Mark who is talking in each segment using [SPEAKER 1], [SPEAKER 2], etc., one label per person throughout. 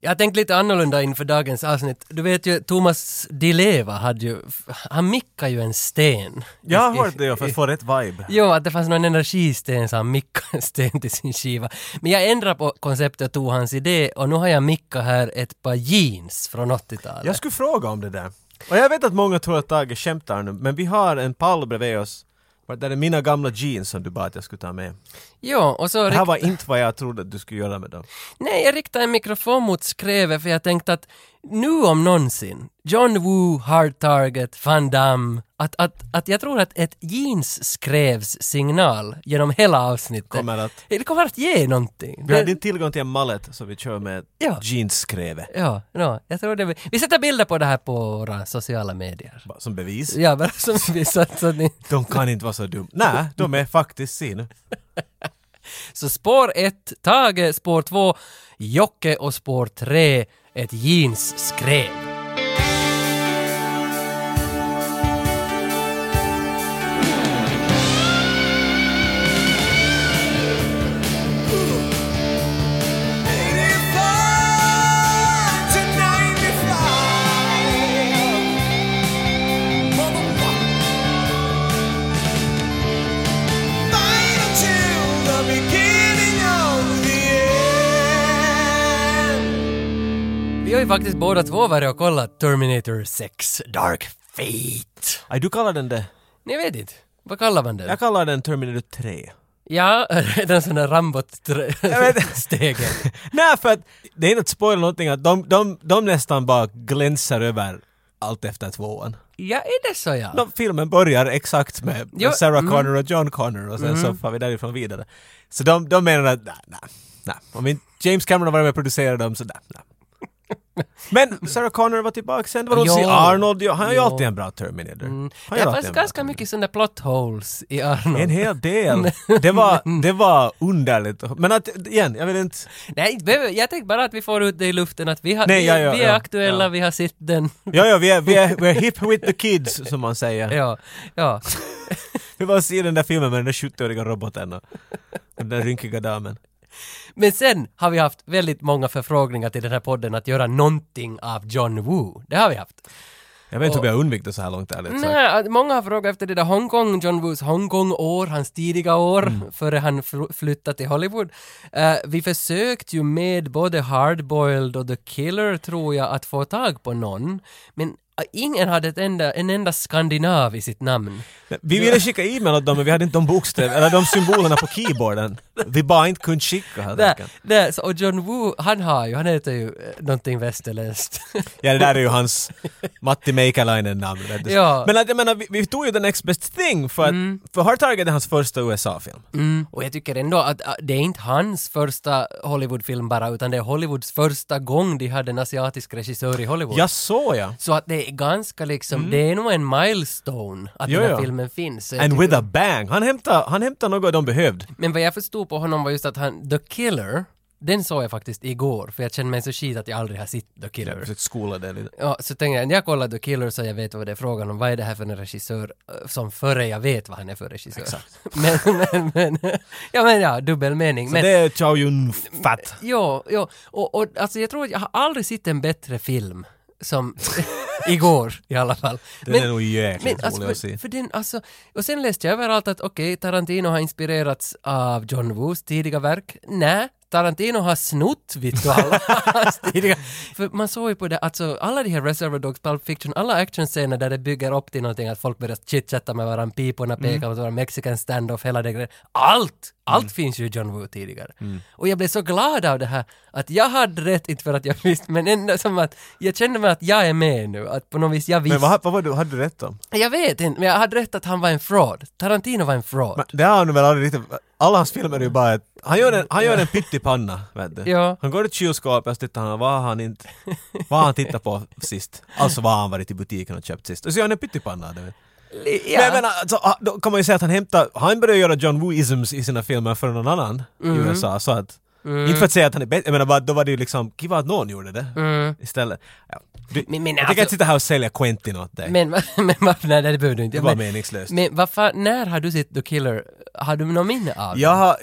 [SPEAKER 1] Jag har tänkt lite annorlunda inför dagens avsnitt. Du vet ju, Thomas Di Leva hade ju, han mickade ju en sten.
[SPEAKER 2] Jag har
[SPEAKER 1] I-
[SPEAKER 2] hört
[SPEAKER 1] i-
[SPEAKER 2] det ja, för att få rätt vibe.
[SPEAKER 1] Jo, att det fanns någon energisten som han mickade en sten till sin skiva. Men jag ändrade på konceptet och tog hans idé och nu har jag mickat här ett par jeans från 80-talet.
[SPEAKER 2] Jag skulle fråga om det där. Och jag vet att många tror att Tage skämtar nu, men vi har en pall bredvid oss. Var det där är mina gamla jeans som du bad att jag skulle ta med.
[SPEAKER 1] Jo, och så...
[SPEAKER 2] Det här
[SPEAKER 1] rikt-
[SPEAKER 2] var inte vad jag trodde att du skulle göra med dem.
[SPEAKER 1] Nej, jag riktade en mikrofon mot skrevet för jag tänkte att nu om någonsin, John Woo, Hard Target, Van Damme, att, att, att jag tror att ett jeans skrevs signal genom hela avsnittet.
[SPEAKER 2] Kommer att-
[SPEAKER 1] Det kommer att ge någonting.
[SPEAKER 2] Vi hade
[SPEAKER 1] Det-
[SPEAKER 2] inte tillgång till en mallet så vi kör med
[SPEAKER 1] Ja.
[SPEAKER 2] jeansskräve
[SPEAKER 1] Ja, ja, jag tror det. Vi sätter bilder på det här på våra sociala medier.
[SPEAKER 2] Bara som bevis.
[SPEAKER 1] Ja, bara som vi så, att- så, att ni,
[SPEAKER 2] De kan inte vara så dumma. Nej, de är faktiskt sin.
[SPEAKER 1] så spår ett, Tage, spår två, Jocke och spår tre, ett jeans skrev. Vi har ju faktiskt båda två varit och kollat Terminator 6 Dark Fate.
[SPEAKER 2] Aj, du kallar den det?
[SPEAKER 1] Ni vet inte. Vad kallar man den?
[SPEAKER 2] Jag kallar den Terminator 3.
[SPEAKER 1] Ja, den sån där
[SPEAKER 2] Jag vet-
[SPEAKER 1] Rambot-stegen.
[SPEAKER 2] Nej, för att det är inte att spoila någonting att de, de, de nästan bara glänsar över allt efter tvåan.
[SPEAKER 1] ja, är det så ja?
[SPEAKER 2] De, filmen börjar exakt med
[SPEAKER 1] Ja, mm.
[SPEAKER 2] Sarah Connor och John Connor och sen så far vi därifrån vidare. Så de, de menar att nej, nej, nej. Om inte James Cameron var med och producerade dem så nej, nej. Men Sarah Connor var tillbaka sen, det var hon
[SPEAKER 1] Ja.
[SPEAKER 2] som Arnold, ja, han är ju
[SPEAKER 1] Jo.
[SPEAKER 2] alltid en bra Terminator. Han
[SPEAKER 1] det
[SPEAKER 2] gör alltid
[SPEAKER 1] fanns
[SPEAKER 2] en bra
[SPEAKER 1] ganska
[SPEAKER 2] Terminator.
[SPEAKER 1] mycket sådana plot holes i Arnold.
[SPEAKER 2] En hel del.
[SPEAKER 1] Mm.
[SPEAKER 2] Det var, det var underligt. Men att, igen, jag vill inte...
[SPEAKER 1] Nej, inte behöver- jag tänkte bara att vi får ut det i luften att vi, har,
[SPEAKER 2] Nej,
[SPEAKER 1] vi,
[SPEAKER 2] ja, ja,
[SPEAKER 1] vi är
[SPEAKER 2] ja,
[SPEAKER 1] aktuella,
[SPEAKER 2] ja.
[SPEAKER 1] vi har sett den.
[SPEAKER 2] Ja, ja, vi är, vi är, vi är hip with the kids, som man säger.
[SPEAKER 1] ja, ja.
[SPEAKER 2] Vi var och se den där filmen med den där 70-åriga roboten och och den där rynkiga damen.
[SPEAKER 1] Men sen har vi haft väldigt många förfrågningar till den här podden att göra någonting av John Woo. Det har vi haft.
[SPEAKER 2] Jag vet inte om jag har undvikit det så här långt, ärligt sagt.
[SPEAKER 1] Nej, att många har frågat efter det där Hongkong, John Woos Hongkong-år, hans tidiga år, före han fl- flyttade till Hollywood. Eh, vi försökte ju med både Hardboiled och The Killer, tror jag, att få tag på någon, men eh, ingen hade ett enda, en enda skandinav i sitt namn.
[SPEAKER 2] Vi ville skicka e-mail åt dem, men vi hade inte de bokstäver, eller de symbolerna på keyboarden. Vi bara inte kunde skicka, helt
[SPEAKER 1] Där,
[SPEAKER 2] enkelt.
[SPEAKER 1] där, så, och John Woo, han har ju, han heter ju eh, någonting västerländskt.
[SPEAKER 2] Ja, det där är ju hans Matti Meikäläinen-namn. vet du.
[SPEAKER 1] Ja. Mm.
[SPEAKER 2] Men att, jag menar, vi, vi tog ju The Next Best Thing, för att, för Hard Target är hans första USA-film.
[SPEAKER 1] Och jag tycker ändå att äh, det är inte hans första Hollywoodfilm bara, utan det är Hollywoods första gång de hade en asiatisk regissör i Hollywood.
[SPEAKER 2] Jag såg ja.
[SPEAKER 1] Så att det är ganska liksom, det är nog en milestone att
[SPEAKER 2] Jo,
[SPEAKER 1] den här
[SPEAKER 2] jo.
[SPEAKER 1] filmen finns. Så jag
[SPEAKER 2] Mm. And
[SPEAKER 1] tycker-
[SPEAKER 2] with a bang! Han hämtade, han hämtade något de behövde.
[SPEAKER 1] Men vad jag förstod på honom var just att han, The Killer, den såg jag faktiskt igår, för jag känner mig så skit att jag aldrig har sett The Killer.
[SPEAKER 2] försökte skola det lite.
[SPEAKER 1] Ja, så tänkte jag, när jag kollar The Killer så jag vet vad det är frågan om, vad är det här för en regissör eh, som före jag vet vad han är för regissör. Exakt. Men, men, men, ja men ja, dubbel mening.
[SPEAKER 2] Så
[SPEAKER 1] Men,
[SPEAKER 2] det är Chow Yun-Fat.
[SPEAKER 1] Ja, ja. Och, och alltså jag tror att jag har aldrig sett en bättre film som igår i alla fall.
[SPEAKER 2] Den är nog jäkligt
[SPEAKER 1] men, alltså,
[SPEAKER 2] rolig att se.
[SPEAKER 1] för, för den, alltså, Och sen läste jag överallt att okej, Tarantino har inspirerats av John Woos tidiga verk. Nej, Tarantino har snott vitt och alla hans tidiga. För man såg ju på det, alltså alla de här Reservoir Dogs, Pulp Fiction, alla actionscener där det bygger upp till någonting, att folk börjar chitchatta med varandra, piporna
[SPEAKER 2] Mm.
[SPEAKER 1] pekar mot varandra, mexican standoff, hela det grejen. Allt! Allt
[SPEAKER 2] Mm.
[SPEAKER 1] finns ju i John Woo tidigare. Och jag blev så glad av det här, att jag hade rätt, inte för att jag visste, men ändå som att jag kände mig att jag är med nu, att på något vis jag visste.
[SPEAKER 2] Men vad, vad var du, hade du rätt om?
[SPEAKER 1] Jag vet inte, men jag hade rätt att han var en fraud. Tarantino var en fraud.
[SPEAKER 2] Men det har han väl aldrig riktigt... Alla hans filmer är ju bara ett... Han gör en, han gör en pyttipanna, vet du.
[SPEAKER 1] Ja.
[SPEAKER 2] Han går till kylskåpet och så tittar han, vad har han inte... Vad har han tittat på sist? Alltså vad har han varit i butiken och köpt sist? Och så gör han en pyttipanna. Du vet.
[SPEAKER 1] ja.
[SPEAKER 2] Men jag menar, alltså, ah, då kan man ju säga att han hämtar... Han började göra John Woo-isms i sina filmer för någon annan i USA, så att... Inte för att säga att han är bättre, jag menar bara då var det ju liksom, kiva att någon gjorde det istället. Ja. Du,
[SPEAKER 1] Men- men
[SPEAKER 2] jag
[SPEAKER 1] alltså-
[SPEAKER 2] tänker inte sitta här och sälja Quentin åt dig.
[SPEAKER 1] men, men varför, nej det behöver du inte.
[SPEAKER 2] det var
[SPEAKER 1] men,
[SPEAKER 2] meningslöst.
[SPEAKER 1] men varför, när har du sett The Killer? Har du någon minne av det?
[SPEAKER 2] Jag har,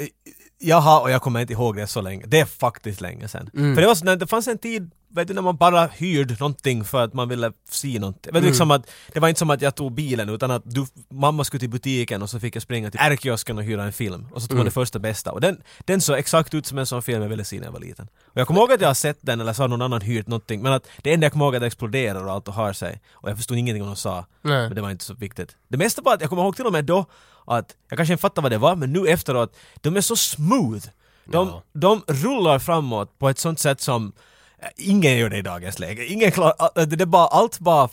[SPEAKER 2] jag har, och jag kommer inte ihåg det så länge, det är faktiskt länge sedan. För det var så, när det fanns en tid, vet du, när man bara hyrde någonting för att man ville se någonting. Vet du, liksom att, det var inte som att jag tog bilen utan att du, mamma skulle till butiken och så fick jag springa till R-kiosken och hyra en film. Och så tog man det första bästa. Och den, den såg exakt ut som en sån film jag ville se när jag var liten. Och jag kommer ihåg att jag har sett den eller så har någon annan hyrt någonting, men att det enda jag kommer ihåg är att det exploderar och allt och har sig. Och jag förstod ingenting vad de sa.
[SPEAKER 1] Nej.
[SPEAKER 2] Men det var inte så viktigt. Det mesta var att jag kommer ihåg till och med då att jag kanske inte fattar vad det var, men nu efteråt, de är så smooth. De,
[SPEAKER 1] Ja.
[SPEAKER 2] de rullar framåt på ett sånt sätt som eh, ingen gör det i dagens läge. Ingen klar, a- det det är bara, allt bara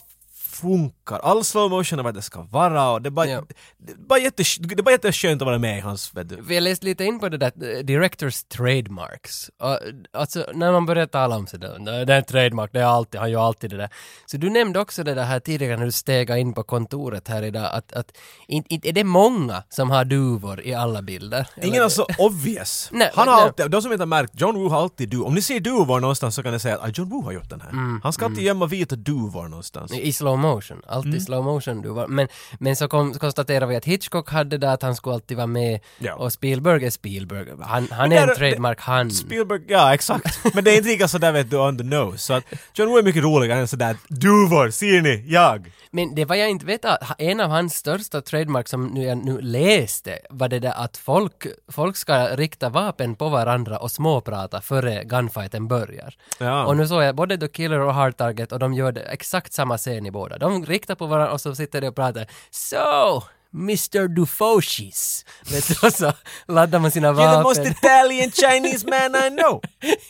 [SPEAKER 2] funkar. All slow motion är vad det ska vara och det är bara,
[SPEAKER 1] Ja.
[SPEAKER 2] det är bara, jättes, det är bara jätteskönt att vara med i hans, vet du.
[SPEAKER 1] Vi har läst lite in på det där, eh, directors trademarks. Och, eh, alltså när man börjar tala om sådär, "Nej, det är en trademark, det är alltid, han gör alltid det där. Så du nämnde också det där här tidigare när du stegade in på kontoret här idag, att, att inte, inte är det många som har duvor i alla bilder?
[SPEAKER 2] Ingen
[SPEAKER 1] Eller-
[SPEAKER 2] är så obvious.
[SPEAKER 1] Nej,
[SPEAKER 2] han har
[SPEAKER 1] nej.
[SPEAKER 2] alltid, de som inte har märkt, John Woo har alltid du. Om ni ser duvor någonstans så kan ni säga att ah, John Woo har gjort den här.
[SPEAKER 1] Mm,
[SPEAKER 2] han ska alltid gömma vita duvor någonstans.
[SPEAKER 1] I slow motion, alltid
[SPEAKER 2] Mm.
[SPEAKER 1] slow motion. Du var, men, men så kom, konstaterade vi att Hitchcock hade det att han skulle alltid vara med
[SPEAKER 2] Ja.
[SPEAKER 1] och Spielberg är Spielberg. Han, han
[SPEAKER 2] där-
[SPEAKER 1] är
[SPEAKER 2] det-
[SPEAKER 1] en trademark han.
[SPEAKER 2] Spielberg, ja exakt. Men det är inte lika sådär vet du on the nose. Så att John Woo är mycket roligare än sådär duvor, ser ni, jag.
[SPEAKER 1] Men det var jag inte vet, att en av hans största trademark som nu jag nu läste var det där att folk, folk ska rikta vapen på varandra och småprata före gunfighten börjar.
[SPEAKER 2] Ja.
[SPEAKER 1] Och nu såg jag både The Killer och Hard Target och de gör det exakt samma scen i båda. De riktar på varandra och så sitter de och pratar So, Mr. Dufoshis. Vet du, och så laddar man sina
[SPEAKER 2] You're the most
[SPEAKER 1] vapen.
[SPEAKER 2] Italian Chinese man I know!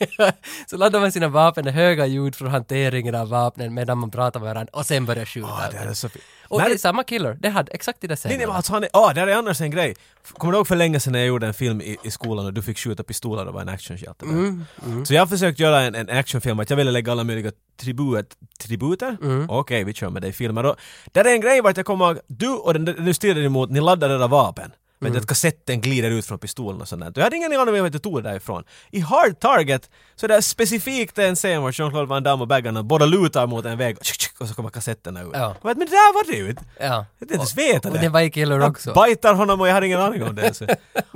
[SPEAKER 1] så laddar man sina vapen, det är höga ljud från hanteringen av vapnen medan man pratar med varandra och sen börjar skjuta.
[SPEAKER 2] Ah, det här är så fint.
[SPEAKER 1] Och
[SPEAKER 2] Nej,
[SPEAKER 1] det är samma killer, det hade exakt det där
[SPEAKER 2] Nej, nej,
[SPEAKER 1] scenerna.
[SPEAKER 2] men alltså han är, ah, där är annars en grej. Kommer du ihåg för länge sedan när jag gjorde en film i, i skolan och du fick skjuta pistoler och vara en actionhjälte? Mm, Så jag har försökt göra en, en actionfilm, att jag ville lägga alla möjliga tribut, tributer.
[SPEAKER 1] Mm.
[SPEAKER 2] Okej, vi kör med dig i filmer. Och där är en grej vart jag kommer ihåg, du och den du stirrar emot, ni laddar era vapen. Men
[SPEAKER 1] Mm.
[SPEAKER 2] att kassetten glider ut från pistolen och sånt där. Jag hade ingen aning om vart jag tog det därifrån. I Hard Target, så det är specifikt en scen var Jean-Claude Van Damme och baggarna båda lutar mot en väg och så kommer kassetterna ut.
[SPEAKER 1] Ja.
[SPEAKER 2] Jag vet, Men det där var det ju inte!
[SPEAKER 1] Ja.
[SPEAKER 2] Jag hade inte ens vetat
[SPEAKER 1] Och det var i Killer också.
[SPEAKER 2] han bitar honom och jag hade ingen aning om det. ens.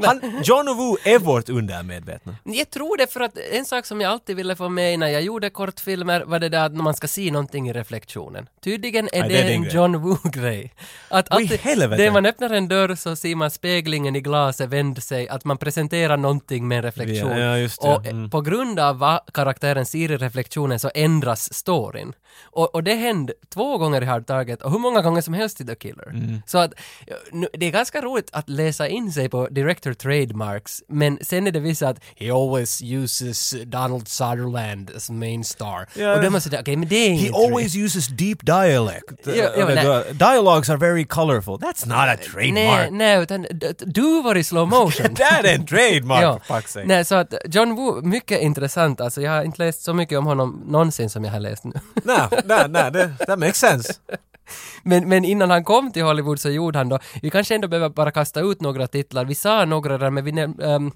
[SPEAKER 2] Han, John och Woo är vårt undermedvetna.
[SPEAKER 1] Jag tror det för att en sak som jag alltid ville få med när jag gjorde kortfilmer var det där att man ska se någonting i reflektionen. Tydligen är
[SPEAKER 2] Nej, det är
[SPEAKER 1] det
[SPEAKER 2] din
[SPEAKER 1] en
[SPEAKER 2] grej.
[SPEAKER 1] John Woo-grej. Att
[SPEAKER 2] Vad i
[SPEAKER 1] alltid-
[SPEAKER 2] helvete?
[SPEAKER 1] när man öppnar en dörr så ser man speglingen i glaset vänd sig, att man presenterar någonting med en reflektion.
[SPEAKER 2] Ja, ja, just det.
[SPEAKER 1] och eh,
[SPEAKER 2] Mm.
[SPEAKER 1] på grund av vad karaktären ser i reflektionen så ändras storyn. Och, och det hände två gånger i Hard Target och hur många gånger som helst i The Killer.
[SPEAKER 2] Mm.
[SPEAKER 1] Så att eh, nu, det är ganska roligt att läsa in sig på director trademarks, men sen är det vissa att “He always uses Donald Sutherland as main star”.
[SPEAKER 2] Ja.
[SPEAKER 1] Och då är man sådär, okej men det är
[SPEAKER 2] He
[SPEAKER 1] inget
[SPEAKER 2] always uses deep dialect.
[SPEAKER 1] Ja, ja, men nej.
[SPEAKER 2] Dialogues are very colorful. That's not a
[SPEAKER 1] Nej,
[SPEAKER 2] trademark.
[SPEAKER 1] nej, utan d- du var i slow motion.
[SPEAKER 2] That är en trademark,
[SPEAKER 1] Ja.
[SPEAKER 2] for fuck's sake.
[SPEAKER 1] Nej, så att John Woo, mycket intressant alltså. Jag har inte läst så mycket om honom någonsin som jag har läst nu.
[SPEAKER 2] Nej, nej, nej, det- that makes sense.
[SPEAKER 1] Men, men innan han kom till Hollywood så gjorde han då, vi kanske ändå behöver bara kasta ut några titlar, vi sa några där men vi näm- ehm,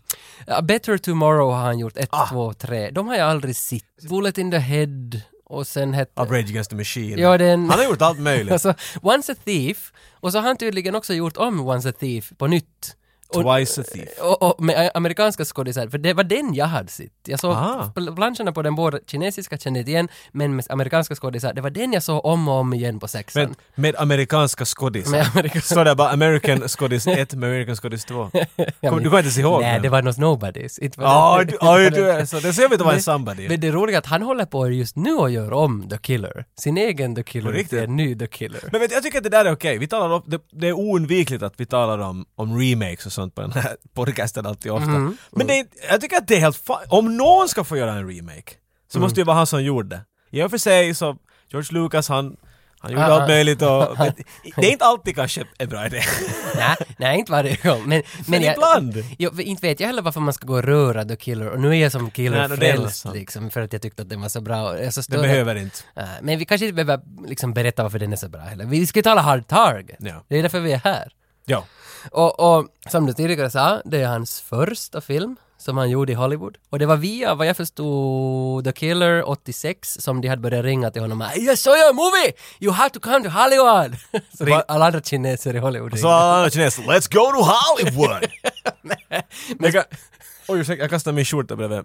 [SPEAKER 1] A Better Tomorrow har han gjort, ett, två, tre. De har jag aldrig sett. Bullet in the Head och sen hette...
[SPEAKER 2] Of Rage Against the Machine.
[SPEAKER 1] Ja, den...
[SPEAKER 2] Han har gjort allt möjligt.
[SPEAKER 1] Alltså, Once a Thief, och så har han tydligen också gjort om Once a Thief på nytt. Och-
[SPEAKER 2] Twice a thief.
[SPEAKER 1] och, och med ä, amerikanska skådisar, för det var den jag hade sett. Jag såg
[SPEAKER 2] Ah.
[SPEAKER 1] pl- planscherna på den båda kinesiska kände jag inte igen, men med amerikanska skådisar, det var den jag såg om och om igen på sexan.
[SPEAKER 2] Med, med amerikanska skådisar.
[SPEAKER 1] Med amerikanska-
[SPEAKER 2] Står det bara American skådis 1 med American skådis 2?
[SPEAKER 1] Ja, men-
[SPEAKER 2] Du kommer inte ens ihåg
[SPEAKER 1] Nej,
[SPEAKER 2] den?
[SPEAKER 1] det var något Nobodies. Inte var
[SPEAKER 2] Ja,
[SPEAKER 1] det-
[SPEAKER 2] du,
[SPEAKER 1] inte var
[SPEAKER 2] ja,
[SPEAKER 1] det-
[SPEAKER 2] du är så. Det ser ut att vara en
[SPEAKER 1] Men-
[SPEAKER 2] somebody.
[SPEAKER 1] Men det är roligt att han håller på just nu och gör om The Killer. Sin egen The
[SPEAKER 2] På
[SPEAKER 1] Killer
[SPEAKER 2] riktigt?
[SPEAKER 1] till en ny The Killer.
[SPEAKER 2] Men vet, du, jag tycker att det där är okej. Vi talar om, det, det är oundvikligt att vi talar om, om remakes och sånt på den här podcasten alltid ofta.
[SPEAKER 1] Mm.
[SPEAKER 2] Men det, är- jag tycker att det är helt fa- Om någon ska få göra en remake så
[SPEAKER 1] Mm.
[SPEAKER 2] måste det vara han som gjorde det. I och för sig så, George Lucas han, han gjorde
[SPEAKER 1] Ah,
[SPEAKER 2] allt
[SPEAKER 1] ah.
[SPEAKER 2] möjligt och... Men det är inte alltid kanske en bra idé.
[SPEAKER 1] nej, nej, inte varje gång. Men,
[SPEAKER 2] Men
[SPEAKER 1] jag-
[SPEAKER 2] ibland.
[SPEAKER 1] Jo, för inte vet jag heller varför man ska gå och röra The Killer och nu är jag som
[SPEAKER 2] Nej,
[SPEAKER 1] Killer
[SPEAKER 2] det är
[SPEAKER 1] frälst
[SPEAKER 2] sant.
[SPEAKER 1] liksom för att jag tyckte att den var så bra. och jag är Så
[SPEAKER 2] Det
[SPEAKER 1] störd-
[SPEAKER 2] behöver inte.
[SPEAKER 1] Äh, Men vi kanske inte behöver liksom berätta varför den är så bra heller. Vi ska ju tala Hard Target.
[SPEAKER 2] Ja.
[SPEAKER 1] Det är därför vi är här.
[SPEAKER 2] Ja.
[SPEAKER 1] Och, och som du tidigare sa, det är hans första film som han gjorde i Hollywood. Och det var via, vad jag förstod, The Killer 86 som de hade börjat ringa till honom. Jag såg en movie! You have to come to Hollywood! så det var alla andra kineser i Hollywood.
[SPEAKER 2] Så alla kineser, let's go to Hollywood!
[SPEAKER 1] Men,
[SPEAKER 2] Oj, ursäkta, jag kastade min skjorta bredvid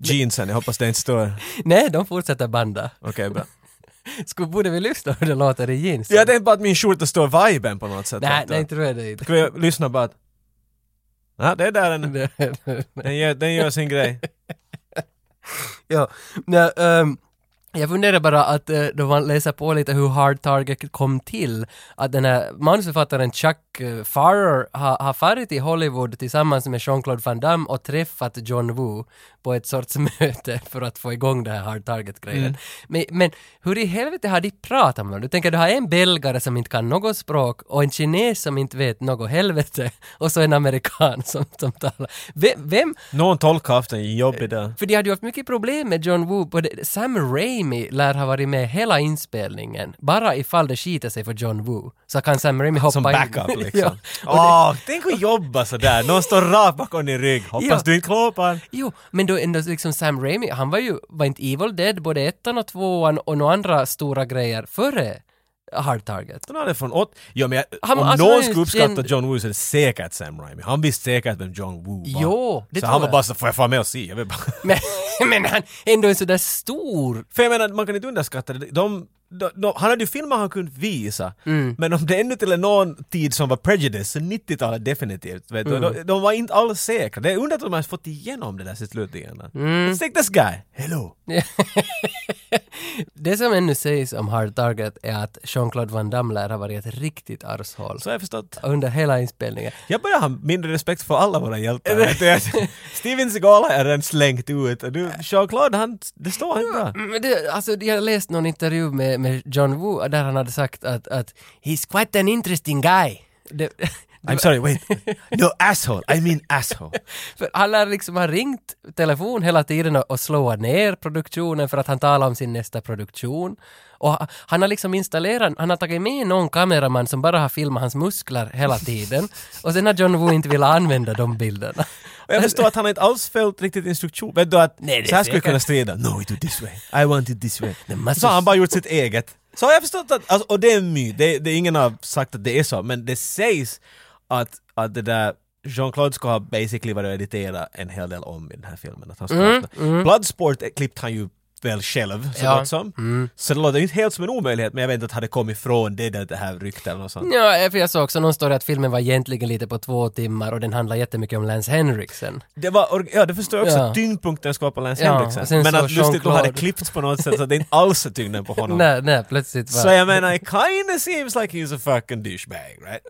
[SPEAKER 2] jeansen. Jag hoppas det inte stör.
[SPEAKER 1] Nej, de fortsätter banda.
[SPEAKER 2] Okej, bra.
[SPEAKER 1] Skulle, borde vi lyssna hur det låter i jeans?
[SPEAKER 2] Jag tänkte bara att min skjorta står viben på något sätt.
[SPEAKER 1] nej,
[SPEAKER 2] Att,
[SPEAKER 1] nej,
[SPEAKER 2] äh,
[SPEAKER 1] tror jag det inte.
[SPEAKER 2] Skulle jag lyssna bara att... Ja, det är där den. Den gör, den gör sin grej.
[SPEAKER 1] ja, nej, ehm, jag funderar bara att eh, då man läser på lite hur Hard Target kom till, att den här manusförfattaren Chuck eh, Farrer har har farit till Hollywood tillsammans med Jean-Claude Van Damme och träffat John Woo på ett sorts möte för att få igång det här Hard Target-grejen. Men, men hur i helvete har de pratat med honom? Du tänker du har en belgare som inte kan något språk och en kines som inte vet något helvete och så en amerikan som, som talar. Vem, vem,
[SPEAKER 2] Någon tolk har haft en jobbig dag.
[SPEAKER 1] för de hade ju haft mycket problem med John Woo. Både Sam Raimi lär ha varit med hela inspelningen. Bara ifall det skiter sig för John Woo. Så kan Sam Raimi hoppa
[SPEAKER 2] Som
[SPEAKER 1] in.
[SPEAKER 2] backup
[SPEAKER 1] ja.
[SPEAKER 2] liksom. Åh, tänk att jobba sådär. Någon står rakt bakom din rygg. Hoppas
[SPEAKER 1] Ja.
[SPEAKER 2] du inte klåpar.
[SPEAKER 1] Jo, men då ändå liksom Sam Raimi, han var ju, var inte Evil Dead både ettan och tvåan och några andra stora grejer före Hard Target.
[SPEAKER 2] Den hade från åt... Ja, men jag,
[SPEAKER 1] Han-
[SPEAKER 2] om
[SPEAKER 1] alltså, han
[SPEAKER 2] någon
[SPEAKER 1] är
[SPEAKER 2] skulle
[SPEAKER 1] ju
[SPEAKER 2] uppskatta
[SPEAKER 1] känd-
[SPEAKER 2] John Woo så är det säkert Sam Raimi. Han visste säkert vem John Woo var.
[SPEAKER 1] Jo, det
[SPEAKER 2] så
[SPEAKER 1] tror
[SPEAKER 2] han var
[SPEAKER 1] jag.
[SPEAKER 2] bara så får jag fara med och se? Jag vill bara...
[SPEAKER 1] Men, men han är ändå en sådär stor.
[SPEAKER 2] För jag menar, man kan inte underskatta det. De, de, de, han hade ju filmer han kunde visa, men om det ännu till någon tid som var prejudice, så 90-talet definitivt. Vet du? De, de var inte alls säkra. Det är undrat om de har fått igenom det där sitt slutligen. Mm. Take this guy! Hello!
[SPEAKER 1] Det som ännu sägs om Hard Target är att Jean-Claude Van Damme lär ha varit ett riktigt arshål
[SPEAKER 2] Så har jag förstått.
[SPEAKER 1] under hela inspelningen.
[SPEAKER 2] Jag börjar ha mindre respekt för alla våra hjältar. vet du? Jag- Steven Seagal har jag redan slängt ut och du, Jean-Claude, han, det står han bra.
[SPEAKER 1] Men det, alltså, jag har läst någon intervju med, med John Woo där han hade sagt att, att “He's quite an interesting guy”. Det,
[SPEAKER 2] I'm sorry, wait. No asshole, I mean asshole.
[SPEAKER 1] för han lär liksom ha ringt telefon hela tiden och, och slåat ner produktionen för att han talar om sin nästa produktion. Och ha- han har liksom installerat, han har tagit med någon kameraman som bara har filmat hans muskler hela tiden. och sen har John Woo inte velat använda de bilderna.
[SPEAKER 2] Och jag förstår att han inte alls följt riktigt instruktion. Vet du att
[SPEAKER 1] Nej, det är
[SPEAKER 2] så här skulle jag
[SPEAKER 1] säkert.
[SPEAKER 2] kunna strida. No, we do this way. I want it this way.
[SPEAKER 1] måste-
[SPEAKER 2] Så har han bara gjort sitt eget. Så har jag förstått att, alltså, och det är en myt, det, det, ingen har sagt att det är så, men det sägs att, att det där Jean-Claude ska ha basically varit och editerat en hel del om i den här filmen. Att han skulle haft det. Bloodsport klippte han ju väl själv, så
[SPEAKER 1] Mm, Ja. Mm.
[SPEAKER 2] gott som. Så det låter ju inte helt som en omöjlighet, men jag vet inte att det hade kommit från det, det, det här ryktet eller något sånt.
[SPEAKER 1] Ja, för jag såg också någon story att filmen var egentligen lite på två timmar och den handlar jättemycket om Lance Henriksen.
[SPEAKER 2] Det var, org- ja det förstår jag också,
[SPEAKER 1] Ja.
[SPEAKER 2] tyngdpunkten ska vara på Lance
[SPEAKER 1] Ja, och
[SPEAKER 2] Henriksen.
[SPEAKER 1] sen
[SPEAKER 2] Men
[SPEAKER 1] så
[SPEAKER 2] att lustigt nog
[SPEAKER 1] Jean-Claude.
[SPEAKER 2] hade klippts på något sätt så att det inte alls är tyngden på honom.
[SPEAKER 1] Nej, nej, plötsligt var...
[SPEAKER 2] Så jag menar, it kinda seems like he's a fucking douchebag, right?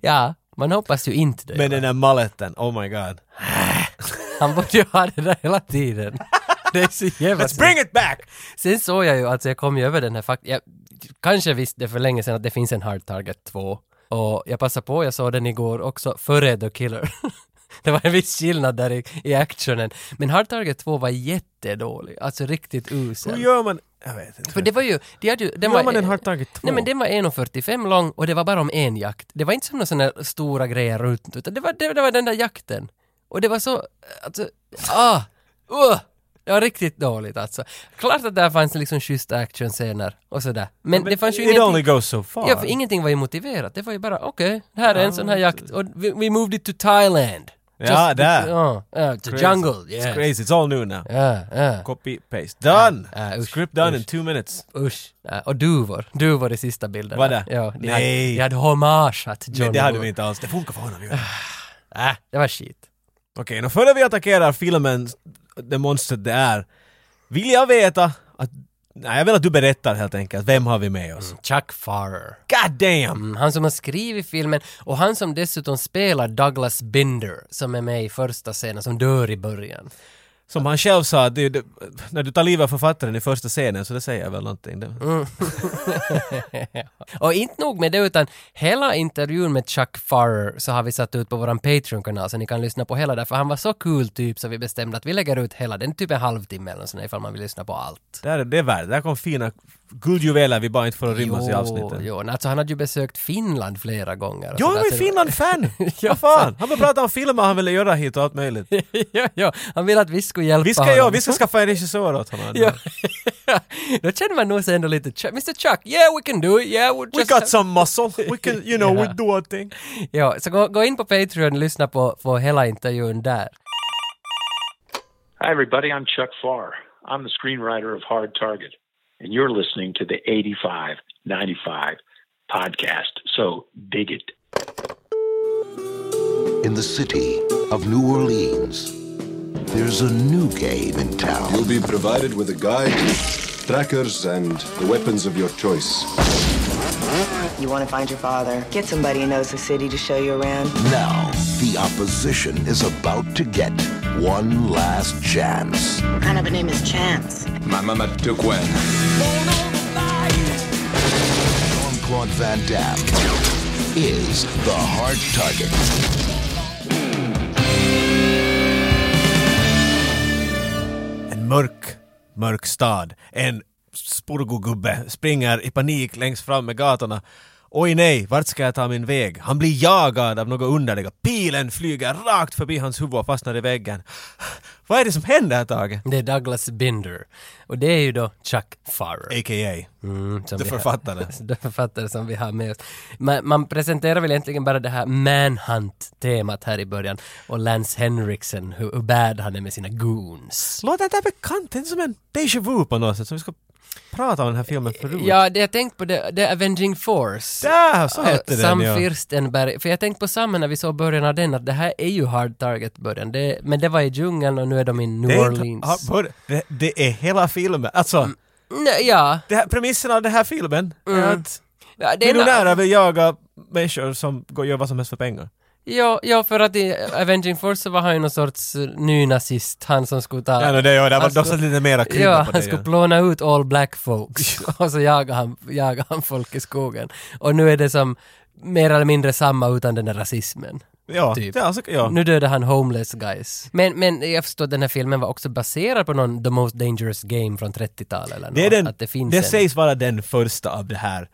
[SPEAKER 1] Ja, man hoppas ju inte det.
[SPEAKER 2] Men den där malleten, oh my god.
[SPEAKER 1] Han borde ju ha det där hela tiden. Det är så jävla
[SPEAKER 2] Let's bring it back!
[SPEAKER 1] Sen såg jag ju, alltså jag kom ju över den här fakt... Jag kanske visste för länge sedan att det finns en Hard Target 2. Och jag passade på, jag såg den igår också, före The Killer. det var en viss skillnad där i, i actionen. Men Hard Target 2 var jättedålig, alltså riktigt
[SPEAKER 2] Hur
[SPEAKER 1] usel.
[SPEAKER 2] gör man... Jag vet inte.
[SPEAKER 1] För det var ju, de hade ju, den
[SPEAKER 2] Hur
[SPEAKER 1] var,
[SPEAKER 2] gör man en Hard Target 2?
[SPEAKER 1] Nej men den var 1.45 lång och det var bara om en jakt. Det var inte som några sådana stora grejer runt, utan det var, det, det var den där jakten. Och det var så, alltså, ah, uh, det var riktigt dåligt alltså. Klart att där fanns liksom schyssta actionscener och sådär. Men,
[SPEAKER 2] Men
[SPEAKER 1] det fanns ju
[SPEAKER 2] It only
[SPEAKER 1] ingenting,
[SPEAKER 2] goes so far.
[SPEAKER 1] ja, för ingenting var ju motiverat. Det var ju bara, okej, här är en sån här jakt och vi, we moved it to Thailand.
[SPEAKER 2] Ja, där.
[SPEAKER 1] Ja, ja, to jungle,
[SPEAKER 2] It's
[SPEAKER 1] yeah.
[SPEAKER 2] crazy, it's all new now.
[SPEAKER 1] Ja, ja.
[SPEAKER 2] Copy, paste, done!
[SPEAKER 1] Ja, usch,
[SPEAKER 2] Script done
[SPEAKER 1] usch.
[SPEAKER 2] in two minutes.
[SPEAKER 1] Usch. Ja, och duvor. Duvor i sista bilden.
[SPEAKER 2] Var det?
[SPEAKER 1] Ja, de
[SPEAKER 2] Nej.
[SPEAKER 1] Hade, de hade hommageat John
[SPEAKER 2] Men det hade
[SPEAKER 1] Woo.
[SPEAKER 2] vi inte alls, det funkar för honom ju.
[SPEAKER 1] Äh, det var skit.
[SPEAKER 2] Okej, nu före vi attackerar filmen, det monstret det är, vill jag veta att... Nej, jag vill att du berättar helt enkelt. Vem har vi med oss?
[SPEAKER 1] Chuck Farrer.
[SPEAKER 2] God damn!
[SPEAKER 1] Mm, han som har skrivit filmen och han som dessutom spelar Douglas Binder som är med i första scenen, som dör i början.
[SPEAKER 2] Som han själv sa, det, är ju det, när du tar livet av författaren i första scenen så det säger jag väl någonting. Det,
[SPEAKER 1] Mm. och inte nog med det utan hela intervjun med Chuck Farrer så har vi satt ut på våran Patreon-kanal så ni kan lyssna på hela där för han var så kul typ så vi bestämde att vi lägger ut hela den, typ en halvtimme eller sådär ifall man vill lyssna på allt.
[SPEAKER 2] det, är, det är värt Där kom fina guldjuveler vi bara inte får att rymmas i avsnittet.
[SPEAKER 1] jo, alltså han hade ju besökt Finland flera gånger. och
[SPEAKER 2] Jag
[SPEAKER 1] sådär,
[SPEAKER 2] är
[SPEAKER 1] så-
[SPEAKER 2] ju Finland-fan!
[SPEAKER 1] Ja,
[SPEAKER 2] Vad fan! Han bara prata om filmer han ville göra hit och allt möjligt.
[SPEAKER 1] ja, ja, han ville att vi skulle hjälpa
[SPEAKER 2] Vi ska,
[SPEAKER 1] honom.
[SPEAKER 2] ja, vi ska skaffa en regissör åt honom.
[SPEAKER 1] Ja. Då känner man nog sig ändå lite Chuck, Mr Chuck, yeah we can do it, yeah we'll
[SPEAKER 2] We
[SPEAKER 1] just...
[SPEAKER 2] got some muscle, we can, you know, we do a thing.
[SPEAKER 1] Ja, så gå, gå in på Patreon och lyssna på, på hela intervjun där.
[SPEAKER 3] Hi, everybody. I'm Chuck Farr. I'm the screenwriter of Hard Target, and you're listening to the 8595 podcast. So dig it.
[SPEAKER 4] in the city of New Orleans. There's a new game in town.
[SPEAKER 5] You'll be provided with a guide, trackers, and the weapons of your choice.
[SPEAKER 6] You want to find your father. Get somebody who knows the city to show you around.
[SPEAKER 4] Now, the opposition is about to get one last chance.
[SPEAKER 7] What kind of a name is Chance?
[SPEAKER 8] My mama took one.
[SPEAKER 4] Jean Claude Van Damme is the hard target.
[SPEAKER 2] En mörk, mörk stad. En spurgogubbe springer i panik längs fram med gatorna. Oj nej, vart ska jag ta min väg? Han blir jagad av något underliga. Pilen flyger rakt förbi hans huvud och fastnar i väggen. Vad är det som händer här Tage?
[SPEAKER 1] Det är Douglas Binder. Och det är ju då Chuck Farrer.
[SPEAKER 2] A.k.a.
[SPEAKER 1] Mm, som
[SPEAKER 2] The
[SPEAKER 1] vi har-
[SPEAKER 2] författare.
[SPEAKER 1] The författare som vi har med oss. Man, man presenterar väl egentligen bara det här manhunt-temat här i början. Och Lance Henriksen, hur, hur bad han är med sina goons.
[SPEAKER 2] Låter det här bekant? Det är som en déjà vu på något sätt som vi ska prata om den här filmen förut.
[SPEAKER 1] Ja, det jag tänkt på, det, det är Avenging Force.
[SPEAKER 2] Där, så hette
[SPEAKER 1] Och Sam
[SPEAKER 2] den ja.
[SPEAKER 1] Firstenberg, för jag tänkte på samma när vi såg början av den att det här är ju Hard Target-början. Det, men det var i djungeln och nu är de i New
[SPEAKER 2] Det är, inte-
[SPEAKER 1] Orleans. Mm.
[SPEAKER 2] ja, bör- det, det är hela filmen. Alltså,
[SPEAKER 1] Nej, ja.
[SPEAKER 2] det här, premissen av den här filmen
[SPEAKER 1] Mm.
[SPEAKER 2] är att
[SPEAKER 1] ja det är nå-
[SPEAKER 2] miljonärer vill jaga människor som går och gör vad som helst för pengar.
[SPEAKER 1] Ja, ja, för att i Avenging Force så var han ju någon sorts eh, nynazist, han som skulle ta...
[SPEAKER 2] Ja, no, det, ja, det var,
[SPEAKER 1] Alltså-
[SPEAKER 2] de satt lite mera krydda
[SPEAKER 1] Ja,
[SPEAKER 2] på det.
[SPEAKER 1] han skulle plåna ut all black folks och så jagar han, jagar han folk i skogen. Och nu är det som mer eller mindre samma utan den där rasismen.
[SPEAKER 2] ja.
[SPEAKER 1] typ.
[SPEAKER 2] Ja, alltså, ja.
[SPEAKER 1] Nu dödar han homeless guys. Men, men jag förstår att den här filmen var också baserad på någon The Most Dangerous Game från 30-talet eller
[SPEAKER 2] det är
[SPEAKER 1] något,
[SPEAKER 2] den,
[SPEAKER 1] Att det finns en... Mm.
[SPEAKER 2] sägs vara den första av det här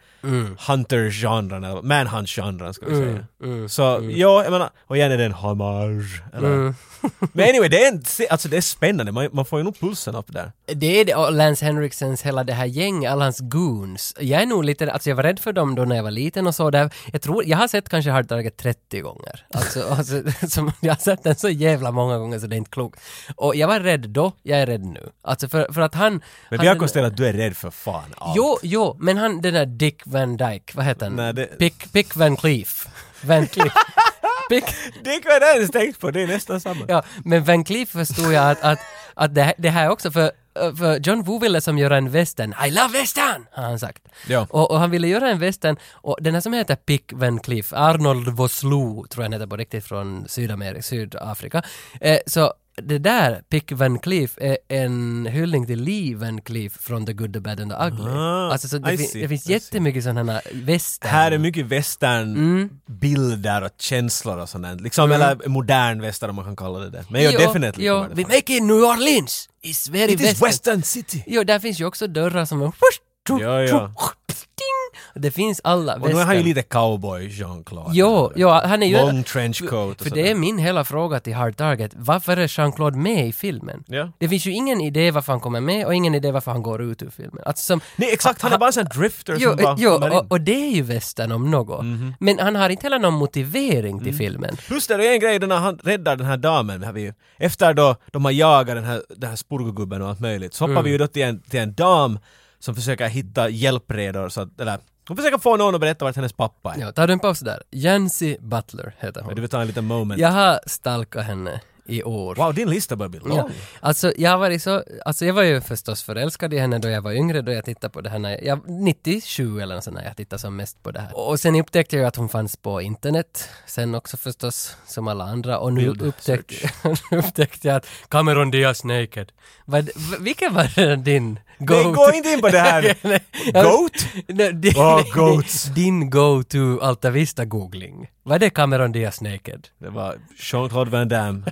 [SPEAKER 2] hunter-genren, eller manhunt-genren ska vi säga.
[SPEAKER 1] mm,
[SPEAKER 2] Så ja, jag menar, och igen är det en hommage. Eller?
[SPEAKER 1] Mm.
[SPEAKER 2] Men anyway, det är, en, alltså, det är spännande, man, man får ju nog pulsen upp där.
[SPEAKER 1] Det är det, och Lance Henriksens hela det här gänget, alla hans goons. Jag är nog lite, alltså jag var rädd för dem då när jag var liten och så där. Jag tror, jag har sett kanske Hard Target 30 gånger. Alltså, alltså som, jag har sett den så jävla många gånger så det är inte klokt. Och jag var rädd då, jag är rädd nu. Alltså för, för att han...
[SPEAKER 2] Men
[SPEAKER 1] han,
[SPEAKER 2] vi har
[SPEAKER 1] den-
[SPEAKER 2] konstaterat att du är rädd för fan allt.
[SPEAKER 1] Alltså, Jo, jo, men han den där Dick Van Dyke, vad heter han?
[SPEAKER 2] Nej, det-
[SPEAKER 1] Pick, Pick Van Cleef. Van Cleef. Pick,
[SPEAKER 2] Det kan jag inte ens tänkt på, det är nästan samma.
[SPEAKER 1] Ja, men Van Cleef förstod jag att, att, att det, här- det här också, för, för John Woo ville som göra en western, I love western, har han sagt.
[SPEAKER 2] Ja.
[SPEAKER 1] Och, och han ville göra en western, och den här som heter Pick Van Cleef, Arnold Vosloo, tror jag han heter på riktigt, från Sydamerika, Sydafrika. Eh, så det där, Pick Van Cleef, är en hyllning till Lee Van Cleef från The Good, The Bad and The Ugly.
[SPEAKER 2] Ah,
[SPEAKER 1] alltså, så det,
[SPEAKER 2] I
[SPEAKER 1] fin-
[SPEAKER 2] see,
[SPEAKER 1] det finns
[SPEAKER 2] I see.
[SPEAKER 1] jättemycket sådana här western.
[SPEAKER 2] Här är mycket västernbilder och känslor och sånt där. Liksom, eller modern västern om man kan kalla det det. Men jag definitivt
[SPEAKER 1] Mm. Jo,
[SPEAKER 2] kommer det
[SPEAKER 1] vi
[SPEAKER 2] ifrån.
[SPEAKER 1] make it New Orleans! It's very
[SPEAKER 2] It is
[SPEAKER 1] western.
[SPEAKER 2] western city!
[SPEAKER 1] Jo, där finns ju också dörrar som är...
[SPEAKER 2] Ja, ja.
[SPEAKER 1] Ding! Det finns alla
[SPEAKER 2] Och nu är han ju
[SPEAKER 1] western.
[SPEAKER 2] lite cowboy, Jean-Claude.
[SPEAKER 1] Jo, jo, han är ju...
[SPEAKER 2] Long trenchcoat och
[SPEAKER 1] För
[SPEAKER 2] sådär.
[SPEAKER 1] det är min hela fråga till Hard Target. Varför är Jean-Claude med i filmen?
[SPEAKER 2] Ja.
[SPEAKER 1] Det finns ju ingen idé varför han kommer med och ingen idé varför han går ut ur filmen. Alltså som...
[SPEAKER 2] Nej, exakt. Han är bara en sån här drifter
[SPEAKER 1] Jo,
[SPEAKER 2] som bara
[SPEAKER 1] jo
[SPEAKER 2] kommer in. Mhm.
[SPEAKER 1] och, och det är ju västern om något. Men han har inte heller någon motivering
[SPEAKER 2] Mm.
[SPEAKER 1] till filmen.
[SPEAKER 2] Plus det, det är en grej när han räddar den här damen. Här vi, efter då de har jagat den här, den här spurgogubben och allt möjligt så hoppar
[SPEAKER 1] Mm.
[SPEAKER 2] vi ju då till en, till en dam som försöker hitta hjälpredor så att, eller hon försöker få någon att berätta vart hennes pappa är.
[SPEAKER 1] Ja, tar du en paus där? Jancy Butler heter
[SPEAKER 2] Men Du
[SPEAKER 1] hon.
[SPEAKER 2] vill ta en liten moment.
[SPEAKER 1] Jag har stalkat henne i år.
[SPEAKER 2] Wow, din lista börjar bli lång.
[SPEAKER 1] Ja. Alltså, jag har varit så, alltså jag var ju förstås förälskad i henne då jag var yngre, då jag tittade på det här när jag, 97 eller något sånt när jag tittade som mest på det här. Och sen upptäckte jag ju att hon fanns på internet, sen också förstås, som alla andra. Och nu upptäckte, nu upptäckte jag att Cameron Diaz Naked. Vad, v- vilken var det din go
[SPEAKER 2] Nej, gå inte in på det här! Goat?
[SPEAKER 1] Nej, din,
[SPEAKER 2] Åh, goats.
[SPEAKER 1] din go-to altavista-googling. Var det Cameron Diaz Naked?
[SPEAKER 2] Det var Jean-Claude Van Damme.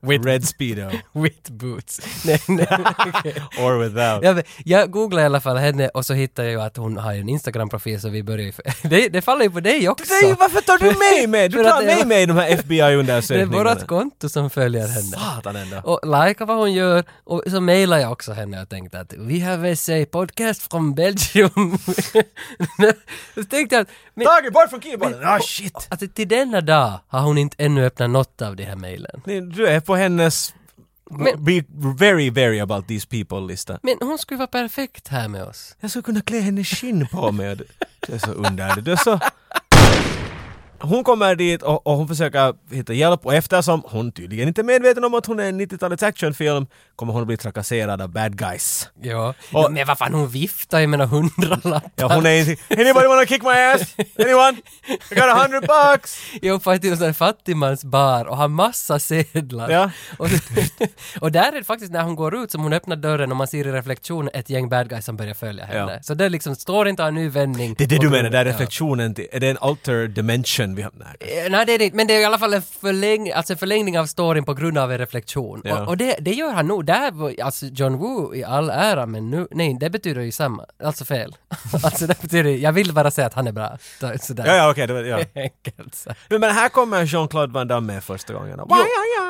[SPEAKER 1] With-
[SPEAKER 2] Red Speedo.
[SPEAKER 1] With boots. Nej, nej, okej.
[SPEAKER 2] Or without.
[SPEAKER 1] Jag, vet- jag googlade i alla fall henne och så hittade jag ju att hon har ju en Instagram-profil så vi började ju... Det, det faller ju på dig också!
[SPEAKER 2] Nej, varför tar du mig med? Du
[SPEAKER 1] För att
[SPEAKER 2] tar
[SPEAKER 1] det-
[SPEAKER 2] mig med i de här
[SPEAKER 1] det är
[SPEAKER 2] FBI-undersökningarna.
[SPEAKER 1] vårat konto som följer henne.
[SPEAKER 2] Satan ändå.
[SPEAKER 1] Och likea vad hon gör och så mailar jag också henne och tänkte att vi har essay podcast från Belgium. så tänkte jag att... Men,
[SPEAKER 2] Tage, bort från keyboarden! Ah shit!
[SPEAKER 1] alltså, till denna dag har hon inte ännu öppnat något av de här mailen.
[SPEAKER 2] Nej, Du är på hennes
[SPEAKER 1] Men-
[SPEAKER 2] be very very about these people-lista.
[SPEAKER 1] Men hon skulle vara perfekt här med oss.
[SPEAKER 2] Jag skulle kunna klä henne i skinn på mig. Du du är så underlig. Du är så... Hon kommer dit och, och hon försöker hitta hjälp och eftersom hon tydligen inte är medveten om att hon är en 90-talets actionfilm kommer hon att bli trakasserad av bad guys.
[SPEAKER 1] Ja.
[SPEAKER 2] Och-
[SPEAKER 1] men vad fan, hon viftar ju med några hundralappar.
[SPEAKER 2] Ja, hon är inte... Anybody wanna kick my ass? Anyone? I got a hundred bucks!
[SPEAKER 1] Jag uppfattar till en sån här fattigmansbar och har massa sedlar.
[SPEAKER 2] Ja.
[SPEAKER 1] Och, och där är det faktiskt när hon går ut som hon öppnar dörren och man ser i reflektion ett gäng bad guys som börjar följa henne.
[SPEAKER 2] Ja.
[SPEAKER 1] Så det liksom står inte av en ny vändning.
[SPEAKER 2] Det är det
[SPEAKER 1] Och
[SPEAKER 2] du
[SPEAKER 1] då-
[SPEAKER 2] menar, där
[SPEAKER 1] ja.
[SPEAKER 2] reflektionen. till- Är det en alter dimension vi har? Nej.
[SPEAKER 1] Eh, Nej, det är det inte. Men det är i alla fall en, förläng, alltså en förlängning av storyn på grund av en reflektion.
[SPEAKER 2] Ja.
[SPEAKER 1] Och, och det, det gör han nog. Där var, alltså John Woo i all ära, men nu, nej, det betyder ju samma. Alltså fel. alltså det betyder, jag vill bara säga att han är bra. Så- Sådär.
[SPEAKER 2] Ja, ja, okej. det var- ja.
[SPEAKER 1] Enkelt så.
[SPEAKER 2] Men, men här kommer Jean-Claude Van Damme med första gången.
[SPEAKER 1] Jo,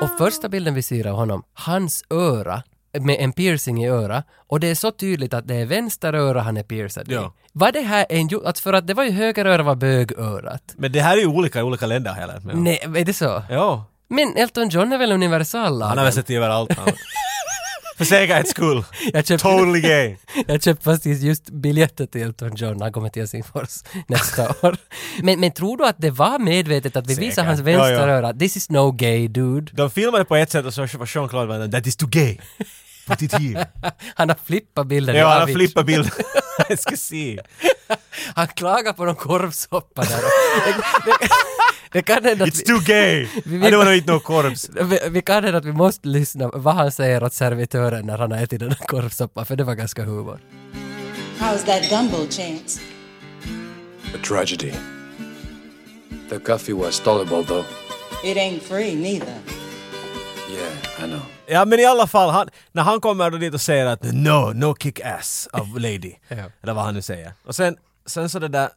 [SPEAKER 1] Och första bilden vi ser av honom, hans öra med en piercing i öra och det är så tydligt att det är vänster öra han är piercad i.
[SPEAKER 2] Ja.
[SPEAKER 1] Var det här en... jo- Att för att det var ju höger öra var bögörat.
[SPEAKER 2] Men det här är ju olika i olika länder har jag lärt mig. om.
[SPEAKER 1] Nej, är det så?
[SPEAKER 2] Ja.
[SPEAKER 1] Men Elton John är väl universal?
[SPEAKER 2] Han har väl sett överallt. han. För säkerhets skull.
[SPEAKER 1] Jag köpte,
[SPEAKER 2] Totally gay.
[SPEAKER 1] jag köpte faktiskt just biljetter till Elton John när han kommer till Helsingfors nästa år. Men, men tror du att det var medvetet att vi visar
[SPEAKER 2] Säkert.
[SPEAKER 1] hans
[SPEAKER 2] Ja,
[SPEAKER 1] vänstra
[SPEAKER 2] ja.
[SPEAKER 1] öra? This is no gay dude.
[SPEAKER 2] De filmade på ett sätt och så var Jean-Claude Van Damme, that is too gay. Put it here.
[SPEAKER 1] Han har flippat bilden i
[SPEAKER 2] ja, han
[SPEAKER 1] Avicii.
[SPEAKER 2] flippar bilden. jag ska se.
[SPEAKER 1] Han klagar på någon korvsoppa där. Det, det, det kan hända att
[SPEAKER 2] It's
[SPEAKER 1] vi,
[SPEAKER 2] too gay. I don't wanna eat no korvs.
[SPEAKER 1] vi, vi kan hända att vi måste lyssna vad han säger åt servitören när han har ätit den här korvsoppan, för det var ganska humor.
[SPEAKER 7] How's that gumbo, Chance?
[SPEAKER 8] A tragedy. The coffee was tolerable, though.
[SPEAKER 7] It ain't free, neither.
[SPEAKER 8] Yeah, I know.
[SPEAKER 2] Ja, men i alla fall, han, när han kommer då dit och säger att no, no kick ass of lady. Eller vad han nu säger. Och sen, sen så det där,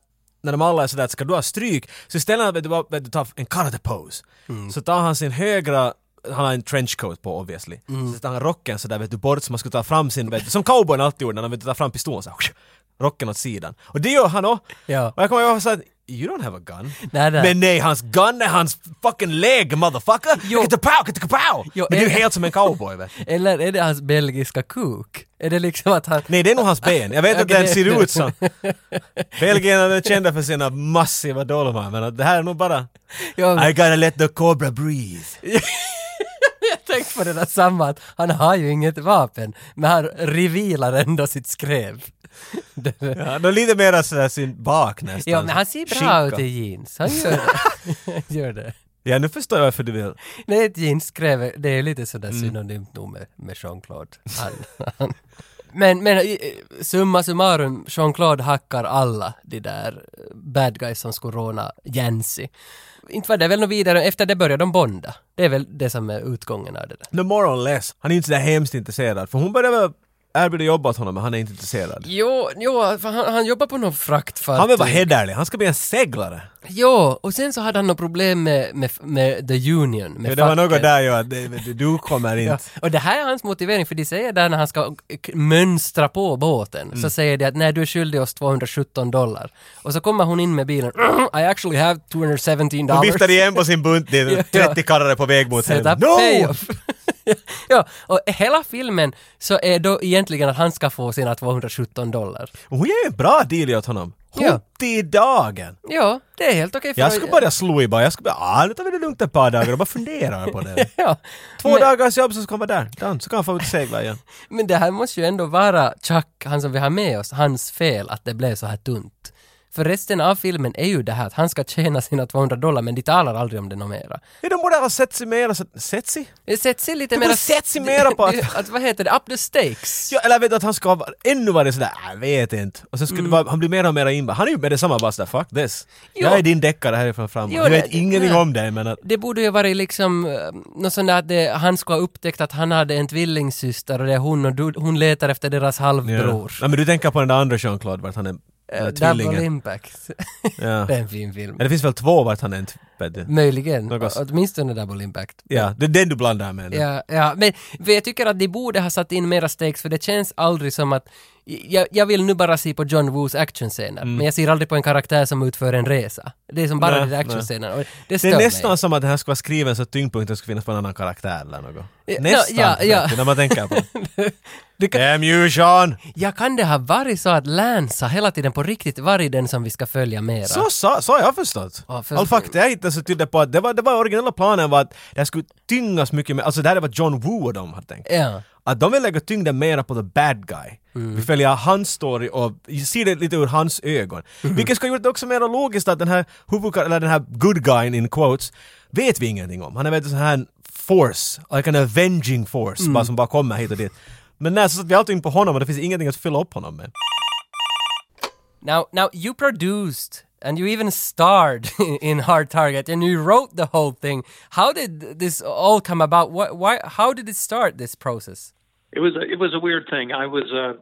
[SPEAKER 2] när de alla är sådär, ska du ha stryk? Så istället för att du, bara- att du tar en karate pose,
[SPEAKER 1] Mm.
[SPEAKER 2] så tar han sin högra han har en trenchcoat på obviously.
[SPEAKER 1] Mm.
[SPEAKER 2] Så tar han rocken sådär vet du bort så man ska ta fram sin, vet du, som cowboyn alltid gjorde när de vet du, tar fram pistolen såhär, rocken åt sidan. Och det gör han också.
[SPEAKER 1] Ja.
[SPEAKER 2] Och jag kommer ihåg såhär, you don't have a gun.
[SPEAKER 1] Nej, nej.
[SPEAKER 2] Men nej, hans gun är hans fucking leg motherfucker!
[SPEAKER 1] Jo.
[SPEAKER 2] Get the pow, get the pow!
[SPEAKER 1] Jo, eh,
[SPEAKER 2] Men det är ju
[SPEAKER 1] en-
[SPEAKER 2] helt som en cowboy vet du.
[SPEAKER 1] Eller är det hans belgiska kuk? Är det liksom att han...
[SPEAKER 2] Nej, det är nog hans ben. Jag vet att
[SPEAKER 1] Okej,
[SPEAKER 2] den
[SPEAKER 1] det-
[SPEAKER 2] ser ut som. Belgierna är kända för sina massiva dolmar, men att det här är nog bara...
[SPEAKER 1] Jag,
[SPEAKER 2] I gotta let the cobra breathe.
[SPEAKER 1] jag tänkte på det där samma, att han har ju inget vapen, men han revilar ändå sitt skrev.
[SPEAKER 2] Ja, då lite mera sådär sin bak nästan.
[SPEAKER 1] Ja, men han ser bra
[SPEAKER 2] Skinka.
[SPEAKER 1] ut i jeans. Han gör det. Han gör det.
[SPEAKER 2] Ja, nu förstår jag varför du vill.
[SPEAKER 1] Nej, ett jeans kräver, det är lite sådär synonymt nog med, med Jean-Claude. Han, han. Men, men eh, summa summarum, Jean-Claude hackar alla de där eh, bad guys som skulle råna Jancy. Inte var det väl något vidare, efter det börjar de bonda. Det är väl det som är utgången av det där.
[SPEAKER 2] No more or less. Han är ju inte sådär hemskt intresserad, för hon började väl erbjuda jobb åt honom, men han är inte intresserad.
[SPEAKER 1] Jo, jo för han, han jobbar på någon fraktfartyg.
[SPEAKER 2] Han vill vara hederlig, han ska bli en seglare.
[SPEAKER 1] Jo, och sen så hade han något problem med, med, med The Union, med
[SPEAKER 2] Men det var något
[SPEAKER 1] facket.
[SPEAKER 2] där ju att det- du- du kommer
[SPEAKER 1] Ja.
[SPEAKER 2] inte.
[SPEAKER 1] Och det här är hans motivering, för de säger där när han ska k- mönstra på båten, så
[SPEAKER 2] Mm.
[SPEAKER 1] säger de att nej, du är skyldig oss 217 dollar. Och så kommer hon in med bilen, I actually have 217
[SPEAKER 2] Hon
[SPEAKER 1] dollars.
[SPEAKER 2] viftade igen på sin bunt, det
[SPEAKER 1] Ja,
[SPEAKER 2] är
[SPEAKER 1] ja.
[SPEAKER 2] 30 karrar på väg mot
[SPEAKER 1] Set up payoff. ja, och hela filmen så är då egentligen att han ska få sina 217 dollar.
[SPEAKER 2] Och Hon ger ju en bra deal åt honom.
[SPEAKER 1] Ja.
[SPEAKER 2] 70 dagen!
[SPEAKER 1] Ja, det är helt okej. för
[SPEAKER 2] Jag skulle börja slå i bara, jag skulle bara, ah, nu tar vi det lugnt ett par dagar och bara funderar på det.
[SPEAKER 1] Ja.
[SPEAKER 2] Två
[SPEAKER 1] Men-
[SPEAKER 2] dagars jobb så ska han vara där, Done. så kan han få ut och segla igen.
[SPEAKER 1] Men det här måste ju ändå vara Chuck, han som vi har med oss, hans fel att det blev så här tunt. För resten av filmen är ju det här att han ska tjäna sina 200 dollar men de talar aldrig om det något mera.
[SPEAKER 2] Ja, de borde ha sett sig mera, så- sett sig?
[SPEAKER 1] Det sätts ju lite
[SPEAKER 2] Det borde sätts ju mera på att-
[SPEAKER 1] att... Vad heter det? Up the stakes.
[SPEAKER 2] Ja, eller vet du att han ska vara, ännu vara sådär, "Ah, jag vet inte. Och sen skulle
[SPEAKER 1] Mm.
[SPEAKER 2] det vara, han blir mer och mer inblandad. Han är ju med detsamma bara sådär, fuck this.
[SPEAKER 1] Jo.
[SPEAKER 2] Jag är din deckare härifrån framåt.
[SPEAKER 1] Jo,
[SPEAKER 2] Jag vet
[SPEAKER 1] det-
[SPEAKER 2] ingenting
[SPEAKER 1] nej.
[SPEAKER 2] om dig men att,
[SPEAKER 1] Det borde ju varit liksom eh, något sånt där att det, han skulle ha upptäckt att han hade en tvillingsyster och det är hon och du, hon letar efter deras halvbror.
[SPEAKER 2] Ja, men du tänker på den där andra Jean-Claude, vart han är,
[SPEAKER 1] Eh,
[SPEAKER 2] den där
[SPEAKER 1] Double
[SPEAKER 2] tvillingen.
[SPEAKER 1] Impact.
[SPEAKER 2] Ja.
[SPEAKER 1] det är en fin film.
[SPEAKER 2] Ja, det finns väl två vart han är en t- vet du.
[SPEAKER 1] Möjligen.
[SPEAKER 2] Något-
[SPEAKER 1] Åtminstone Double Impact.
[SPEAKER 2] Ja, det är den du blandar med. nu.
[SPEAKER 1] Ja, ja, men för jag tycker att de borde ha satt in mera stakes för det känns aldrig som att jag, jag vill nu bara se på John Woos actionscener, men jag ser aldrig på en karaktär som utför en resa. Det är som bara
[SPEAKER 2] Mm. Nej,
[SPEAKER 1] den där
[SPEAKER 2] nej.
[SPEAKER 1] actionscenen. och Det
[SPEAKER 2] Det
[SPEAKER 1] stör
[SPEAKER 2] är nästan
[SPEAKER 1] mig.
[SPEAKER 2] som att det här ska vara skriven så att tyngdpunkten ska finnas på en annan karaktär eller något.
[SPEAKER 1] Ja,
[SPEAKER 2] Nästan,
[SPEAKER 1] ja, ja.
[SPEAKER 2] vet du, när man tänker på det.
[SPEAKER 1] Du kan,
[SPEAKER 2] Damn you Sean!
[SPEAKER 1] ja, kan det ha varit så att Lance har hela tiden på riktigt varit den som vi ska följa mera?
[SPEAKER 2] Så sa så har jag förstått.
[SPEAKER 1] Ja, för-
[SPEAKER 2] All fakta jag hittade så tydde på att det var, det var originella planen var att det här skulle tyngas mycket mer, alltså det här är vad John Woo och de hade tänkt.
[SPEAKER 1] Ja.
[SPEAKER 2] Att de vill lägga tyngden mera på the bad guy. Vi följer hans story och ser det lite ur hans ögon. Vilket ska ha gjort det också mer logiskt att den här huvudkar- eller den här good guyn in quotes, vet vi ingenting om. Han är väl en sån här force, like an avenging force, bara som bara kommer hit och dit. Men nej, så satt vi allting på honom och det finns ingenting att fylla upp honom med.
[SPEAKER 1] Now, now you produced and you even starred in Hard Target and you wrote the whole thing. How did this all come about? Why, why how did it start this process?
[SPEAKER 3] It was a, it was a weird thing. I was uh,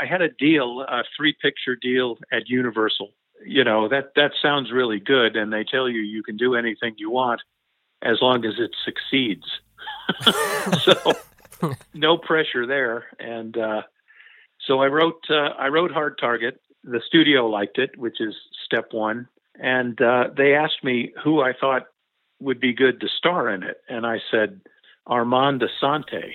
[SPEAKER 3] I had a deal, a three picture deal at Universal. You know that that sounds really good, and they tell you you can do anything you want as long as it succeeds. so no pressure there, and uh, so I wrote uh, I wrote Hard Target. The studio liked it, which is step one, and uh, they asked me who I thought would be good to star in it, and I said Armand Asante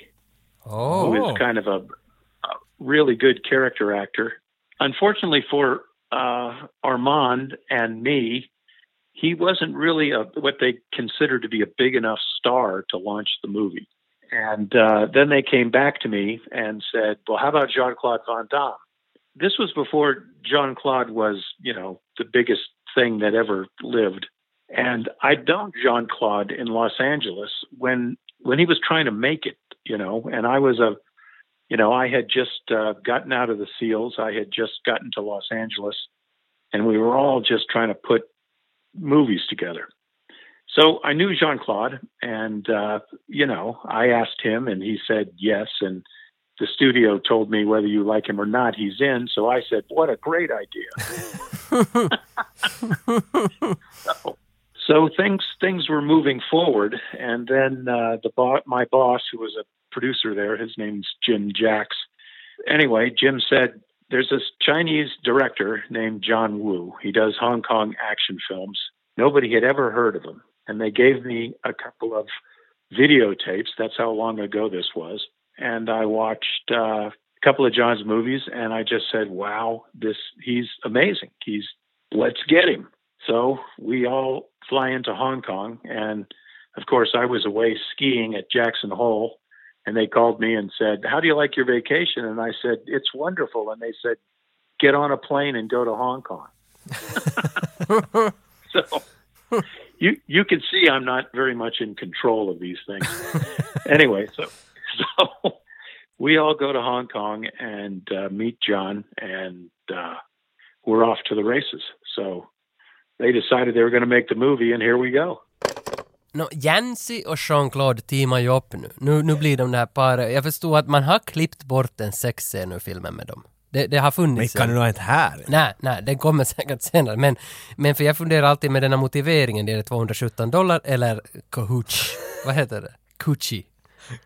[SPEAKER 1] Oh,
[SPEAKER 3] who is kind of a, a really good character actor. Unfortunately for uh, Armand and me, he wasn't really a, what they considered to be a big enough star to launch the movie. And uh, then they came back to me and said, "Well, how about Jean Claude Van Damme?" This was before Jean Claude was, you know, the biggest thing that ever lived. And I dunked Jean Claude in Los Angeles when when he was trying to make it, you know. And I was a, you know, I had just uh, gotten out of the SEALs. I had just gotten to Los Angeles, and we were all just trying to put movies together. So I knew Jean Claude, and uh, you know, I asked him, and he said yes. And the studio told me whether you like him or not, he's in. So I said, "What a great idea!" so things things were moving forward, and then uh, the bo- my boss, who was a producer there, his name's Jim Jacks. Anyway, Jim said there's this Chinese director named John Woo. He does Hong Kong action films. Nobody had ever heard of him, and they gave me a couple of videotapes. That's how long ago this was, and I watched. Uh, a couple of John's movies, and I just said, "Wow, this he's amazing. He's let's get him." So we all fly into Hong Kong. And of course, I was away skiing at Jackson Hole. And they called me and said, How do you like your vacation? And I said, It's wonderful. And they said, Get on a plane and go to Hong Kong. so you you can see I'm not very much in control of these things. anyway, so so we all go to Hong Kong and uh, meet John, and uh, we're off to the races. So they decided they were going to make the movie, and here we go.
[SPEAKER 1] No, Jansi och Jean-Claude teamar ju upp nu. nu. Nu blir de det här paret. Jag förstår att man har klippt bort en sexscen ur filmen med dem. Det, det har
[SPEAKER 2] Men
[SPEAKER 1] funnits.
[SPEAKER 2] kan
[SPEAKER 1] en.
[SPEAKER 2] du nog inte här?
[SPEAKER 1] Nej, nej, den kommer säkert senare. Men, men för jag funderar alltid med den här motiveringen, är det 217 dollar eller Kahootch? Vad heter det? Coochie.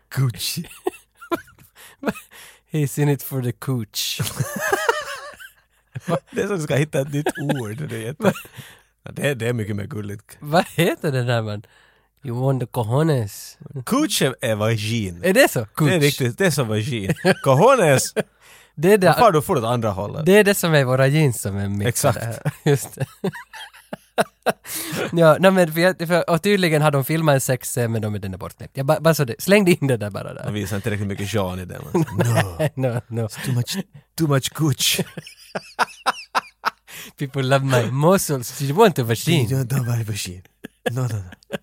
[SPEAKER 2] Gucci.
[SPEAKER 1] He's in it for the cooch.
[SPEAKER 2] Det är som ska hitta ett nytt ord. Det är, jätte... ja, det, är- det är mycket mer gulligt.
[SPEAKER 1] Vad heter den där man? You want the cojones.
[SPEAKER 2] Cooch är är vagin.
[SPEAKER 1] Är det så? Cooch.
[SPEAKER 2] Det är riktigt, det är som vagin. Cojones,
[SPEAKER 1] Det är det,
[SPEAKER 2] far du får åt andra hållet.
[SPEAKER 1] det är det som är våra jeans som är mixade.
[SPEAKER 2] Exakt.
[SPEAKER 1] här. Just det. ja, nej men för, jag- för, och tydligen har de filmat en sexscen men de är den är bortklippt. Jag bara, bara så det, slängde in det där bara
[SPEAKER 2] Han
[SPEAKER 1] där.
[SPEAKER 2] visar inte riktigt mycket Jean i den. No,
[SPEAKER 1] no, no.
[SPEAKER 2] too much, too much Gucci.
[SPEAKER 1] People love my muscles. You want a machine.
[SPEAKER 2] Don't don't vara vagin. No, no, no.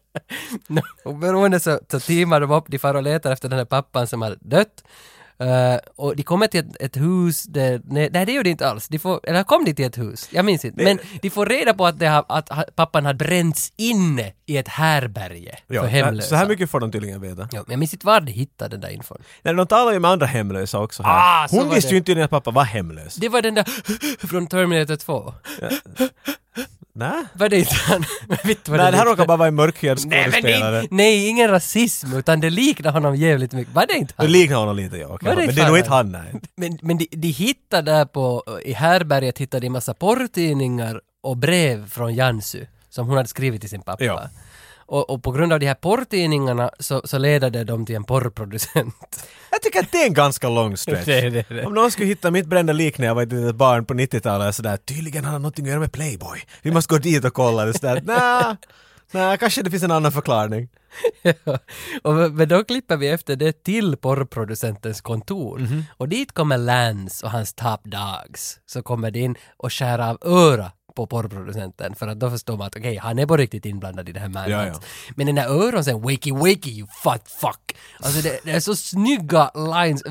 [SPEAKER 1] No. Och beroende så, så teamar de upp, de far och letar efter den här pappan som har dött. Eh, och de kommer till ett, ett hus, där, nej, nej det gör de inte alls, de får, eller kom de till ett hus? Jag minns inte. Men de får reda på att, det har, att ha- pappan har bränts inne i ett härberge för
[SPEAKER 2] Ja,
[SPEAKER 1] hemlösa.
[SPEAKER 2] så här mycket får de tydligen veta.
[SPEAKER 1] Ja, men jag minns inte var de hittade den där infon.
[SPEAKER 2] Nej, de talar ju med andra hemlösa också. Här.
[SPEAKER 1] Ah, så
[SPEAKER 2] Hon
[SPEAKER 1] var
[SPEAKER 2] visste
[SPEAKER 1] det.
[SPEAKER 2] ju inte tydligen att pappa var hemlös.
[SPEAKER 1] Det var den där från Terminator 2.
[SPEAKER 2] Nä?
[SPEAKER 1] Var det inte han? Men vet du vad
[SPEAKER 2] Nej, det
[SPEAKER 1] liknar?
[SPEAKER 2] här råkar bara vara en mörkhyad
[SPEAKER 1] Nej, men det är
[SPEAKER 2] skådespelare.
[SPEAKER 1] in- nej, ingen rasism, utan det liknar honom jävligt mycket. Var det inte
[SPEAKER 2] Det
[SPEAKER 1] han?
[SPEAKER 2] liknar honom lite, ja.
[SPEAKER 1] Var
[SPEAKER 2] Okay.
[SPEAKER 1] det
[SPEAKER 2] Men det
[SPEAKER 1] fan
[SPEAKER 2] är nog
[SPEAKER 1] han?
[SPEAKER 2] inte han, nej.
[SPEAKER 1] Men, men de, de hittade där på, i härberget hittade de massa porrtidningar och brev från Jansu som hon hade skrivit till sin pappa.
[SPEAKER 2] Ja.
[SPEAKER 1] Och, och på grund av de här porrtidningarna så, så ledade de till en porrproducent.
[SPEAKER 2] Jag tycker att det är en ganska lång stretch.
[SPEAKER 1] Det är det, det är.
[SPEAKER 2] Om någon skulle hitta mitt brända lik när jag var ett litet barn på 90-talet och sådär, tydligen har han någonting att göra med Playboy. Vi måste gå dit och kolla det sådär. Nä, nä, kanske det finns en annan förklaring.
[SPEAKER 1] och, men då klipper vi efter det till porrproducentens kontor.
[SPEAKER 2] Mhm.
[SPEAKER 1] Och dit kommer Lance och hans top dogs. Så kommer de in och skär av öra på porrproducenten för att då förstår man att okej, han är på riktigt inblandad i det här med
[SPEAKER 2] Ja,
[SPEAKER 1] annat. Men den där öron sen, wakey wakey you fat fuck. Alltså det, det är så snygga lines.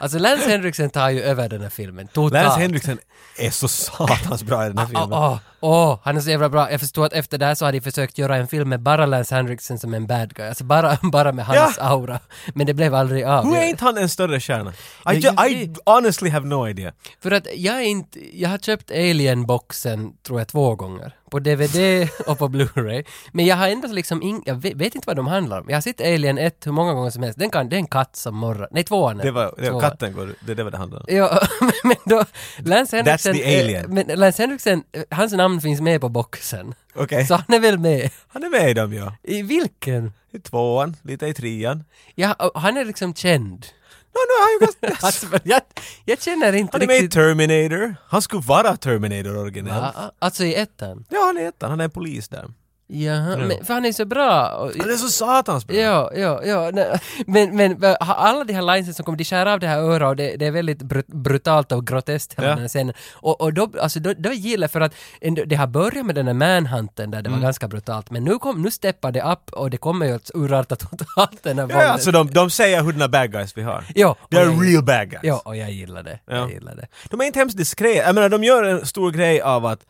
[SPEAKER 1] Alltså Lance Henriksen tar ju över den här filmen totalt.
[SPEAKER 2] Lance Henriksen är så satans bra i den här
[SPEAKER 1] Åh,
[SPEAKER 2] filmen.
[SPEAKER 1] åh, åh, Ah, han är så jävla bra. Jag förstår att efter det här så har de försökt göra en film med bara Lance Henriksen som en bad guy. Alltså bara, bara med hans
[SPEAKER 2] Ja.
[SPEAKER 1] aura. Men det blev aldrig av.
[SPEAKER 2] Hur är
[SPEAKER 1] Jag-
[SPEAKER 2] inte han en större stjärna? I,
[SPEAKER 1] Nej,
[SPEAKER 2] ju,
[SPEAKER 1] just
[SPEAKER 2] I honestly have no idea.
[SPEAKER 1] För att jag är inte, jag har köpt Alien-boxen tror jag två gånger. På DVD och på Blu-ray. Men jag har ändå liksom in, jag vet, vet inte vad de handlar om. Jag har sett Alien 1 hur många gånger som helst. Den kan, det är en katt som morrar. Nej, tvåan. är
[SPEAKER 2] Det var, det var
[SPEAKER 1] Tvåan.
[SPEAKER 2] katten går, det, det var det handlade om.
[SPEAKER 1] Ja, men då, Lance Henriksen...
[SPEAKER 2] the alien.
[SPEAKER 1] eh, Men Lance Henriksen, eh, hans namn finns med på boxen.
[SPEAKER 2] Okej.
[SPEAKER 1] Så han är väl med.
[SPEAKER 2] Han är med i dem ja.
[SPEAKER 1] I vilken?
[SPEAKER 2] I tvåan, lite i trean.
[SPEAKER 1] Ja, och han är liksom känd.
[SPEAKER 2] No, no, han, är ganska-
[SPEAKER 1] Alltså, men jag, jag känner inte
[SPEAKER 2] han är med i
[SPEAKER 1] riktigt...
[SPEAKER 2] Terminator. Han skulle vara Terminator originellt.
[SPEAKER 1] Ja, alltså i ettan?
[SPEAKER 2] Ja, han är ettan. Han är polis där.
[SPEAKER 1] Jaha, men, för han är så bra. Och,
[SPEAKER 2] Han är så satans bra.
[SPEAKER 1] ja, ja, ja. Nej. Men, men ha- alla de här linesen som kommer, de skär av det här örat och det, det är väldigt brut, brutalt och groteskt hela
[SPEAKER 2] Ja.
[SPEAKER 1] den här scenen. Och, och då, alltså, då, då gillar jag för att ändå- det har börjat med den här manhunten där det
[SPEAKER 2] Mm.
[SPEAKER 1] var ganska brutalt. Men nu, kom, nu steppar det upp och det kommer ju att urarta totalt den här
[SPEAKER 2] Ja,
[SPEAKER 1] våldet.
[SPEAKER 2] alltså de, de säger hurdana bad guys vi har.
[SPEAKER 1] Ja,
[SPEAKER 2] De är
[SPEAKER 1] och jag-
[SPEAKER 2] real bad guys.
[SPEAKER 1] Ja, och jag gillar det. Jag
[SPEAKER 2] Ja.
[SPEAKER 1] gillar det.
[SPEAKER 2] De är inte hemskt diskreta. Jag menar, de gör en stor grej av att,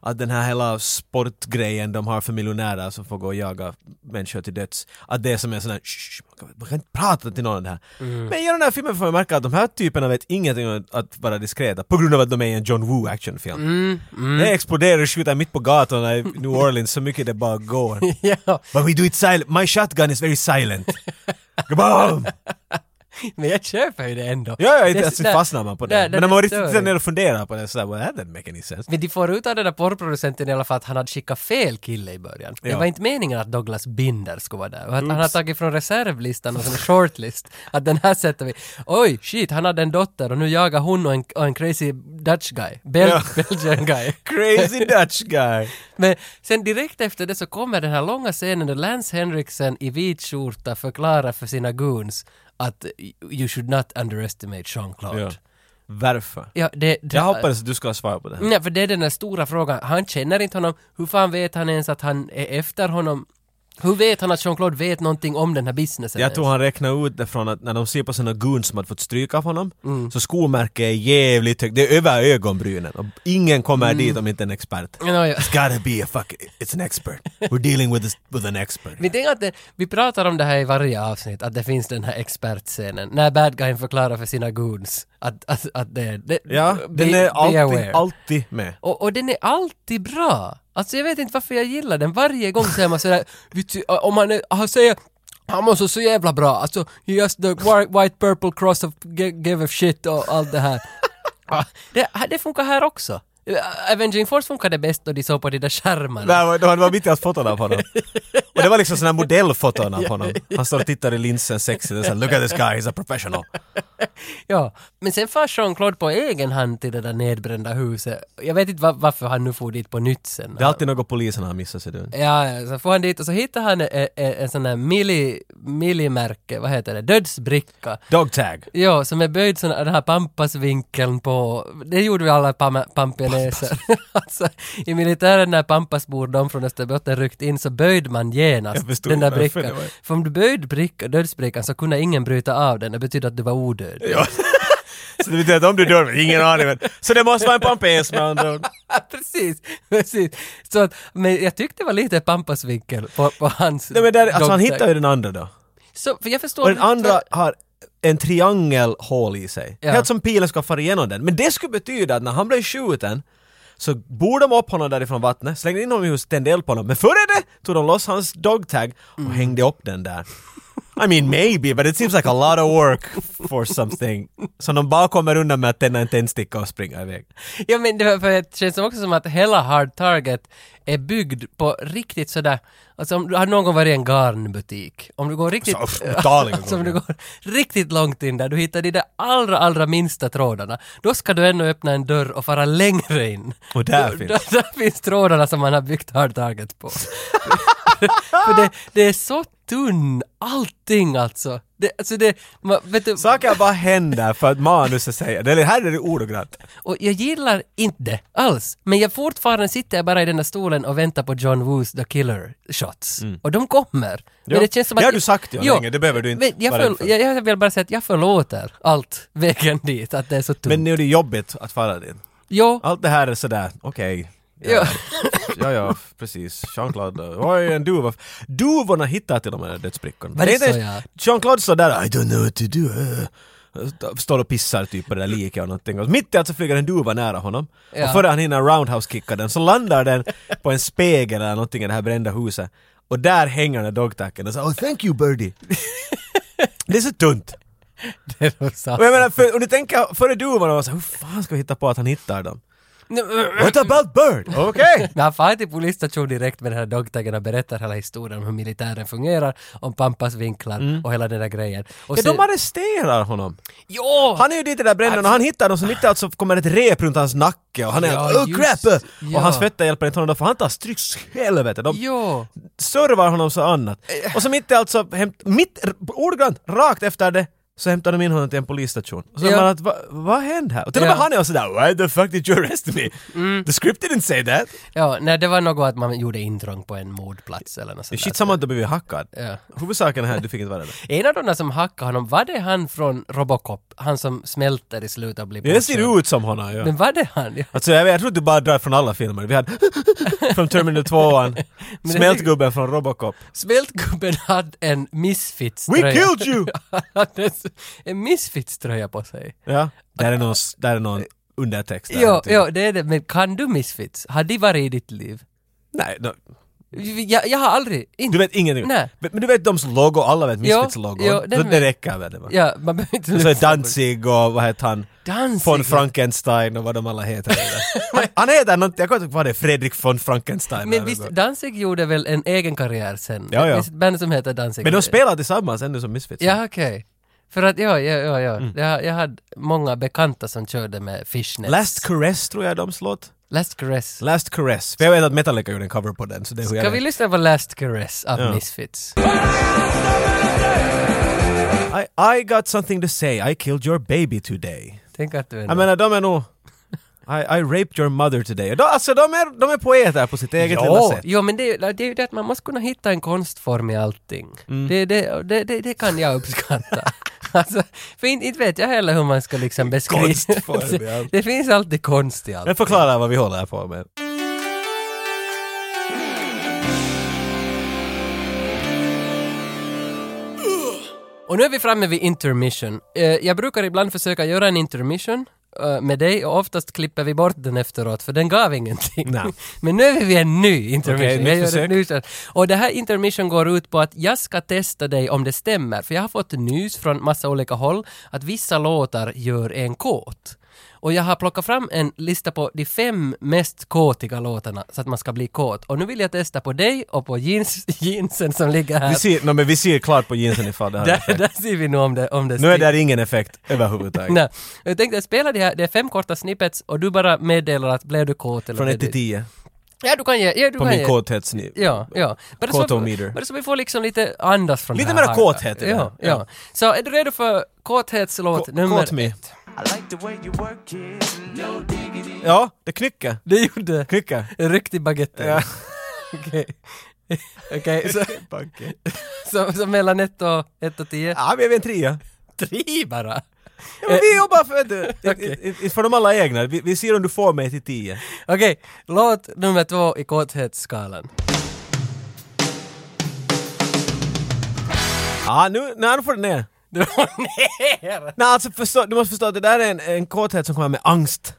[SPEAKER 2] att den här hela sportgrejen de har för miljonärer som får gå och jaga människor till döds, att det är som en sån här "Shh, man kan- man kan inte prata till någon om det här. Men genom den här filmen får man märka att de här typerna vet ingenting om att vara diskreta på grund av att de är i en John Woo actionfilm. Det exploderar och skjuter mitt på gatorna i New Orleans så mycket det bara går.
[SPEAKER 1] Ja,
[SPEAKER 2] But we do it silent. My shotgun is very silent. Kaboom!
[SPEAKER 1] men jag köper ju det ändå.
[SPEAKER 2] Ja, ja,
[SPEAKER 1] Det-
[SPEAKER 2] inte alltså,
[SPEAKER 1] där-
[SPEAKER 2] fastnar man på det.
[SPEAKER 1] där- där
[SPEAKER 2] men när man
[SPEAKER 1] det stör
[SPEAKER 2] riktigt sitter
[SPEAKER 1] ju.
[SPEAKER 2] ner och funderar på det så där, well, that didn't make any sense.
[SPEAKER 1] Men de får ut av den där porrproducenten i alla fall att han hade skickat fel kille i början. Det
[SPEAKER 2] Ja.
[SPEAKER 1] var inte meningen att Douglas Binder skulle vara där. Och att han hade tagit från reservlistan och från shortlist. Att den här sätter vi. Oj, shit, han hade en dotter och nu jagar hon och en, och en crazy Dutch guy. Bel-
[SPEAKER 2] Ja.
[SPEAKER 1] Belgian guy.
[SPEAKER 2] Crazy Dutch guy!
[SPEAKER 1] Men sen direkt efter det så kommer den här långa scenen där Lance Henriksen i vit skjorta förklarar för sina goons att you should not underestimate Jean-Claude.
[SPEAKER 2] ja. Varför?
[SPEAKER 1] Ja, det, det,
[SPEAKER 2] Jag hoppades att du skulle svara på det här.
[SPEAKER 1] Nej, för det är den där stora frågan. Han känner inte honom. Hur fan vet han ens att han är efter honom? Hur vet han att Jean-Claude vet någonting om den här businessen?
[SPEAKER 2] Jag tror han räknar ut det från att när de ser på sina goons som hade fått stryk av honom,
[SPEAKER 1] Mm.
[SPEAKER 2] så skomärket är jävligt högt, det är över ögonbrynen. Och ingen kommer dit om inte en expert.
[SPEAKER 1] ens? Nå, Mm. ja.
[SPEAKER 2] It's gotta be a fuck, it's an expert. We're dealing with, this, with an expert.
[SPEAKER 1] Vi tänker att det, vi pratar om det här i varje avsnitt, att det finns den här expertscenen. När bad guyen förklarar för sina goons att, att, att det är... Det,
[SPEAKER 2] Ja,
[SPEAKER 1] be-
[SPEAKER 2] den är
[SPEAKER 1] be
[SPEAKER 2] alltid,
[SPEAKER 1] aware.
[SPEAKER 2] alltid med.
[SPEAKER 1] Och, och den är alltid bra. Alltså jag vet inte varför jag gillar den. Varje gång säger man sådär, vet du, om man är, han säger han mår så, så jävla bra, alltså just the wi- white purple cross of gi- give a shit och allt det här. Ah, det, det funkar här också. Eh, Avenging Force funkade bäst då de såg på de där skärmarna.
[SPEAKER 2] Nej, det var mitt i hans foton av honom. Och det var liksom sådana här modellfoton av honom. Han står och tittar i linsen sexigt och säger “Look at this guy, he's a professional”.
[SPEAKER 1] Ja. Men sen far Jean-Claude på egen hand till det där nedbrända huset. Jag vet inte va- varför han nu får dit på nytt sen.
[SPEAKER 2] Det är alltid något polisen har missat, ser du.
[SPEAKER 1] Ja, ja, så får han dit och så hittar han en, en, en sån här milli, millimärke, vad heter det, dödsbricka.
[SPEAKER 2] Dog tag.
[SPEAKER 1] Ja, som är böjd sån den här pampasvinkeln på, det gjorde vi alla pam, pampianeser. alltså, I militären när pampas bor de från Österbotten ryckt in så böjde man
[SPEAKER 2] Jag
[SPEAKER 1] genast
[SPEAKER 2] förstod
[SPEAKER 1] den där
[SPEAKER 2] varför
[SPEAKER 1] brickan.
[SPEAKER 2] det var-
[SPEAKER 1] För om du böjde bricka, dödsbrickan så kunde ingen bryta av den, det betyder att du var odöd.
[SPEAKER 2] Ja. Så det betyder att om du dör, ingen aning. men- Så det måste vara en pampes med andra ord.
[SPEAKER 1] precis, precis. Så att, men jag tyckte det var lite pampasvinkel på, på hans...
[SPEAKER 2] Nej, men där, alltså, han
[SPEAKER 1] dogtag.
[SPEAKER 2] hittar ju den andra då.
[SPEAKER 1] Så, för jag förstår
[SPEAKER 2] Och den
[SPEAKER 1] inte-
[SPEAKER 2] andra har en triangelhål i sig.
[SPEAKER 1] Ja.
[SPEAKER 2] Helt som pilen ska fara igenom den. Men det skulle betyda att när han blev skjuten Så bor de upp honom därifrån vattnet, slängde in honom i huset, tände eld på honom. Men före det tog de loss hans dogtag och
[SPEAKER 1] Mm.
[SPEAKER 2] hängde upp den där. I mean maybe, but it seems like a lot of work for something. Som de bara kommer undan med att tända en tändsticka och springa iväg.
[SPEAKER 1] Ja men det, var för det känns också som att hela Hard Target är byggd på riktigt sådär, alltså om du har någon gång varit i en garnbutik, om du går riktigt,
[SPEAKER 2] Alltså, uff, otaliga
[SPEAKER 1] alltså, om du
[SPEAKER 2] gånger.
[SPEAKER 1] går riktigt långt in där, du hittar de där allra, allra minsta trådarna, då ska du ändå öppna en dörr och fara längre in.
[SPEAKER 2] Och där
[SPEAKER 1] Då-
[SPEAKER 2] finns-
[SPEAKER 1] Där, där finns trådarna som man har byggt Hard Target på. för det, det är så tunn allting alltså. Det, alltså det, man, vet du,
[SPEAKER 2] Saker bara händer för att manuset säger det. Eller Här är det ordagrant.
[SPEAKER 1] Och jag gillar inte det alls. Men jag fortfarande sitter jag bara i den där stolen och väntar på John Woos The Killer Shots. Och de kommer.
[SPEAKER 2] Mm. Ja.
[SPEAKER 1] Men det känns som
[SPEAKER 2] Det
[SPEAKER 1] att...
[SPEAKER 2] har du sagt ju
[SPEAKER 1] Jo,
[SPEAKER 2] länge, det behöver du inte
[SPEAKER 1] men Jag,
[SPEAKER 2] vara rädd
[SPEAKER 1] förl-
[SPEAKER 2] för.
[SPEAKER 1] jag, jag vill bara säga att jag förlåter allt vägen dit, att det är så tungt.
[SPEAKER 2] Men nu är det jobbigt att fara dit.
[SPEAKER 1] jo,
[SPEAKER 2] Allt det här är sådär, okej.
[SPEAKER 1] ja.
[SPEAKER 2] Ja, ja, precis. Jean-Claude. eh, Oj, en duva. Duvorna hittar till och med dödsbrickorna.
[SPEAKER 1] Var det
[SPEAKER 2] är
[SPEAKER 1] så,
[SPEAKER 2] inte-
[SPEAKER 1] ja?
[SPEAKER 2] Jean-Claude står där I don't know what to do. eh." Står och pissar typ på det där liket och någonting. Och mitt i allt så flyger en duva nära honom.
[SPEAKER 1] Ja.
[SPEAKER 2] Och före han hinner roundhouse-kicka den så landar den på en spegel eller någonting i det här brända huset. Och där hänger den där dogtacken och så oh thank you birdie. det är så tunt.
[SPEAKER 1] det är nog sant.
[SPEAKER 2] Och jag menar, för, om du tänker före duvorna var så här, hur fan ska vi hitta på att han hittar dem?
[SPEAKER 1] Men
[SPEAKER 2] What about bird? Okej!
[SPEAKER 1] han far till polisstation direkt med den här dogtagen och berättar hela historien om hur militären fungerar, om Pampas vinklar och hela den där grejen. Och
[SPEAKER 2] Mm. Ja,
[SPEAKER 1] sen-
[SPEAKER 2] de arresterar honom.
[SPEAKER 1] Jo!
[SPEAKER 2] Han är ju dit i den där bränden och han hittar dem så mitt i allt så kommer ett rep runt hans nacke och han är
[SPEAKER 1] Ja,
[SPEAKER 2] oh
[SPEAKER 1] just-
[SPEAKER 2] crap!
[SPEAKER 1] ja.
[SPEAKER 2] Och hans fetta hjälper inte honom då, för han tar stryk helvete. De
[SPEAKER 1] Jo!
[SPEAKER 2] servar honom så annat. Och så mitt i allt så, hämt, mitt, ordagrant, rakt efter det så hämtar de in honom till en polisstation. Och så
[SPEAKER 1] Ja.
[SPEAKER 2] ja. man att, "Va- vad hände här? Och till och med
[SPEAKER 1] Ja. Mm.
[SPEAKER 2] han är sådär, why the fuck did you arrest me? The script didn't say that.
[SPEAKER 1] Ja, nej det var något att man gjorde intrång på en mordplats eller något sånt där.
[SPEAKER 2] Shit, samma att du blivit hackad.
[SPEAKER 1] Ja.
[SPEAKER 2] Huvudsaken här, du fick inte vara där.
[SPEAKER 1] En av de där som hackade honom, var det han från Robocop? Han som smälter i slutet och blir
[SPEAKER 2] Det
[SPEAKER 1] påkörd?
[SPEAKER 2] ser ut som honom ja.
[SPEAKER 1] Men var det han? Ja.
[SPEAKER 2] Alltså jag, vet, jag tror att du bara drar från alla filmer. Vi hade från Terminator 2an,
[SPEAKER 1] det-
[SPEAKER 2] Smältgubben från Robocop.
[SPEAKER 1] Smältgubben hade en
[SPEAKER 2] We
[SPEAKER 1] misfits-tröja.
[SPEAKER 2] killed you!
[SPEAKER 1] Han hade en s- en misfits-tröja på sig.
[SPEAKER 2] Ja, där är någon, där är någon undertext. där,
[SPEAKER 1] Jo,
[SPEAKER 2] typ.
[SPEAKER 1] jo, det är det. Men kan du misfits? Har de varit i ditt liv?
[SPEAKER 2] Nej, no,
[SPEAKER 1] Jag, jag har aldrig... Inte.
[SPEAKER 2] du vet ingenting.
[SPEAKER 1] Nej.
[SPEAKER 2] Men men du vet dems logo, alla vet
[SPEAKER 1] Jo,
[SPEAKER 2] Misfits-logon.
[SPEAKER 1] jo,
[SPEAKER 2] Så
[SPEAKER 1] den
[SPEAKER 2] det
[SPEAKER 1] vet-
[SPEAKER 2] räcker väl det va?
[SPEAKER 1] Ja, man behöver inte...
[SPEAKER 2] Och så är Danzig och vad heter han?
[SPEAKER 1] Danzig,
[SPEAKER 2] Von
[SPEAKER 1] ja.
[SPEAKER 2] Frankenstein och vad de alla heter. han, han heter någonting, jag kommer inte ihåg vad det är, Fredrik von Frankenstein.
[SPEAKER 1] Men
[SPEAKER 2] eller
[SPEAKER 1] visst,
[SPEAKER 2] något.
[SPEAKER 1] Danzig gjorde väl en egen karriär sen?
[SPEAKER 2] Ja, ja.
[SPEAKER 1] Visst, ett band som heter Danzig?
[SPEAKER 2] Men de spelar tillsammans ännu som Misfits.
[SPEAKER 1] Ja, okej. För att, ja, ja, ja, ja.
[SPEAKER 2] Mm.
[SPEAKER 1] Jag, jag hade många bekanta som körde med fishnets.
[SPEAKER 2] Last Caress tror jag de slått.
[SPEAKER 1] Last Caress.
[SPEAKER 2] Last Caress. För jag vet att Metallica gjorde en cover på den, så det är hur jag
[SPEAKER 1] Ska
[SPEAKER 2] vet.
[SPEAKER 1] vi lyssna på Last Caress av
[SPEAKER 2] Ja.
[SPEAKER 1] Misfits?
[SPEAKER 2] I, I got something to say, I killed your baby today.
[SPEAKER 1] Tänk att du ändå...
[SPEAKER 2] Jag menar, de är nog... I, I raped your mother today. De, alltså de är, de är poeter på sitt eget lilla
[SPEAKER 1] Jo,
[SPEAKER 2] sätt.
[SPEAKER 1] jo, men det, är ju- det är ju det att man måste kunna hitta en konstform i allting.
[SPEAKER 2] Mm.
[SPEAKER 1] Det, det, det, det, det kan jag uppskatta. alltså, för inte, inte vet jag heller hur man ska liksom beskriva...
[SPEAKER 2] Konstform i allt.
[SPEAKER 1] det finns alltid konst i allt.
[SPEAKER 2] Men förklara vad vi håller här på med.
[SPEAKER 1] Och nu är vi framme vid intermission. Eh, Jag brukar ibland försöka göra en intermission eh, med dig och oftast klipper vi bort den efteråt för den gav ingenting.
[SPEAKER 2] Nej.
[SPEAKER 1] Men nu är vi vid en ny intermission.
[SPEAKER 2] Okej, nytt
[SPEAKER 1] Jag gör ett
[SPEAKER 2] försök.
[SPEAKER 1] nytt försök. och det här intermission går ut på att jag ska testa dig om det stämmer. För jag har fått nys från massa olika håll att vissa låtar gör en kåt. Och jag har plockat fram en lista på de fem mest kåtiga låtarna så att man ska bli kåt. Och nu vill jag testa på dig och på jeans, jeansen som ligger här.
[SPEAKER 2] Vi ser, no, men vi ser klart på jeansen ifall det här är
[SPEAKER 1] Där,
[SPEAKER 2] effekt.
[SPEAKER 1] där ser vi nog om det, om det
[SPEAKER 2] Nu är
[SPEAKER 1] sticker.
[SPEAKER 2] det här ingen effekt överhuvudtaget.
[SPEAKER 1] Nej. Jag tänkte spela det här, det är fem korta snippets och du bara meddelar att blev du kåt eller
[SPEAKER 2] Från
[SPEAKER 1] blev
[SPEAKER 2] 1 till
[SPEAKER 1] du-
[SPEAKER 2] 10
[SPEAKER 1] Ja, du kan ge. Ja, du
[SPEAKER 2] på
[SPEAKER 1] kan
[SPEAKER 2] min
[SPEAKER 1] ge.
[SPEAKER 2] kåthetsniv.
[SPEAKER 1] Ja, ja. Bara så,
[SPEAKER 2] Kåtometer.
[SPEAKER 1] bara så vi får liksom lite andas från
[SPEAKER 2] Lite
[SPEAKER 1] det här.
[SPEAKER 2] mera kåthet i
[SPEAKER 1] Ja,
[SPEAKER 2] det här.
[SPEAKER 1] ja, Så är du redo för kåthetslåt
[SPEAKER 2] Kå-
[SPEAKER 1] nummer
[SPEAKER 2] Kåt mig.
[SPEAKER 1] ett?
[SPEAKER 2] Ja, det knycker.
[SPEAKER 1] Det gjorde
[SPEAKER 2] Knycker.
[SPEAKER 1] en riktig baguette.
[SPEAKER 2] Ja.
[SPEAKER 1] Okej. Okej, så,
[SPEAKER 2] Banke.
[SPEAKER 1] så, så mellan ett och, ett och tio?
[SPEAKER 2] Ja, vi är en trea.
[SPEAKER 1] Tre bara!
[SPEAKER 2] Ja, men vi jobbar för det.
[SPEAKER 1] Eh, Okej.
[SPEAKER 2] Inte för de alla egna. Vi, vi ser om du får mig till 10.
[SPEAKER 1] Okej, låt nummer två i kåthetsskalan.
[SPEAKER 2] Ja, nu, nu får du ner.
[SPEAKER 1] Det var ner!
[SPEAKER 2] Nej, alltså förstå, du måste förstå att det där är en, en kåthet som kommer med angst.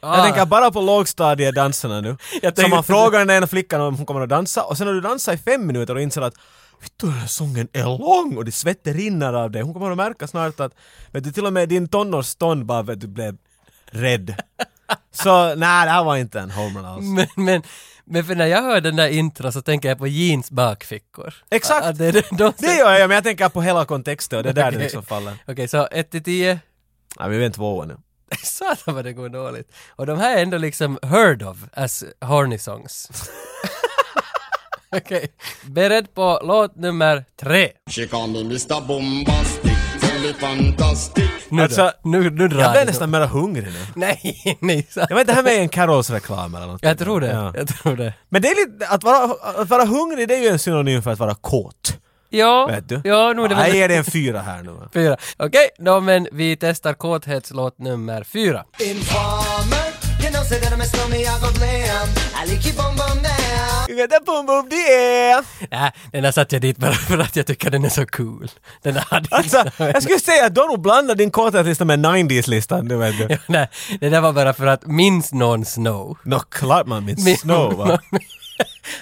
[SPEAKER 2] Jag tänker bara på lågstadiedanserna nu.
[SPEAKER 1] Ah. Jag
[SPEAKER 2] Så
[SPEAKER 1] tänkte-
[SPEAKER 2] man frågar den ena flickan om hon kommer att dansa och sen har du dansat i fem minuter och inser att Vet du, den här sången är lång och det svetter rinner av dig. Hon kommer att märka snart att vet du, till och med din tonårsstånd bara vet du, blev rädd. Så nej, det här var inte en homerun alls.
[SPEAKER 1] Men, men, men för när jag hör den där intro så tänker jag på jeans bakfickor.
[SPEAKER 2] Exakt.
[SPEAKER 1] Att det, är de,
[SPEAKER 2] Det gör jag, men jag tänker på hela kontexten och det är där det liksom faller.
[SPEAKER 1] Okej, så 1 till 10.
[SPEAKER 2] Nej, men vi är en tvåa nu.
[SPEAKER 1] Satan vad det går dåligt. Och de här är ändå liksom heard of as horny songs. Okej, beredd på låt nummer tre.
[SPEAKER 9] She call me Mr. Bombastic, tell me fantastic.
[SPEAKER 1] Nu
[SPEAKER 2] Alltså,
[SPEAKER 1] då. nu, nu drar
[SPEAKER 2] Jag
[SPEAKER 1] det.
[SPEAKER 2] blev nästan mera hungrig nu.
[SPEAKER 1] Nej, nej. sant.
[SPEAKER 2] Jag vet inte, det här med en Carols-reklam eller något.
[SPEAKER 1] Jag tror det.
[SPEAKER 2] Ja.
[SPEAKER 1] Jag tror det.
[SPEAKER 2] Men det är lite, att vara, att vara hungrig det är ju en synonym för att vara kåt.
[SPEAKER 1] Ja,
[SPEAKER 2] Vet du?
[SPEAKER 1] ja, nu är det
[SPEAKER 2] Jag ger
[SPEAKER 1] väl
[SPEAKER 2] dig en fyra här nu.
[SPEAKER 1] fyra. Okej, nå men vi testar kåthetslåt nummer fyra.
[SPEAKER 10] Informer, you know, say that I'm a slummy, I go blam. I like you, bum bum now.
[SPEAKER 2] You got that boom boom yeah!
[SPEAKER 1] Nej, den där satte jag dit bara för att jag tycker den är så cool. Den där hade
[SPEAKER 2] Alltså, jag skulle säga att Donald blandar din kåthetslista med 90s-listan, du vet du.
[SPEAKER 1] Nej, det där var bara för att minns någon Snow?
[SPEAKER 2] Nå, klart man
[SPEAKER 1] Min-
[SPEAKER 2] minns Snow va?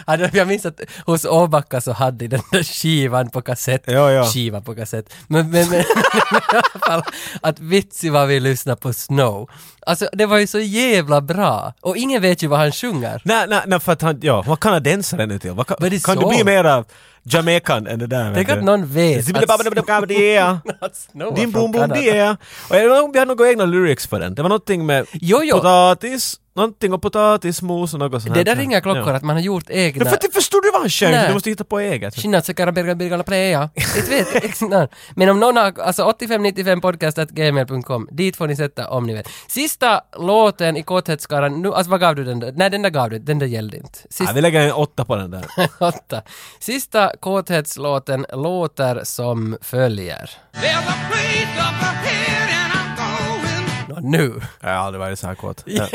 [SPEAKER 1] Hade- Jag minns att hos Åbacka så hade den där skivan på kassett.
[SPEAKER 2] Ja, ja.
[SPEAKER 1] Skiva på kassett. Men, men, men, men i alla fall, att vitsi vad vi lyssnar på Snow. Alltså det var ju så jävla bra. Och ingen vet ju vad han sjunger.
[SPEAKER 2] Nej, nej, nej, för att han, ja, vad kanadensare nu till? Vad kan
[SPEAKER 1] But it's
[SPEAKER 2] kan du
[SPEAKER 1] so.
[SPEAKER 2] bli mera Jamaican än det där?
[SPEAKER 1] Tänk att någon vet att-
[SPEAKER 2] vet
[SPEAKER 1] att Snow var från
[SPEAKER 2] Din boom boom
[SPEAKER 1] Kanada.
[SPEAKER 2] dia. Och jag undrar om vi hade några egna lyrics för den. Det var någonting med
[SPEAKER 1] Jo, jo.
[SPEAKER 2] potatis, någonting och potatismos och något sånt
[SPEAKER 1] Det
[SPEAKER 2] här.
[SPEAKER 1] där ringer klockor att man har gjort
[SPEAKER 2] Ja.
[SPEAKER 1] egna...
[SPEAKER 2] För att du förstod du vad han sjöng,
[SPEAKER 1] Nej.
[SPEAKER 2] så du måste hitta på eget.
[SPEAKER 1] Skillnad så kan de börja bygga alla playa. Inte vet inte. Nej. Men om någon har, alltså 8595 podcast.gmail.com, dit får ni sätta om ni vet. Sista låten i korthetsskaran, nu, alltså vad gav du den där? Nej den där gav du, den där gällde inte.
[SPEAKER 2] Ja,
[SPEAKER 1] Sista,
[SPEAKER 2] vi lägger en åtta på den där.
[SPEAKER 1] åtta. Sista korthetslåten låter som följer.
[SPEAKER 10] There's a place up ahead, and I'm going.
[SPEAKER 1] Nå nu!
[SPEAKER 2] Jag har aldrig varit så här kåt. Jag,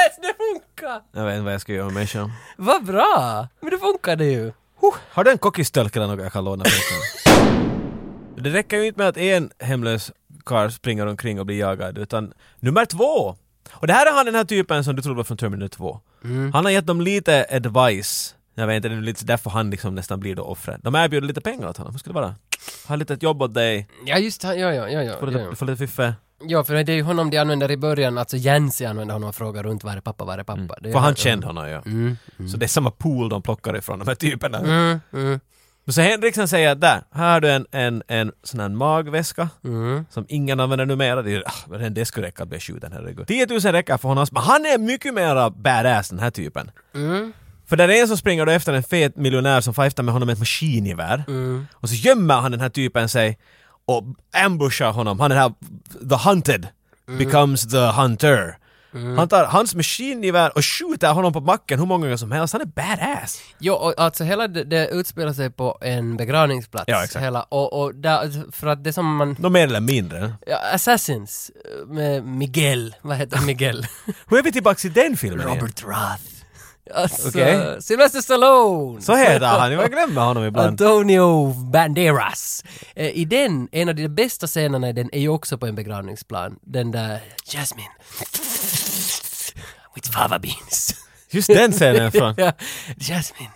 [SPEAKER 1] Yes, det funkar!
[SPEAKER 2] jag vet inte vad jag ska göra med människan.
[SPEAKER 1] Vad bra! Men det funkade ju.
[SPEAKER 2] Huh, har du en kockistölk eller något jag kan låna? för dig? det räcker ju inte med att en hemlös karl springer omkring och blir jagad, utan nummer två! Och det här är han den här typen som du trodde var från Terminator 2. Han har gett dem lite advice. Jag vet inte, det är lite därför han liksom nästan blir då offret. De erbjuder lite pengar åt honom, hur skulle det vara? Har lite ett jobb åt dig,
[SPEAKER 1] Ja just han, ja ja ja ja.
[SPEAKER 2] får
[SPEAKER 1] ja, ja.
[SPEAKER 2] lite, får lite fiffe.
[SPEAKER 1] Ja, för det är ju honom de använder i början, alltså Jensi använder honom och frågar runt var är pappa, var är pappa? Det är
[SPEAKER 2] För han kände honom ju. Så det är samma pool de plockar ifrån de här typerna. Men Så Henriksen säger att där, här har du en, en, en sån här magväska som ingen använder numera. Det är, ah, men den- det skulle räcka att bli skjuten, herregud. 10 000 räcker för honom, men han är mycket mera badass den här typen. För där är en som springer då efter en fet miljonär som fajftar med honom med ett maskingevär.
[SPEAKER 1] Mm.
[SPEAKER 2] Och så gömmer han den här typen sig och ambushar honom. Han är den här, the hunted
[SPEAKER 1] Mm.
[SPEAKER 2] becomes the hunter. Han tar hans maskingevär och skjuter honom på macken hur många gånger som helst. Han är badass!
[SPEAKER 1] Jo, och alltså hela det, det utspelar sig på en begravningsplats.
[SPEAKER 2] Ja, exakt.
[SPEAKER 1] Hela, och, och där, för att det som man...
[SPEAKER 2] Nå mer eller mindre.
[SPEAKER 1] Ja, Assassins eh, med Miguel, vad heter han? Miguel?
[SPEAKER 2] Hur är vi tillbaka i den filmen igen?
[SPEAKER 1] Robert Roth. Alltså,
[SPEAKER 2] Okej.
[SPEAKER 1] Sylvester Stallone!
[SPEAKER 2] Så heter han, jag glömmer honom ibland.
[SPEAKER 1] Antonio Banderas. Eh, I den, en av de bästa scenerna i den är ju också på en begravningsplan. Den där Jasmine. With fava beans.
[SPEAKER 2] Just den scenen från...
[SPEAKER 1] ja, Jasmine.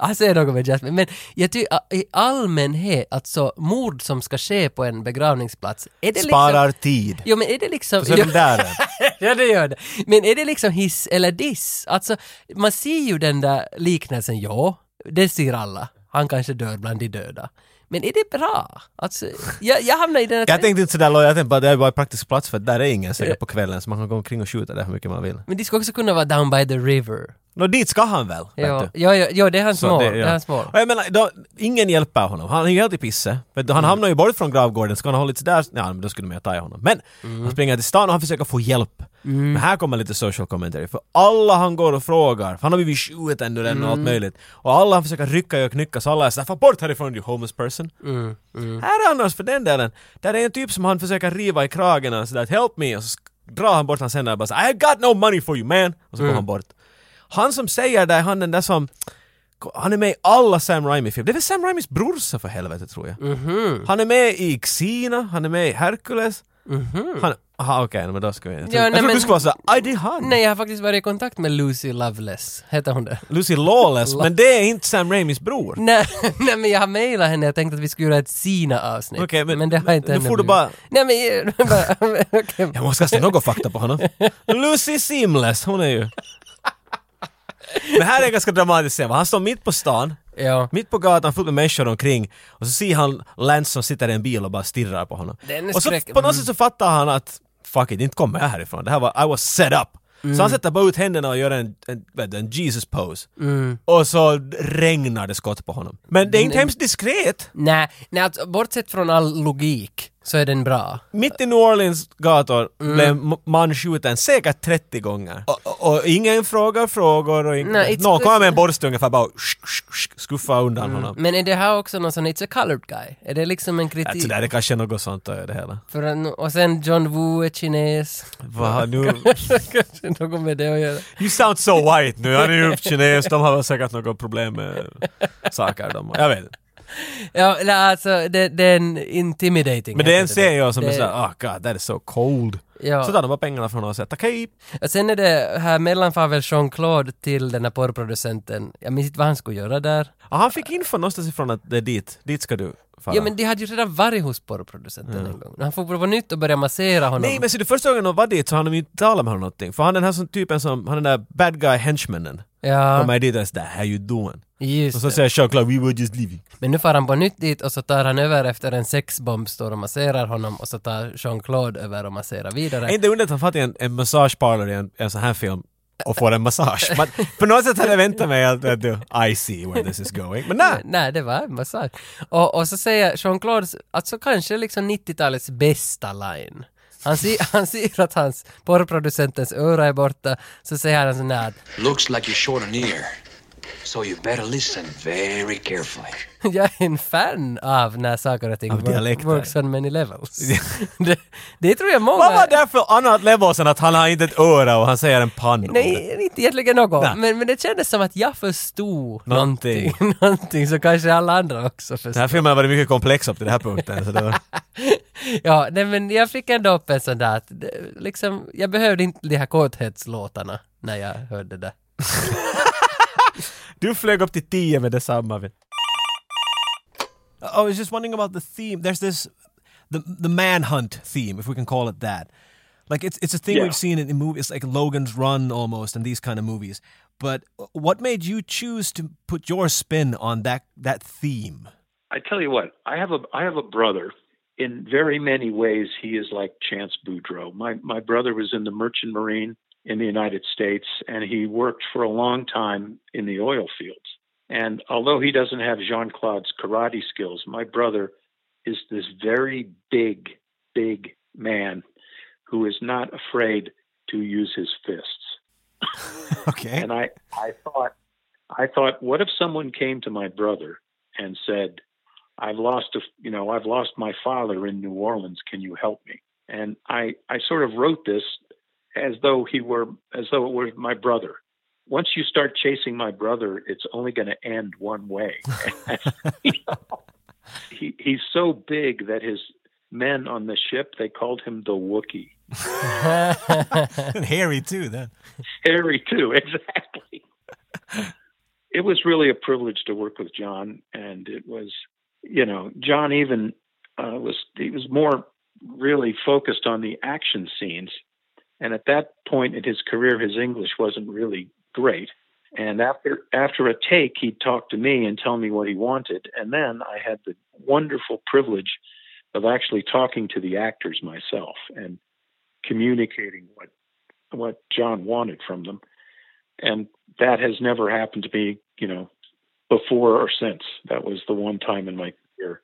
[SPEAKER 1] Ah, Han säger något med Jasmine. Men jag tycker a- i allmänhet, alltså mord som ska ske på en begravningsplats, är det
[SPEAKER 2] Sparar
[SPEAKER 1] liksom...
[SPEAKER 2] tid.
[SPEAKER 1] Jo men är det liksom...
[SPEAKER 2] Så är de där.
[SPEAKER 1] ja det gör det. Men är det liksom hiss eller diss? Alltså, man ser ju den där liknelsen, ja, det ser alla. Han kanske dör bland de döda. Men är det bra? Alltså, jag, jag hamnar i den här...
[SPEAKER 2] Jag tänkte inte sådär lojal, jag tänkte bara det är bara en praktisk plats för där är ingen säkert på kvällen så man kan gå omkring och skjuta där hur mycket man vill.
[SPEAKER 1] Men det skulle också kunna vara down by the river.
[SPEAKER 2] Nå dit ska han väl? vet
[SPEAKER 1] Ja,
[SPEAKER 2] du.
[SPEAKER 1] ja, ja, ja, det är hans
[SPEAKER 2] Så
[SPEAKER 1] mål.
[SPEAKER 2] det-
[SPEAKER 1] Det,
[SPEAKER 2] ja.
[SPEAKER 1] är hans mål.
[SPEAKER 2] Och jag menar, då, ingen hjälper honom. Han är ju helt i pisse. Vet
[SPEAKER 1] Mm.
[SPEAKER 2] du, Han hamnar ju bort från gravgården, ska han ha hållits där, ja men då skulle de ju ta i honom. Men
[SPEAKER 1] Mm.
[SPEAKER 2] han springer till stan och han försöker få hjälp. Men här kommer lite social commentary, för alla han går och frågar, för han har blivit skjuten nu den och
[SPEAKER 1] Mm.
[SPEAKER 2] allt möjligt. Och alla han försöker rycka i och knycka, så alla är såhär ”Få bort härifrån du homeless person”.
[SPEAKER 1] Mm,
[SPEAKER 2] Här är annars för den delen, där är en typ som han försöker riva i kragen och sådär ”Help me” och så sk- drar han bort hans händer och bara så, ”I got no money for you man” och
[SPEAKER 1] Mm.
[SPEAKER 2] så går han bort. Han som säger det, han den där som han är med i alla Sam Raimi-filmer. Det är väl
[SPEAKER 1] Mhm.
[SPEAKER 2] Sam Raimis brorsa för helvete tror jag. Han är med i Xena, han är med i Hercules, Han, aha, okej, men då ska vi... Jag trodde,
[SPEAKER 1] Mhm. Ja,
[SPEAKER 2] jag
[SPEAKER 1] nej,
[SPEAKER 2] trodde
[SPEAKER 1] men-
[SPEAKER 2] du skulle vara såhär, aj det är han!
[SPEAKER 1] Nej, jag har faktiskt varit i kontakt med Lucy Loveless, heter hon det?
[SPEAKER 2] Lucy Lawless, men det är inte Sam Raimis bror.
[SPEAKER 1] Nej, nej men jag har mejlat henne och tänkt att vi skulle göra ett Sina-avsnitt.
[SPEAKER 2] Okej, men-
[SPEAKER 1] det har inte
[SPEAKER 2] nu
[SPEAKER 1] ännu
[SPEAKER 2] får du
[SPEAKER 1] blivit.
[SPEAKER 2] bara-
[SPEAKER 1] Nej men... bara- okej.
[SPEAKER 2] Jag måste kasta någon fakta på honom. Lucy Seamless, hon är ju... Det här är en ganska dramatisk scen. va? Han står mitt på stan,
[SPEAKER 1] Ja.
[SPEAKER 2] mitt på gatan, fullt med människor omkring och så ser han Lance som sitter i en bil och bara stirrar på honom.
[SPEAKER 1] Den är
[SPEAKER 2] och så
[SPEAKER 1] skräck-
[SPEAKER 2] på något sätt så fattar han att fuck it, inte kommer jag härifrån. Det här var, I was set up.
[SPEAKER 1] Mm.
[SPEAKER 2] Så han sätter bara ut händerna och gör en, en, vet du, en Jesus pose.
[SPEAKER 1] Mm.
[SPEAKER 2] Och så regnar det skott på honom. Men det är inte hemskt diskret.
[SPEAKER 1] Nej, nej alltså, bortsett från all logik så är den bra.
[SPEAKER 2] Mitt i New Orleans gator
[SPEAKER 1] Mm.
[SPEAKER 2] blev m- man skjuten säkert 30 gånger. Och, och, och ingen frågar frågor och ingen,
[SPEAKER 1] Nej, it's-
[SPEAKER 2] någon kommer med en borste ungefär bara och sk- sk- sk- skuffa undan honom.
[SPEAKER 1] Men är Mm. det här också någon sån “It's a colored guy”? Är det liksom en kritik?
[SPEAKER 2] Alltså det är kanske något sånt är det hela.
[SPEAKER 1] För en, och sen John Woo är kines.
[SPEAKER 2] Va, nu,
[SPEAKER 1] Kanske något med det att göra.
[SPEAKER 2] you sound so white nu, han är ju kines, de har väl säkert något problem med saker. De, jag vet inte.
[SPEAKER 1] Ja, nej, alltså det, det är en intimidating.
[SPEAKER 2] Men det är en
[SPEAKER 1] heter det.
[SPEAKER 2] scen jag som är
[SPEAKER 1] Det-
[SPEAKER 2] såhär, oh god that is so cold.
[SPEAKER 1] Ja.
[SPEAKER 2] Så tar de bara pengarna från oss och säger, okej,
[SPEAKER 1] Och sen är det här mellanfavel Jean-Claude till den här porrproducenten. Jag minns inte vad han skulle göra där.
[SPEAKER 2] Ah, han fick info någonstans ifrån att det är dit, dit ska du fara.
[SPEAKER 1] Ja men de hade ju redan varit hos porrproducenten en gång. Han får prova nytt och börja massera honom.
[SPEAKER 2] Mm. Nej men ser du första gången de var dit så hann de ju inte tala med honom någonting. För han den här som typen som, han den där bad guy henchmannen.
[SPEAKER 1] Ja,
[SPEAKER 2] Kommer dit och sådär, how you doing? Och
[SPEAKER 1] just
[SPEAKER 2] så
[SPEAKER 1] det.
[SPEAKER 2] säger Jean-Claude, we were just leaving.
[SPEAKER 1] Men nu far han på nytt dit och så tar han över efter en sexbomb, står och masserar honom och så tar Jean-Claude över och masserar vidare.
[SPEAKER 2] Är inte undrat att han fattar en, en massageparlor i en, en sån här film och får en massage. Man, på något sätt hade jag väntat mig att, att du, I see where this is going. Men nej!
[SPEAKER 1] Nej, det var en massage. Och, och så säger Jean-Claude, alltså kanske liksom 90-talets bästa line. Han ser, han ser att hans porrproducentens öra är borta, så säger han sån här
[SPEAKER 8] Looks like you're short an ear. So you better listen very carefully.
[SPEAKER 1] jag är en fan av när saker och ting
[SPEAKER 2] Av dialekter.
[SPEAKER 1] works on many levels. det, det tror jag många...
[SPEAKER 2] Vad var det för annat level sen att han har inte ett öra och han säger en panna?
[SPEAKER 1] Nej, inte egentligen något.
[SPEAKER 2] Nej.
[SPEAKER 1] Men, men det kändes som att jag förstod
[SPEAKER 2] Någonting.
[SPEAKER 1] någonting. någonting så kanske alla andra också
[SPEAKER 2] Den här
[SPEAKER 1] förstod.
[SPEAKER 2] filmen har varit mycket komplex upp till den här punkten. Så det var...
[SPEAKER 1] Ja, nej, men jag fick ändå upp en sån där att det, liksom, jag behövde inte de här korthetslåtarna när jag hörde det.
[SPEAKER 2] Du flög upp till 10 med detsamma. vet. Oh, I was just wondering about the theme. There's this the the manhunt theme, if we can call it that. Like it's it's a thing
[SPEAKER 3] Yeah.
[SPEAKER 2] we've seen in, in movies like Logan's Run almost and these kind of movies. But uh, what made you choose to put your spin on that that theme?
[SPEAKER 3] I tell you what, I have a I have a brother. In very many ways, he is like Chance Boudreau. My my brother was in the Merchant Marine in the United States, and he worked for a long time in the oil fields. And although he doesn't have Jean Claude's karate skills, my brother is this very big, big man who is not afraid to use his fists.
[SPEAKER 2] Okay.
[SPEAKER 3] And I, I thought, I thought, what if someone came to my brother and said, "I've lost a, you know, I've lost my father in New Orleans. Can you help me?" And I, I sort of wrote this as though he were, as though it were my brother. Once you start chasing my brother, it's only going to end one way. he, he's so big that his men on the ship they called him the Wookiee.
[SPEAKER 2] and Harry too then.
[SPEAKER 3] Harry too, exactly. it was really a privilege to work with John, and it was, you know, John even uh, was he was more really focused on the action scenes, and at that point in his career, his English wasn't really great. And after after a take, he'd talk to me and tell me what he wanted, and then I had the wonderful privilege of actually talking to the actors myself and communicating what what John wanted from them. And that has never happened to me, you know, before or since. That was the one time in my career.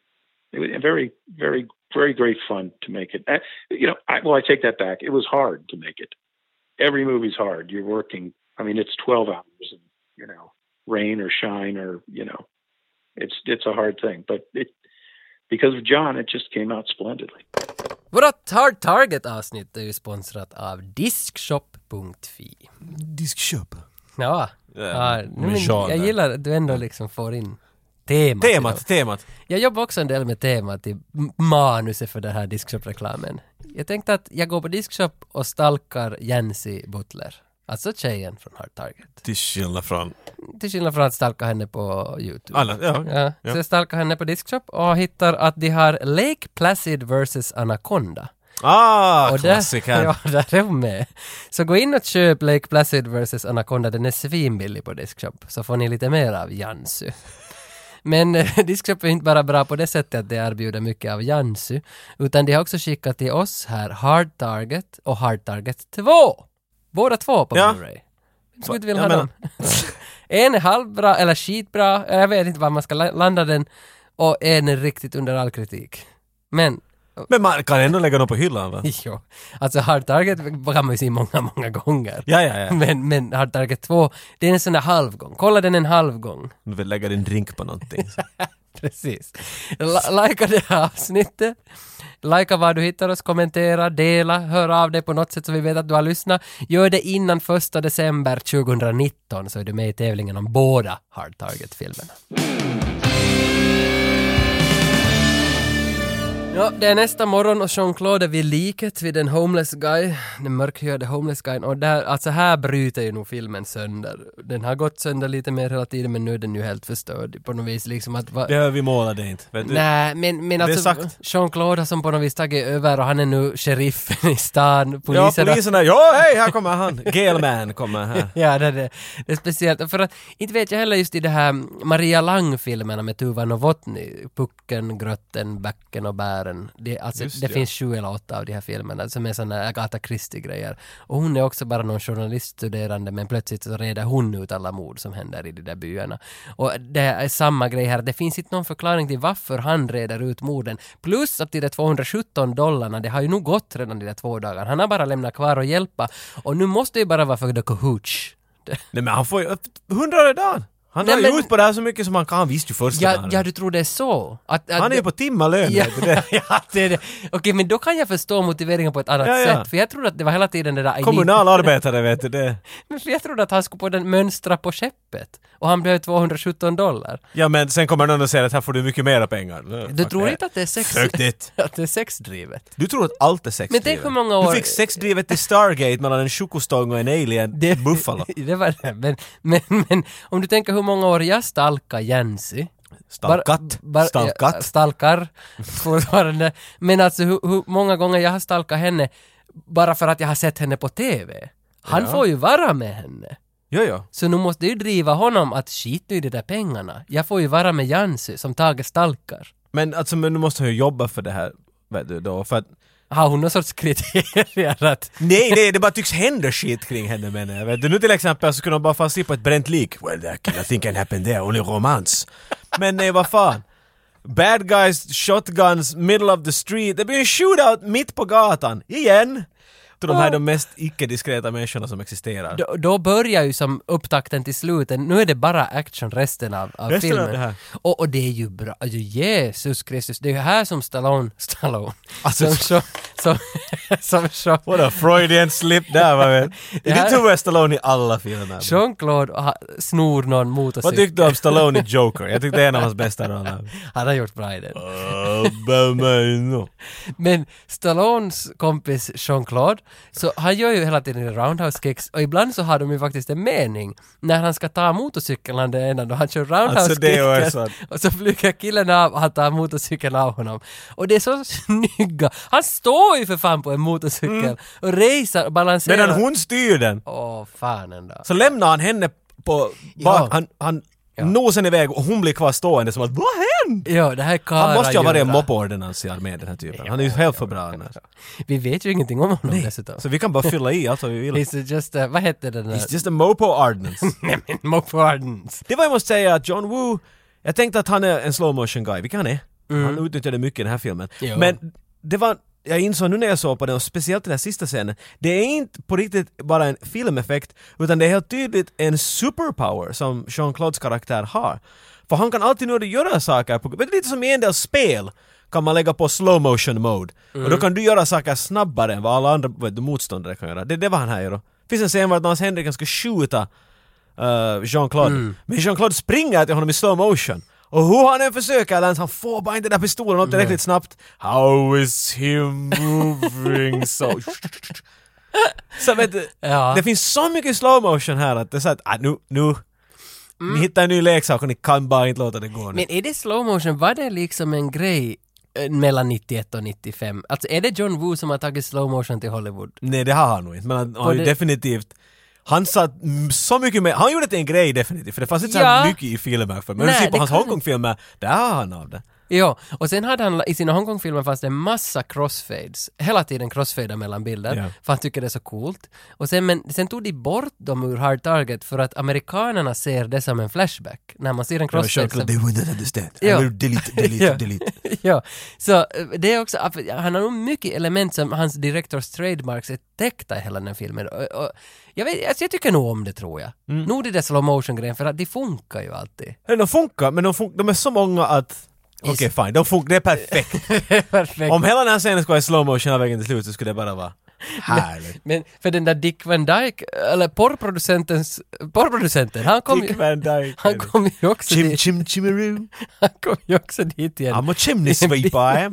[SPEAKER 3] It was very, very, very great fun to make it. Uh, You know, I, well, I take that back. It was hard to make it. Every movie's hard. You're working. I mean, it's 12 hours, and, you know, rain or shine or, you know, it's, it's a hard thing, but it, because of John, it just came out splendidly.
[SPEAKER 1] Vårat Hard Target-avsnitt är ju sponsrat av Diskshop.fi.
[SPEAKER 2] Diskköp.
[SPEAKER 1] Ja, ja
[SPEAKER 2] min
[SPEAKER 1] men
[SPEAKER 2] genre.
[SPEAKER 1] jag gillar att du ändå liksom får in temat. i dem.
[SPEAKER 2] Temat, temat.
[SPEAKER 1] Jag jobbar också en del med temat i m- manuset för den här Diskshop-reklamen. Jag tänkte att jag går på diskshop och stalkar Jancy Butler. Alltså tjejen från Hard Target.
[SPEAKER 2] Till skillnad från...
[SPEAKER 1] Till skillnad från att stalka henne på YouTube.
[SPEAKER 2] Alla, ja.
[SPEAKER 1] Ja,
[SPEAKER 2] Ja.
[SPEAKER 1] Så jag stalkar henne på diskshop och hittar att de har Lake Placid vs Anaconda.
[SPEAKER 2] Ah,
[SPEAKER 1] Och där,
[SPEAKER 2] klassiker!
[SPEAKER 1] ja, där är hon med. Så gå in och köp Lake Placid vs Anaconda, den är svinbillig på Diskshop, så får ni lite mer av Jansu. Men eh, Diskshop är inte bara bra på det sättet att de erbjuder mycket av Jansu, utan de har också skickat till oss här Hard Target och Hard Target 2. Båda två på
[SPEAKER 2] Ja.
[SPEAKER 1] Blu-ray. Vem skulle inte vilja
[SPEAKER 2] Jag
[SPEAKER 1] ha dem? en är halvbra eller skitbra, jag vet inte var man ska la- landa den, och en är riktigt under all kritik. Men
[SPEAKER 2] Men man kan ändå lägga dem på hyllan va?
[SPEAKER 1] Jo, alltså Hard Target kan man ju se många, många gånger.
[SPEAKER 2] Ja, ja, ja.
[SPEAKER 1] Men, men Hard Target 2, det är en sån där halvgång. Kolla den en halvgång.
[SPEAKER 2] Du vill lägga din drink på någonting. så.
[SPEAKER 1] Precis. La- Lika det här avsnittet. Lika var du hittar oss, kommentera, dela, hör av dig på något sätt så vi vet att du har lyssnat. Gör det innan 1 december 2019 så är du med i tävlingen om båda Hard Target-filmerna. Ja, det är nästa morgon och Jean-Claude är vid liket vid den homeless guy, den mörkhyade homeless guyn och där, alltså här bryter ju nog filmen sönder. Den har gått sönder lite mer hela tiden men nu är den ju helt förstörd på något vis liksom att... Va,
[SPEAKER 2] Behöver vi måla det inte? Vet du?
[SPEAKER 1] Nej, men, men
[SPEAKER 2] Det är
[SPEAKER 1] alltså
[SPEAKER 2] sagt.
[SPEAKER 1] Jean-Claude har som på något vis tagit över och han är nu sheriffen i stan,
[SPEAKER 2] Ja,
[SPEAKER 1] poliserna...
[SPEAKER 2] poliserna. Ja, hej, här kommer han. Gelman kommer här.
[SPEAKER 1] Ja, det, det, det är speciellt. För att, inte vet jag heller just i det här Maria Lang-filmerna med Tuva Novotny, Pucken, Grötten, Bäcken och Bären. Det, alltså,
[SPEAKER 2] Just
[SPEAKER 1] det
[SPEAKER 2] ja.
[SPEAKER 1] finns sju eller åtta av de här filmerna som är sådana Agatha Christie-grejer. Och hon är också bara någon journaliststuderande men plötsligt så reder hon ut alla mord som händer i de där byarna. Och det är samma grej här, det finns inte någon förklaring till varför han reder ut morden. Plus att de där 217 dollarna, det har ju nog gått redan de där två dagarna. Han har bara lämnat kvar och hjälpa. Och nu måste det ju bara vara för the cahoots.
[SPEAKER 2] Nej men han får ju hundrade dagen! Han
[SPEAKER 1] Nej,
[SPEAKER 2] har
[SPEAKER 1] men-
[SPEAKER 2] ju ut på det här så mycket som han kan, han visste ju första
[SPEAKER 1] Ja,
[SPEAKER 2] dagen.
[SPEAKER 1] ja, du tror det är så? Att, att
[SPEAKER 2] han är ju på timmarlön
[SPEAKER 1] Ja,
[SPEAKER 2] vet du det.
[SPEAKER 1] ja, det är det. Okej, men då kan jag förstå motiveringen på ett annat
[SPEAKER 2] Ja, ja.
[SPEAKER 1] sätt. För jag trodde att det var hela tiden det där... I need-
[SPEAKER 2] Kommunalarbetare vet du det.
[SPEAKER 1] Men för jag trodde att han skulle på den mönstra på skeppet. Och han blev 217 dollar.
[SPEAKER 2] Ja men sen kommer någon och säger att här får du mycket mera pengar.
[SPEAKER 1] Du tror inte att det är sex...
[SPEAKER 2] Fuck it.
[SPEAKER 1] att det är sexdrivet?
[SPEAKER 2] Du tror att allt är sexdrivet.
[SPEAKER 1] Men tänk hur många år-
[SPEAKER 2] Du fick sexdrivet till Stargate mellan en chokostång och en alien
[SPEAKER 1] Det-
[SPEAKER 2] Buffalo.
[SPEAKER 1] det var det. Men, men, men om du tänker hur många år jag stalkar Jensi.
[SPEAKER 2] Stalkat.
[SPEAKER 1] Bara- bara- ja,
[SPEAKER 2] Stalkat.
[SPEAKER 1] Stalkar. Fortfarande. Men alltså hur, hur många gånger jag har stalkat henne bara för att jag har sett henne på TV. Han får ju vara med henne.
[SPEAKER 2] Jo, jo.
[SPEAKER 1] Så nu måste jag ju driva honom att skit nu i de där pengarna. Jag får ju vara med Jansi som Tage stalkar.
[SPEAKER 2] Men alltså men nu måste han ju jobba för det här. Vet du då, för att...
[SPEAKER 1] Har hon någon sorts kriterier att...
[SPEAKER 2] Nej, det, det bara tycks hända shit kring henne menar jag. Vet du, nu till exempel så kunde hon bara fan se på ett bränt lik. Well, that can, I think can happen there, only romance. Men nej, vad fan. Bad guys, shotguns, middle of the street. Det blir en shootout mitt på gatan. Igen! Så de här är de mest icke-diskreta människorna som existerar.
[SPEAKER 1] Då, då börjar ju som upptakten till slutet. Nu är det bara action resten av, av
[SPEAKER 2] Resten av
[SPEAKER 1] filmen.
[SPEAKER 2] det här.
[SPEAKER 1] Och, och det är ju bra. Alltså Jesus Kristus, det är ju här som Stallone... Stallone.
[SPEAKER 2] Alltså-
[SPEAKER 1] som, som, som, som,
[SPEAKER 2] What a Freudian slip där va vet.
[SPEAKER 1] Det här-
[SPEAKER 2] Det tog jag Stallone i alla filmer.
[SPEAKER 1] Jean-Claude ha- snor någon
[SPEAKER 2] Vad
[SPEAKER 1] motorcykel.
[SPEAKER 2] tyckte du om Stallone i Joker? Jag tyckte det är en av hans bästa roller.
[SPEAKER 1] Han har gjort bra i den.
[SPEAKER 2] Bamino.
[SPEAKER 1] Men Stallones kompis Jean-Claude, så han gör ju hela tiden roundhouse kicks och ibland så har de ju faktiskt en mening. När han ska ta motorcykeln han den ena då han kör roundhouse
[SPEAKER 2] Alltså, det är ju så
[SPEAKER 1] kicken
[SPEAKER 2] att-
[SPEAKER 1] och så flyger killen av och han tar motorcykeln av honom. Och det är så snygga. Han står ju för fan på en motorcykel och racear och balanserar.
[SPEAKER 2] Mm. Medan hon styr den.
[SPEAKER 1] Åh, fan ändå.
[SPEAKER 2] Så lämnar han henne på bak,
[SPEAKER 1] Ja.
[SPEAKER 2] han, han nosar henne iväg och hon blir kvar stående som att vad hände?
[SPEAKER 1] Ja, det här är
[SPEAKER 2] Han måste ju ha varit en
[SPEAKER 1] Kara-Jura.
[SPEAKER 2] moppeordinans i armén den här typen. Han är ju helt för bra annars.
[SPEAKER 1] Vi vet ju ingenting om honom dessutom.
[SPEAKER 2] Så vi kan bara fylla i allt vad vi vill.
[SPEAKER 1] He's just, uh, vad hette den där?
[SPEAKER 2] It's just a mopo ordinance.
[SPEAKER 1] Nej men, Mopo Ardens.
[SPEAKER 2] det var jag måste säga att John Woo, jag tänkte att han är en slow motion guy, vilket han är. Han utnyttjade mycket i den här filmen.
[SPEAKER 1] Ja.
[SPEAKER 2] Men det var jag insåg nu när jag såg på den, och speciellt den här sista scenen, det är inte på riktigt bara en filmeffekt, utan det är helt tydligt en superpower som Jean-Claudes karaktär har. För han kan alltid nu göra saker, på, vet du, lite som i en del spel kan man lägga på slow motion mode. Och då kan du göra saker snabbare än vad alla andra vet, du, motståndare kan göra. Det är det vad han här gör. då. Det finns en scen var att Lance
[SPEAKER 1] Mm.
[SPEAKER 2] Henriksen ska skjuta eh, Jean-Claude. Men Jean-Claude springer till honom i slow motion. Och hur han än försöker, Lance, han får bara inte den där pistolen upp tillräckligt snabbt. How is he moving so... så vet du,
[SPEAKER 1] Ja.
[SPEAKER 2] det finns så mycket slow motion här att det är så att, ah, nu, nu, ni hittar en ny leksak och ni kan bara inte låta det gå nu.
[SPEAKER 1] Mm. Men är det slow motion, var det liksom en grej eh, mellan 91 och 95? Alltså är det John Woo som har tagit slow motion till Hollywood?
[SPEAKER 2] Nej, det har han nog inte, men han har ju
[SPEAKER 1] det-
[SPEAKER 2] definitivt han satt mm, så mycket med, han gjorde det till en grej definitivt, för det fanns inte så här
[SPEAKER 1] Ja.
[SPEAKER 2] mycket i filmer för Men
[SPEAKER 1] Nej,
[SPEAKER 2] om du ser på
[SPEAKER 1] det
[SPEAKER 2] hans
[SPEAKER 1] kan-
[SPEAKER 2] Hongkong-filmer, där har han av det.
[SPEAKER 1] Ja, och sen hade han, i sina Hongkong-filmer fanns det en massa crossfades, hela tiden crossfadar mellan bilder,
[SPEAKER 2] Ja.
[SPEAKER 1] för han tycker det är så coolt. Och sen, men, sen tog de bort dem ur Hard Target för att amerikanerna ser det som en flashback. När man ser en
[SPEAKER 2] Jag
[SPEAKER 1] crossfade
[SPEAKER 2] sure,
[SPEAKER 1] som...
[SPEAKER 2] they would not understand.
[SPEAKER 1] Ja.
[SPEAKER 2] I will delete, delete,
[SPEAKER 1] Ja.
[SPEAKER 2] delete.
[SPEAKER 1] ja, så eh, det är också, han har nog mycket element som hans directors trademarks är täckta i hela den här filmen. Och, och, jag, vet, alltså jag tycker nog om det tror jag.
[SPEAKER 2] Mm.
[SPEAKER 1] Nog det där slow motion grejen för att det funkar ju alltid.
[SPEAKER 2] Nej, De funkar, men de, funkar, de är så många att... Okej, fine. De funkar, det är perfekt.
[SPEAKER 1] Perfekt.
[SPEAKER 2] Om hela den här scenen skulle vara i slow motion hela vägen till slut så skulle det bara vara härligt.
[SPEAKER 1] Men för den där Dick Van Dyke, eller porrproducentens, porrproducenten, han kom
[SPEAKER 2] Dick
[SPEAKER 1] ju...
[SPEAKER 2] Van Dyke.
[SPEAKER 1] Han kom ju också
[SPEAKER 2] Chim
[SPEAKER 1] dit,
[SPEAKER 2] chim chimiroo.
[SPEAKER 1] han kom ju också dit igen.
[SPEAKER 2] I'm a chimney sweep I am.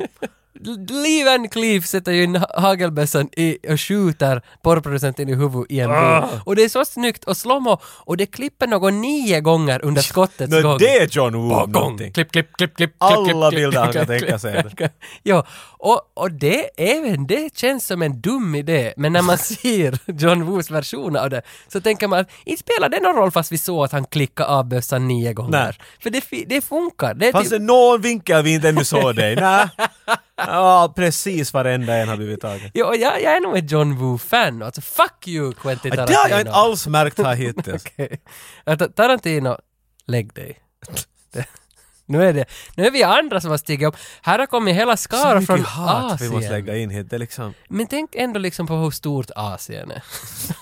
[SPEAKER 1] Lee Van Cleef sätter ju in ha- hagelbössan i och skjuter porrproducenten i huvudet i en
[SPEAKER 2] Ah.
[SPEAKER 1] bil. Och det är så snyggt och slåmo och det klipper någon nio gånger under skottets
[SPEAKER 2] Nå,
[SPEAKER 1] gång.
[SPEAKER 2] det är John Woo
[SPEAKER 1] Gång.
[SPEAKER 2] om någonting.
[SPEAKER 1] Klipp, klipp, klipp, klipp, klipp,
[SPEAKER 2] Alla
[SPEAKER 1] klipp, klipp,
[SPEAKER 2] bilder han kan
[SPEAKER 1] klipp,
[SPEAKER 2] tänka sig.
[SPEAKER 1] klipp, klipp. Ja, och, och det, även det känns som en dum idé, men när man ser John Woos version av det så tänker man att inte spelar det någon roll fast vi såg att han klickade av bössan nio gånger.
[SPEAKER 2] Nej.
[SPEAKER 1] För det, fi- det funkar. Det är
[SPEAKER 2] Fanns
[SPEAKER 1] typ-
[SPEAKER 2] det någon vinkel vi inte ännu såg dig? Nej. Ja, precis varenda en har blivit tagen.
[SPEAKER 1] Ja, och jag, jag är nog ett John Woo-fan. Alltså, fuck you Quentin
[SPEAKER 2] Ja,
[SPEAKER 1] Tarantino.
[SPEAKER 2] Det har jag inte alls märkt här hittills.
[SPEAKER 1] Okej. Vänta, Tarantino, lägg dig. Det- Nu är, det, nu är vi andra som har stigit upp. Här har kommit hela
[SPEAKER 2] Så
[SPEAKER 1] skara
[SPEAKER 2] mycket
[SPEAKER 1] från
[SPEAKER 2] hat vi måste
[SPEAKER 1] Asien.
[SPEAKER 2] lägga in hit. Det är liksom...
[SPEAKER 1] Men tänk ändå liksom på hur stort Asien är.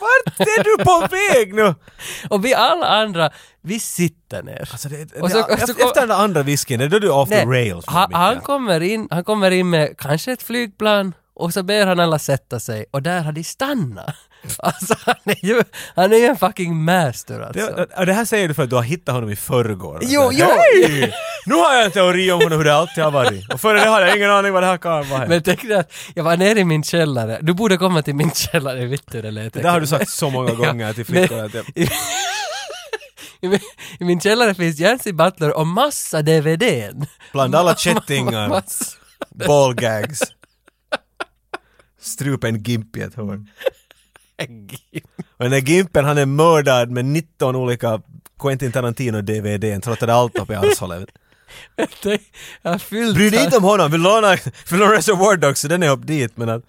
[SPEAKER 2] Vart är du på väg nu?
[SPEAKER 1] Och vi alla andra, vi sitter ner.
[SPEAKER 2] Alltså det,
[SPEAKER 1] Och så-
[SPEAKER 2] det,
[SPEAKER 1] och så-
[SPEAKER 2] efter den där andra whiskyn, det är då du är off the
[SPEAKER 1] Nej,
[SPEAKER 2] rails.
[SPEAKER 1] han,
[SPEAKER 2] Micke.
[SPEAKER 1] han, kommer in, han kommer in med kanske ett flygplan och så ber han alla sätta sig och där har de stannat. Alltså han är ju, han är ju en fucking master alltså.
[SPEAKER 2] det, och det här säger du för att du har hittat honom i förrgår.
[SPEAKER 1] Jo,
[SPEAKER 2] Så,
[SPEAKER 1] jo.
[SPEAKER 2] Hej! Nu har jag en teori om honom hur det alltid har varit. Och före det hade jag ingen aning vad det här kan vara.
[SPEAKER 1] Men tänk dig att jag var nere i min källare. Du borde komma till min källare, vet du det lät.
[SPEAKER 2] Det där har du sagt så många gånger till flickor att jag...
[SPEAKER 1] I min- I min källare finns Jancy Butler och massa DVDn.
[SPEAKER 2] Bland alla kättingar,
[SPEAKER 1] Massa.
[SPEAKER 2] ballgags, strupen gimp i ett hörn. Och den där gimpen han är mördad med 19 olika Quentin Tarantino-DVDn trots att det är allt uppe i arshålet.
[SPEAKER 1] Jag har fyllt
[SPEAKER 2] Bry dig inte om honom, vill låna, vill låna Reservoir Dogs så den är upp dit men att...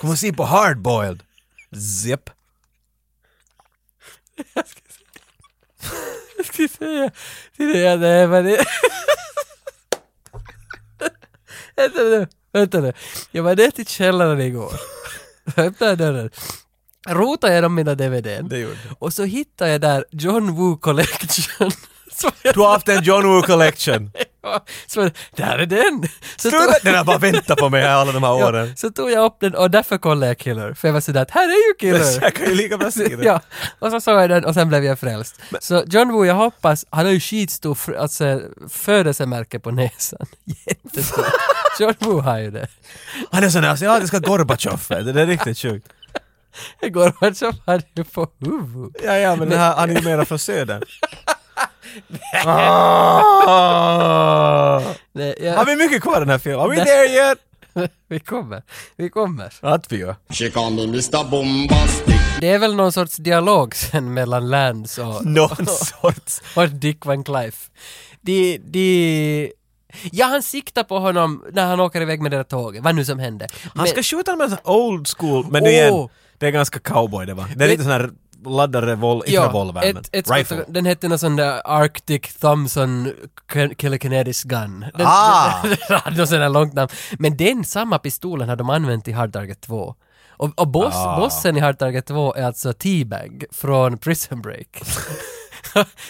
[SPEAKER 2] Kom och se på Hardboiled! Zip.
[SPEAKER 1] Jag ska säga till dig att det är vad det... Vänta nu, vänta nu. Jag var nere till källaren igår. Jag öppnade dörren. Rotade genom mina DVDn.
[SPEAKER 2] Det gjorde du.
[SPEAKER 1] Och så hittade jag där John Woo Collection. Så jag
[SPEAKER 2] Du har haft en John Woo collection.
[SPEAKER 1] Så där är den! Så
[SPEAKER 2] Struta- Den har bara väntat på mig här alla de här
[SPEAKER 1] ja,
[SPEAKER 2] åren.
[SPEAKER 1] så tog jag upp den och därför kollade jag Killer. För jag var sådär att här är ju Killer!
[SPEAKER 2] Jag kan ju lika bra se
[SPEAKER 1] Alltså,
[SPEAKER 2] det.
[SPEAKER 1] ja, och så såg jag den och sen blev jag frälst. Så John Woo, jag hoppas, han har ju skitstor fr- alltså, födelsemärke på näsan. Jättestort. John Woo har ju det.
[SPEAKER 2] Han är sån där asiatiska Gorbatjov, det är riktigt sjukt.
[SPEAKER 1] Gorbatjov hade ju på huvudet.
[SPEAKER 2] Ja, ja, men den här, han är ju mera från södern. Ah!
[SPEAKER 1] Nej,
[SPEAKER 2] Har
[SPEAKER 1] jag,
[SPEAKER 2] vi mycket kvar i den här filmen? Are we
[SPEAKER 1] Nej.
[SPEAKER 2] there yet?
[SPEAKER 1] vi kommer. Vi kommer.
[SPEAKER 2] Att vi gör.
[SPEAKER 9] She call me Mr. Bombastic.
[SPEAKER 1] Det är väl någon sorts dialog sen mellan Lance och...
[SPEAKER 2] Någon sorts...
[SPEAKER 1] och Dick Van Clyde. De, de... Ja, han siktar på honom när han åker iväg med det där tåget, vad nu som hände.
[SPEAKER 2] Han ska
[SPEAKER 1] Men-
[SPEAKER 2] skjuta honom med en old school, men
[SPEAKER 1] Åh.
[SPEAKER 2] igen, det är ganska cowboy det va? Det är lite sån här laddad revol, inte revolver, men
[SPEAKER 1] ett, ett skott-
[SPEAKER 2] rifle.
[SPEAKER 1] den hette någon sån där Arctic Thompson K- Killikinetis Gun. Den,
[SPEAKER 2] Ah!
[SPEAKER 1] den, den hade någon sån där långt namn. Men den samma pistolen har de använt i Hard Target 2. Och, och boss,
[SPEAKER 2] Ah.
[SPEAKER 1] bossen i Hard Target 2 är alltså T-Bag från Prison Break.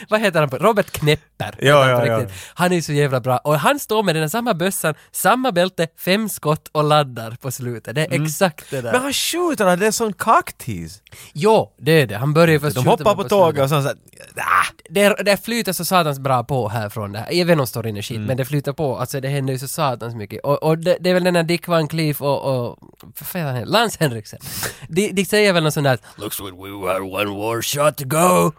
[SPEAKER 1] Vad heter han på? Robert Knepper.
[SPEAKER 2] Ja,
[SPEAKER 1] heter han på
[SPEAKER 2] ja, ja.
[SPEAKER 1] riktigt. Han är ju så jävla bra. Och han står med den här samma bössan, samma bälte, fem skott och laddar på slutet. Det är exakt det där.
[SPEAKER 2] Mm. Men han skjuter, han, det är sån cocktease.
[SPEAKER 1] Jo, det är det. Han börjar först
[SPEAKER 2] De
[SPEAKER 1] skjuta
[SPEAKER 2] hoppar
[SPEAKER 1] med
[SPEAKER 2] på
[SPEAKER 1] pistolen.
[SPEAKER 2] tåget och sen såhär, ah,
[SPEAKER 1] det, det flyter så satans bra på härifrån det här. Även om storyn är skit,
[SPEAKER 2] Mm.
[SPEAKER 1] men det flyter på. Alltså det händer ju så satans mycket. Och, och det, det är väl den där Dick Van Cleef och, och vad fan heter han? Lance Henriksen. De, de säger väl något sånt där “Looks like we have one more shot to go”.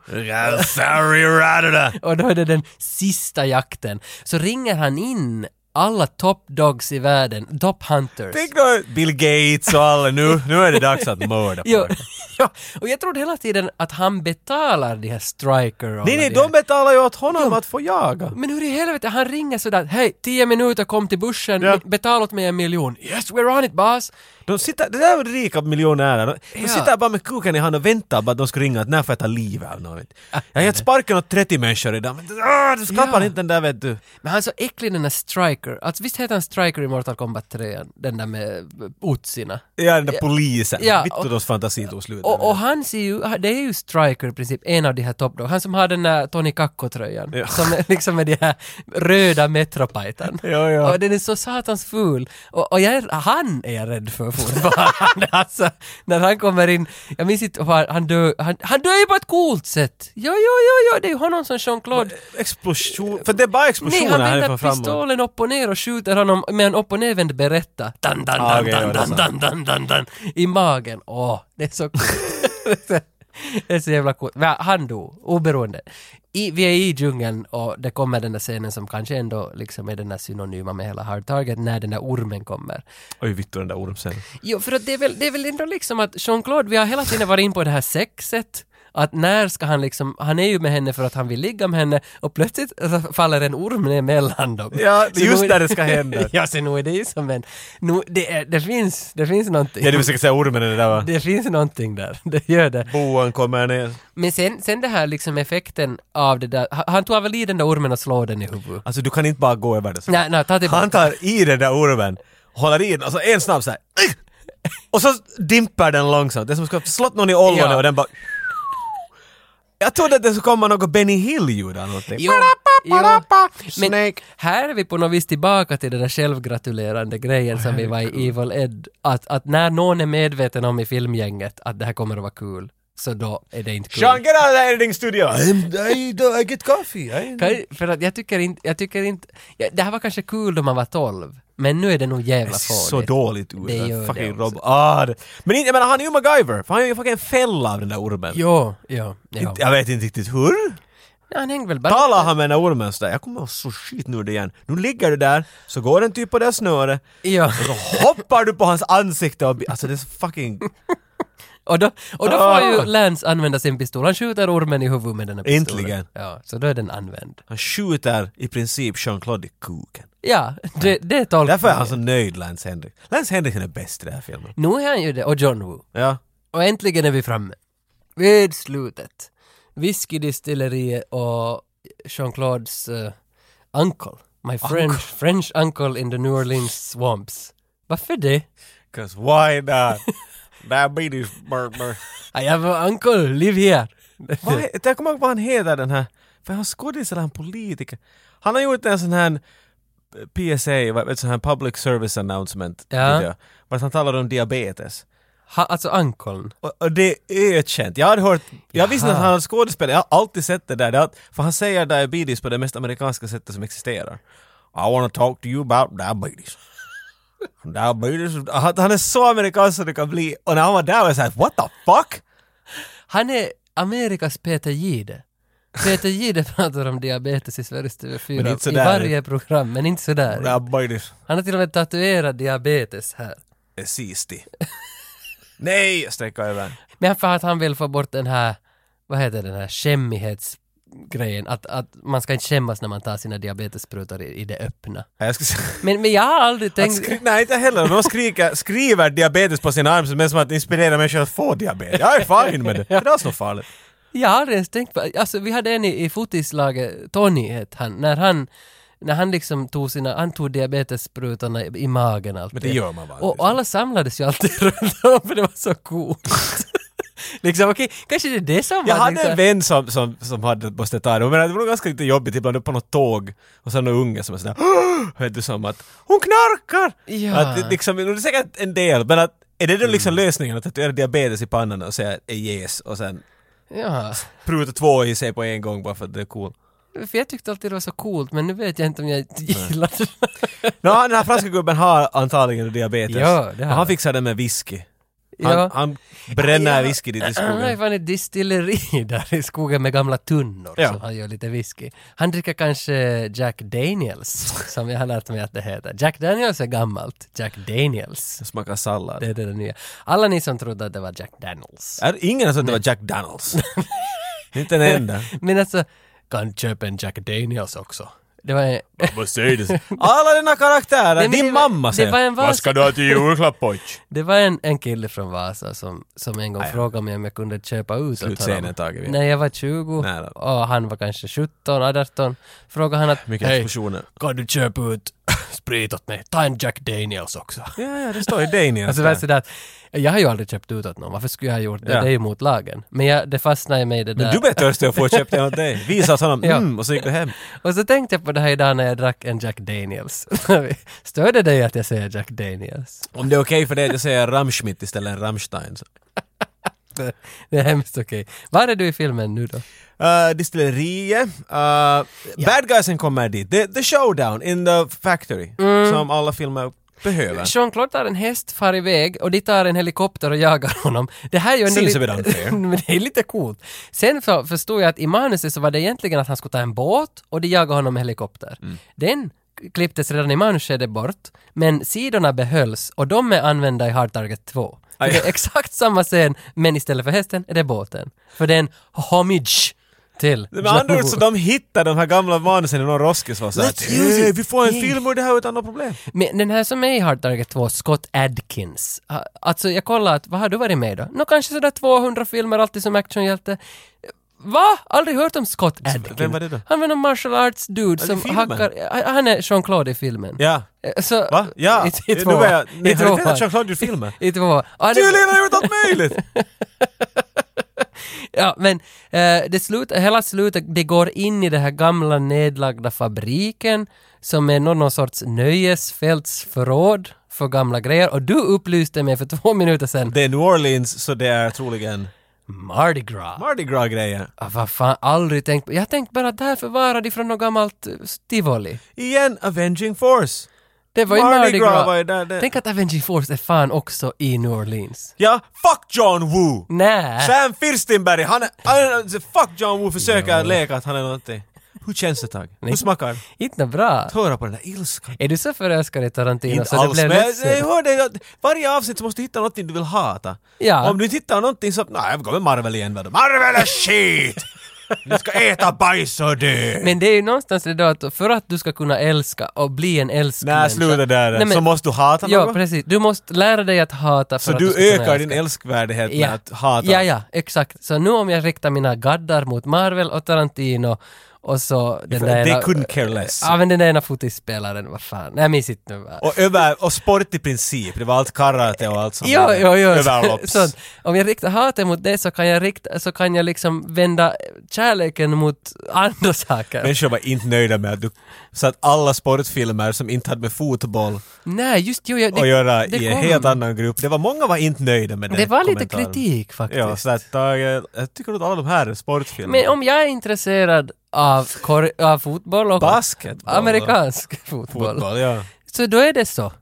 [SPEAKER 2] Sorry, Radada!
[SPEAKER 1] Och då är det den sista jakten. Så ringer han in alla top dogs i världen, top hunters.
[SPEAKER 2] Tänk då Bill Gates och alla nu. Nu är det dags att mörda
[SPEAKER 1] Ja,
[SPEAKER 2] folk.
[SPEAKER 1] ja, och jag trodde hela tiden att han betalar de här striker och
[SPEAKER 2] Nej,
[SPEAKER 1] alla
[SPEAKER 2] nej,
[SPEAKER 1] de här.
[SPEAKER 2] de betalar ju åt honom att få jaga.
[SPEAKER 1] Men hur i helvete, han ringer sådär hej, tio minuter kom till bussen,
[SPEAKER 2] Ja.
[SPEAKER 1] betala åt mig en miljon. Yes, we're on it boss!
[SPEAKER 2] De sitter, det där är rika miljonärer. De, de
[SPEAKER 1] Ja.
[SPEAKER 2] sitter bara med kuken i hand och väntar bara att de ska ringa att när får jag ta livet av någon. vet du. Jag har gett sparken åt 30 människor idag men ah, du skapar
[SPEAKER 1] Ja.
[SPEAKER 2] inte den där vet du.
[SPEAKER 1] Men han är så äcklig den där Striker, alltså visst heter han Striker i Mortal Kombat 3, den där med eh, Utsina?
[SPEAKER 2] Ja, den där polisen.
[SPEAKER 1] Ja,
[SPEAKER 2] Vittu
[SPEAKER 1] och-
[SPEAKER 2] deras fantasi tog slut.
[SPEAKER 1] Och, och han ser ju, det är ju Striker i princip, en av de här Top Dog. Han som har den där Tony Kakko-tröjan.
[SPEAKER 2] Ja.
[SPEAKER 1] Som är liksom med de här röda Metropyton.
[SPEAKER 2] Ja, ja.
[SPEAKER 1] Och den är så satans ful. Och, och jag är, han är jag rädd för fortfarande. alltså, när han kommer in, jag minns inte, vad han, han dör, han, han dör ju på ett coolt sätt. Ja, ja, ja, ja, det är ju honom som Jean-Claude.
[SPEAKER 2] Explosion,
[SPEAKER 1] Eh,
[SPEAKER 2] för det är bara
[SPEAKER 1] Nej,
[SPEAKER 2] explosioner
[SPEAKER 1] han
[SPEAKER 2] härifrån
[SPEAKER 1] vänder
[SPEAKER 2] framåt.
[SPEAKER 1] pistolen upp och ner och skjuter honom med en upp och nervänd berätta. Dan, dan,
[SPEAKER 2] Ah,
[SPEAKER 1] dan,
[SPEAKER 2] okej, ja,
[SPEAKER 1] dan,
[SPEAKER 2] det är
[SPEAKER 1] dan,
[SPEAKER 2] sant.
[SPEAKER 1] dan, dan, dan, dan, I magen. Åh, det är så coolt. det är så jävla coolt. Men han dog, oberoende. I, vi är i djungeln och det kommer den där scenen som kanske ändå liksom är den där synonyma med hela Hard Target, när den där ormen kommer.
[SPEAKER 2] Oj Vittu den där ormsen.
[SPEAKER 1] Jo, för att det är väl, det är väl ändå liksom att Jean-Claude, vi har hela tiden varit in på det här sexet. Att när ska han liksom, han är ju med henne för att han vill ligga med henne och plötsligt faller en orm ner mellan dem.
[SPEAKER 2] Ja,
[SPEAKER 1] Så
[SPEAKER 2] just
[SPEAKER 1] nog-
[SPEAKER 2] där det ska hända.
[SPEAKER 1] ja, så nog är det ju som en, nu, det, är, det finns, det finns någonting.
[SPEAKER 2] Ja du vill säkert säga ormen det där va?
[SPEAKER 1] det finns någonting där, det gör det.
[SPEAKER 2] Boan kommer ner.
[SPEAKER 1] Men sen, sen det här liksom effekten av det där, han- han tar väl i den där ormen och slår den i huvudet?
[SPEAKER 2] Alltså du kan inte bara gå över det så.
[SPEAKER 1] Nej, nej, ta tillbaka.
[SPEAKER 2] Han tar i den där ormen, håller i den och så en snabb såhär. Och så dimper den långsamt. Det är som ska slått någon i ollonet
[SPEAKER 1] Ja.
[SPEAKER 2] och den bara... Jag trodde att det skulle komma något Benny Hill-ljud eller någonting.
[SPEAKER 1] Jo, jo. Men här är vi på något vis tillbaka till den där självgratulerande grejen som vi var i Evil Ed. Att, att när någon är medveten om i filmgänget att det här kommer att vara kul, så då är det inte kul.
[SPEAKER 2] Sean, get out of the editing studio! I, I, I get coffee! I-
[SPEAKER 1] Kan- För att jag tycker inte, jag tycker inte, ja, det här var kanske kul då man var 12, men nu är det nog
[SPEAKER 2] Det
[SPEAKER 1] jävla
[SPEAKER 2] ser så
[SPEAKER 1] fånigt.
[SPEAKER 2] dåligt
[SPEAKER 1] Det gör det
[SPEAKER 2] ut. Fucking
[SPEAKER 1] också.
[SPEAKER 2] Rob. Ah, det. Men inte, jag menar, han är ju MacGyver, för han gör ju fucking en fälla av den där ormen.
[SPEAKER 1] Jo, jo, jo.
[SPEAKER 2] Inte- Jag vet inte riktigt hur.
[SPEAKER 1] Ja, han hängde väl bara...
[SPEAKER 2] Talar han med den där ormen sådär, jag kommer vara så skit nu igen. Nu ligger du där, så går en typ på det här snöret,
[SPEAKER 1] Ja.
[SPEAKER 2] och så hoppar du på hans ansikte och... bli- Alltså det är så fucking...
[SPEAKER 1] Och då, och då
[SPEAKER 2] Ah.
[SPEAKER 1] får ju Lance använda sin pistol. Han skjuter ormen i huvudet med den här pistolen.
[SPEAKER 2] Äntligen.
[SPEAKER 1] Ja, så då är den använd.
[SPEAKER 2] Han skjuter i princip Jean-Claude i kuken.
[SPEAKER 1] Ja, det, det är tolkningen.
[SPEAKER 2] Därför är han så nöjd, Lance Henrik. Lance Henrik är bäst i den här filmen.
[SPEAKER 1] Nu är han ju det, och John Woo.
[SPEAKER 2] Ja.
[SPEAKER 1] Och äntligen är vi framme. Vid slutet. Whiskydistilleriet och Jean-Claudes eh, uncle. My French, French uncle in the New Orleans swamps. Varför det?
[SPEAKER 2] 'Cause why not? Diabetes burger.
[SPEAKER 1] I have an uncle, live here.
[SPEAKER 2] Vad he- Jag kommer ihåg vad han heter den här, för han skådis eller han politiker? Han har gjort en sån här PSA, vad- ett sån här public service announcement
[SPEAKER 1] Ja.
[SPEAKER 2] video, vart han talar om diabetes.
[SPEAKER 1] Ha, alltså unkeln.
[SPEAKER 2] Och, och det är ökänt. Jag hade hört, jag visste
[SPEAKER 1] Jaha.
[SPEAKER 2] att han var skådespelare, jag har alltid sett det där. Det har, för han säger diabetes på det mest amerikanska sättet som existerar. I wanna talk to you about diabetes. Diabetes. Han, han är så amerikansk som det kan bli. Och när han var där var jag såhär, what the fuck?
[SPEAKER 1] Han är Amerikas Peter Gide. Peter Gide pratar om diabetes i Sveriges
[SPEAKER 2] Men
[SPEAKER 1] TV4
[SPEAKER 2] inte
[SPEAKER 1] i
[SPEAKER 2] sådär.
[SPEAKER 1] varje program, men inte sådär.
[SPEAKER 2] Diabetes.
[SPEAKER 1] Han har till och med tatuerat diabetes här.
[SPEAKER 2] är Eh, siisti. Nej! Sträcka över.
[SPEAKER 1] Men för att han vill få bort den här, vad heter den här, skämmighetsgrejen, att, att man ska inte skämmas när man tar sina diabetessprutor i, i det öppna.
[SPEAKER 2] Ja, Jag ska säga.
[SPEAKER 1] Men, men jag har aldrig
[SPEAKER 2] Att
[SPEAKER 1] tänkt...
[SPEAKER 2] skri- nej, inte heller. De skriker, skriver diabetes på sin arm som är som att inspirera människor att få diabetes. Jag är fine med det. Det är inte alls något farligt.
[SPEAKER 1] Jag har aldrig ens tänkt på, alltså vi hade en i, i fotislaget, Tony hette han, när han när han liksom tog sina, han tog diabetessprutorna i, i magen alltid.
[SPEAKER 2] Men det gör man liksom. vanligtvis.
[SPEAKER 1] Och och alla samlades ju alltid runt om för det var så coolt. liksom okej, kanske det är det som
[SPEAKER 2] Jag
[SPEAKER 1] var
[SPEAKER 2] hade
[SPEAKER 1] liksom-
[SPEAKER 2] en vän som, som, som hade, måste ta det, men det var nog ganska lite jobbigt ibland på något tåg och sen någon unge som var sådär "Åh!" Vet du som att hon knarkar!
[SPEAKER 1] Ja.
[SPEAKER 2] Att, det liksom, det är säkert en del, men att är det då liksom lösningen att tatuera diabetes i pannan och säga yes och sen
[SPEAKER 1] Ja.
[SPEAKER 2] Pruta två i sig på en gång bara för att det är cool.
[SPEAKER 1] För jag tyckte alltid det var så coolt, men nu vet jag inte om jag gillar det.
[SPEAKER 2] Nå, den här franska gubben har antagligen diabetes.
[SPEAKER 1] Ja, det har
[SPEAKER 2] Men
[SPEAKER 1] han.
[SPEAKER 2] han fixar det med whisky. Han,
[SPEAKER 1] Ja.
[SPEAKER 2] han bränner whisky dit i
[SPEAKER 1] Han har ju
[SPEAKER 2] skogen.
[SPEAKER 1] fan ett distilleri där i skogen med gamla tunnor
[SPEAKER 2] Ja.
[SPEAKER 1] som han gör lite whisky. Han dricker kanske Jack Daniels, som jag har lärt mig att det heter. Jack Daniels är gammalt, Jack Daniels.
[SPEAKER 2] Det smakar sallad.
[SPEAKER 1] Det är det nya. Alla ni som trodde att det var Jack Daniels.
[SPEAKER 2] Är det ingen som att det var Jack Daniels? Inte en enda.
[SPEAKER 1] Men alltså, kan köpa en Jack Daniels också. Det var en...
[SPEAKER 2] Mercedes. Alla dina karaktärer!
[SPEAKER 1] Nej, men
[SPEAKER 2] Din
[SPEAKER 1] det var-
[SPEAKER 2] mamma
[SPEAKER 1] det var en vas- Vad ska
[SPEAKER 2] du ha till julklapp pojk?
[SPEAKER 1] Det var en, en kille från Vasa som, som en gång frågade mig om jag kunde köpa ut åt
[SPEAKER 2] Slutscenen, Tage, vi-
[SPEAKER 1] När jag var 20
[SPEAKER 2] Nej då.
[SPEAKER 1] och han var kanske 17, 18 frågade han att
[SPEAKER 2] Mycket
[SPEAKER 1] hej,
[SPEAKER 2] explosioner.
[SPEAKER 1] kan du köpa ut sprit åt mig? Ta en Jack Daniels också.
[SPEAKER 2] Ja, ja, det står ju Daniels
[SPEAKER 1] Alltså det var
[SPEAKER 2] där.
[SPEAKER 1] sådär att, jag har ju aldrig köpt ut åt någon, varför skulle jag ha gjort det?
[SPEAKER 2] Ja.
[SPEAKER 1] Det är ju mot lagen. Men jag, det fastnade i mig i det där.
[SPEAKER 2] Men du blev törstig och får köpa en åt dig. Visa åt honom,
[SPEAKER 1] Ja.
[SPEAKER 2] mm, och så gick du hem.
[SPEAKER 1] Och så tänkte jag på det här idag när jag drack en Jack Daniels. Stör det dig att jag säger Jack Daniels?
[SPEAKER 2] Om det är okej för dig att jag säger Ramschmidt istället än Rammstein. så.
[SPEAKER 1] Det är hemskt okej. Var är du i filmen nu då?
[SPEAKER 2] Uh, distilleriet. Uh, Bad guysen kommer dit. The, the showdown in the factory. Som alla filmer behöver.
[SPEAKER 1] Jean-Claude tar en häst, far iväg och de tar en helikopter och jagar honom. Det här är ju ändå
[SPEAKER 2] Seems
[SPEAKER 1] lite-
[SPEAKER 2] a bit unfair.
[SPEAKER 1] Men det är lite coolt. Sen för, förstod jag att i manuset så var det egentligen att han skulle ta en båt och de jagade honom med helikopter.
[SPEAKER 2] Mm.
[SPEAKER 1] Den klipptes redan i manusskedet bort, men sidorna behölls och de är använda i Hard Target 2. Så
[SPEAKER 2] Aj.
[SPEAKER 1] det är exakt samma scen, men istället för hästen är det båten. För det är en homage till
[SPEAKER 2] Med
[SPEAKER 1] John
[SPEAKER 2] andra ord
[SPEAKER 1] Woo.
[SPEAKER 2] så de hittar de här gamla manusen i någon roskis och så att
[SPEAKER 1] Let's use it.
[SPEAKER 2] "Hey, vi får en film ur det här utan några problem.
[SPEAKER 1] Men den här som är i Hard Target 2, Scott Adkins. ha- Alltså jag kollar att, vad har du varit med i då? Nå kanske sådär 200 filmer alltid som actionhjälte. Va? Aldrig hört om Scott Adkins.
[SPEAKER 2] vem var det då?
[SPEAKER 1] Han var någon martial arts dude
[SPEAKER 2] i
[SPEAKER 1] som
[SPEAKER 2] filmen?
[SPEAKER 1] hackar, han är Jean-Claude i filmen.
[SPEAKER 2] Ja.
[SPEAKER 1] Eh, Så,
[SPEAKER 2] Va? Ja.
[SPEAKER 1] I, i
[SPEAKER 2] Nu
[SPEAKER 1] tvåan.
[SPEAKER 2] var jag- nej,
[SPEAKER 1] I
[SPEAKER 2] har du
[SPEAKER 1] tvåan.
[SPEAKER 2] vetat Jean-Claude i filmen?
[SPEAKER 1] I tvåan. Ja, det-
[SPEAKER 2] Julian har gjort allt möjligt!
[SPEAKER 1] Ja, men eh, det slut, hela slutet, det går in i den här gamla nedlagda fabriken som är någon, någon sorts nöjesfältsförråd för gamla grejer och du upplyste mig för två minuter sedan
[SPEAKER 2] Det är New Orleans så det är troligen
[SPEAKER 1] Mardi Gras.
[SPEAKER 2] Mardi Gras-grejer.
[SPEAKER 1] ah, vad fan, aldrig tänkt på. Jag tänkte bara att det här förvarade ifrån något gammalt eh, tivoli.
[SPEAKER 2] Igen, Avenging Force!
[SPEAKER 1] Det var ju Mardi,
[SPEAKER 2] Mardi
[SPEAKER 1] Gras.
[SPEAKER 2] Gras var ju där, det-
[SPEAKER 1] Tänk att Avenging Force är fan också i New Orleans.
[SPEAKER 2] Ja, fuck John Woo!
[SPEAKER 1] Nej.
[SPEAKER 2] Sam Firstinberg, han är... han är- Fuck John Woo försöker leka att han är någonting. Hur känns det Tage? Hur smakar det?
[SPEAKER 1] Inte nå bra.
[SPEAKER 2] Att höra på den där ilskan.
[SPEAKER 1] Är du så förälskad i Tarantino
[SPEAKER 2] Inte
[SPEAKER 1] så
[SPEAKER 2] alls,
[SPEAKER 1] du
[SPEAKER 2] men
[SPEAKER 1] blev
[SPEAKER 2] jag, jag
[SPEAKER 1] ledsen?
[SPEAKER 2] hörde att varje avsnitt så måste du hitta någonting du vill hata.
[SPEAKER 1] Ja.
[SPEAKER 2] Om du inte hittar någonting så, nej jag går med Marvel igen väl då. Marvel är shit! Du ska äta bajs och dö!
[SPEAKER 1] Men det är ju någonstans det då att för att du ska kunna älska och bli en älskmänniska.
[SPEAKER 2] Nej, sluta där.
[SPEAKER 1] Nej, men-
[SPEAKER 2] så måste du hata
[SPEAKER 1] Ja,
[SPEAKER 2] något.
[SPEAKER 1] precis. Du måste lära dig att hata för
[SPEAKER 2] Så
[SPEAKER 1] att
[SPEAKER 2] du
[SPEAKER 1] ska kunna
[SPEAKER 2] ökar din
[SPEAKER 1] älska.
[SPEAKER 2] älskvärdhet med
[SPEAKER 1] ja.
[SPEAKER 2] att hata.
[SPEAKER 1] Ja, ja, exakt. Så nu om jag riktar mina gaddar mot Marvel och Tarantino och så den
[SPEAKER 2] För
[SPEAKER 1] där
[SPEAKER 2] They
[SPEAKER 1] ena...
[SPEAKER 2] couldn't care less.
[SPEAKER 1] Ja, men den där ena fotispelaren, vad fan. Nej, jag minns inte nu.
[SPEAKER 2] Och, över, och sport i princip, det var allt karate och allt sånt
[SPEAKER 1] Jo,
[SPEAKER 2] där.
[SPEAKER 1] jo, jo.
[SPEAKER 2] Överlopps.
[SPEAKER 1] Så, om jag riktar hatet mot det så kan jag rikta, så kan jag liksom vända kärleken mot andra saker.
[SPEAKER 2] Människor var inte nöjda med att du satt alla sportfilmer som inte hade med fotboll
[SPEAKER 1] Nej, just jo, jag,
[SPEAKER 2] att göra i en
[SPEAKER 1] kom.
[SPEAKER 2] helt annan grupp. Det var många var inte nöjda med den
[SPEAKER 1] Det var lite
[SPEAKER 2] kommentaren.
[SPEAKER 1] kritik faktiskt.
[SPEAKER 2] Ja, så att, jag, jag tycker att alla de här är sportfilmer.
[SPEAKER 1] Men om jag är intresserad av, kor- av fotboll och
[SPEAKER 2] Basketboll.
[SPEAKER 1] amerikansk fotboll,
[SPEAKER 2] Fotboll, ja.
[SPEAKER 1] så då är det så.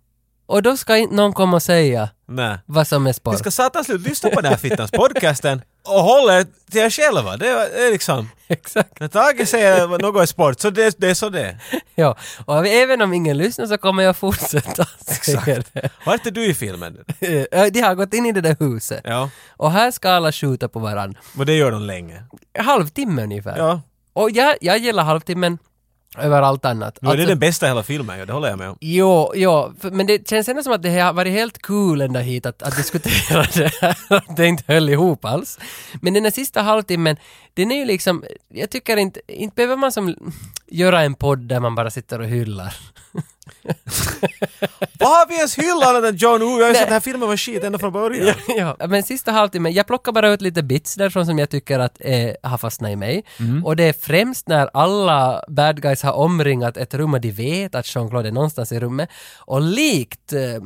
[SPEAKER 1] Och då ska inte någon komma och säga
[SPEAKER 2] Nej.
[SPEAKER 1] vad som är sport.
[SPEAKER 2] Ni ska satans slut lyssna på den här fittans podcasten och hålla er till er själva. Det är, det är liksom...
[SPEAKER 1] Exakt.
[SPEAKER 2] När Tage säger att något är sport, så det, det är så det är.
[SPEAKER 1] Ja. Och även om ingen lyssnar så kommer jag fortsätta. säga det.
[SPEAKER 2] Var är du i filmen?
[SPEAKER 1] Eh, De har gått in i det där huset.
[SPEAKER 2] Ja.
[SPEAKER 1] Och här ska alla skjuta på varandra.
[SPEAKER 2] Och det gör de länge.
[SPEAKER 1] Halvtimme ungefär.
[SPEAKER 2] Ja.
[SPEAKER 1] Och jag, jag gillar halvtimmen över allt annat.
[SPEAKER 2] Nu är det
[SPEAKER 1] Alltså-
[SPEAKER 2] den bästa i hela filmen, ja, det håller jag med om.
[SPEAKER 1] Jo, jo, för- men det känns ändå som att det har varit helt cool ända hit att, att diskutera det här. Att det inte höll ihop alls. Men den här sista halvtimmen, den är ju liksom, jag tycker inte, inte behöver man som göra en podd där man bara sitter och hyllar.
[SPEAKER 2] Vad har vi ens hyllat annat än John Woo? Jag har ju sett den här filmen var shit ända från början.
[SPEAKER 1] ja, men sista halvtimmen, jag plockar bara ut lite bits därifrån som jag tycker att eh, har fastnat i mig.
[SPEAKER 2] Mm.
[SPEAKER 1] Och det är främst när alla bad guys har omringat ett rum och de vet att Jean-Claude är någonstans i rummet. Och likt eh,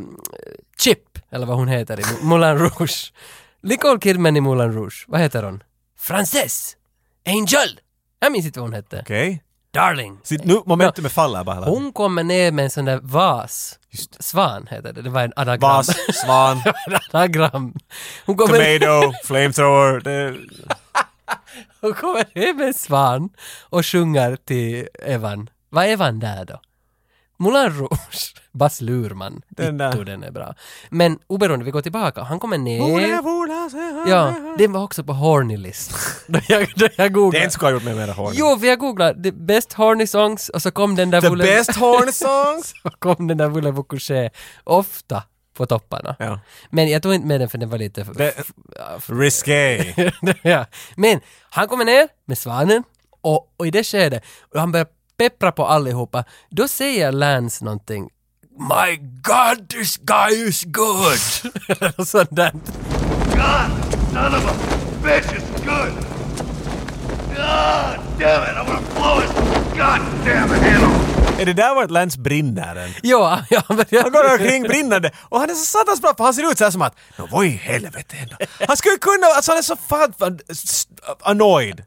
[SPEAKER 1] Chip, eller vad hon heter i Moulin Rouge, Nicole Kidman i Moulin Rouge, vad heter hon? Frances! Angel! Jag minns inte vad hon hette.
[SPEAKER 2] Okej?
[SPEAKER 1] Darling!
[SPEAKER 2] Så nu momentumet faller bara hela tiden.
[SPEAKER 1] Hon kommer ner med en sån där vas.
[SPEAKER 2] Just.
[SPEAKER 1] Svan heter det. Det var en anagram.
[SPEAKER 2] Vas, svan,
[SPEAKER 1] en anagram. Hon kommer,
[SPEAKER 2] tomato, flamethrower. Det...
[SPEAKER 1] hon kommer ner med en svan och sjunger till Evan. Var Evan där då? Moulin Rouge. Bas Lurman.
[SPEAKER 2] Den där.
[SPEAKER 1] Itto, den är bra. Men oberoende, vi går tillbaka. Han kommer
[SPEAKER 2] Vola,
[SPEAKER 1] ner.
[SPEAKER 2] vola, se-
[SPEAKER 1] Ja, den var också på horny list. Då jag, då jag
[SPEAKER 2] Det
[SPEAKER 1] googlade.
[SPEAKER 2] är inte skulle ha gjort mig mera hård.
[SPEAKER 1] Jo, för jag googlade the best horny songs och så kom den där
[SPEAKER 2] The
[SPEAKER 1] Voulez-
[SPEAKER 2] best horn songs!
[SPEAKER 1] så kom den där Voulez vous coucher ofta på topparna.
[SPEAKER 2] Ja.
[SPEAKER 1] Men jag tog inte med den för den var lite...
[SPEAKER 2] Det- Risqué.
[SPEAKER 1] ja. Men han kommer ner med svanen och, och i det skedet, och han börjar peppra på allihopa, då säger Lance någonting My God, this guy is good! Eller sånt där.
[SPEAKER 2] Är det där vart Lance brinner?
[SPEAKER 1] Ja, ja, men jag-
[SPEAKER 2] Han går omkring brinnande och han är så satans bra för han ser ut så här som att Nå vad i helvete ändå. Han skulle ju kunna, alltså han är så fan, fan s- annoyed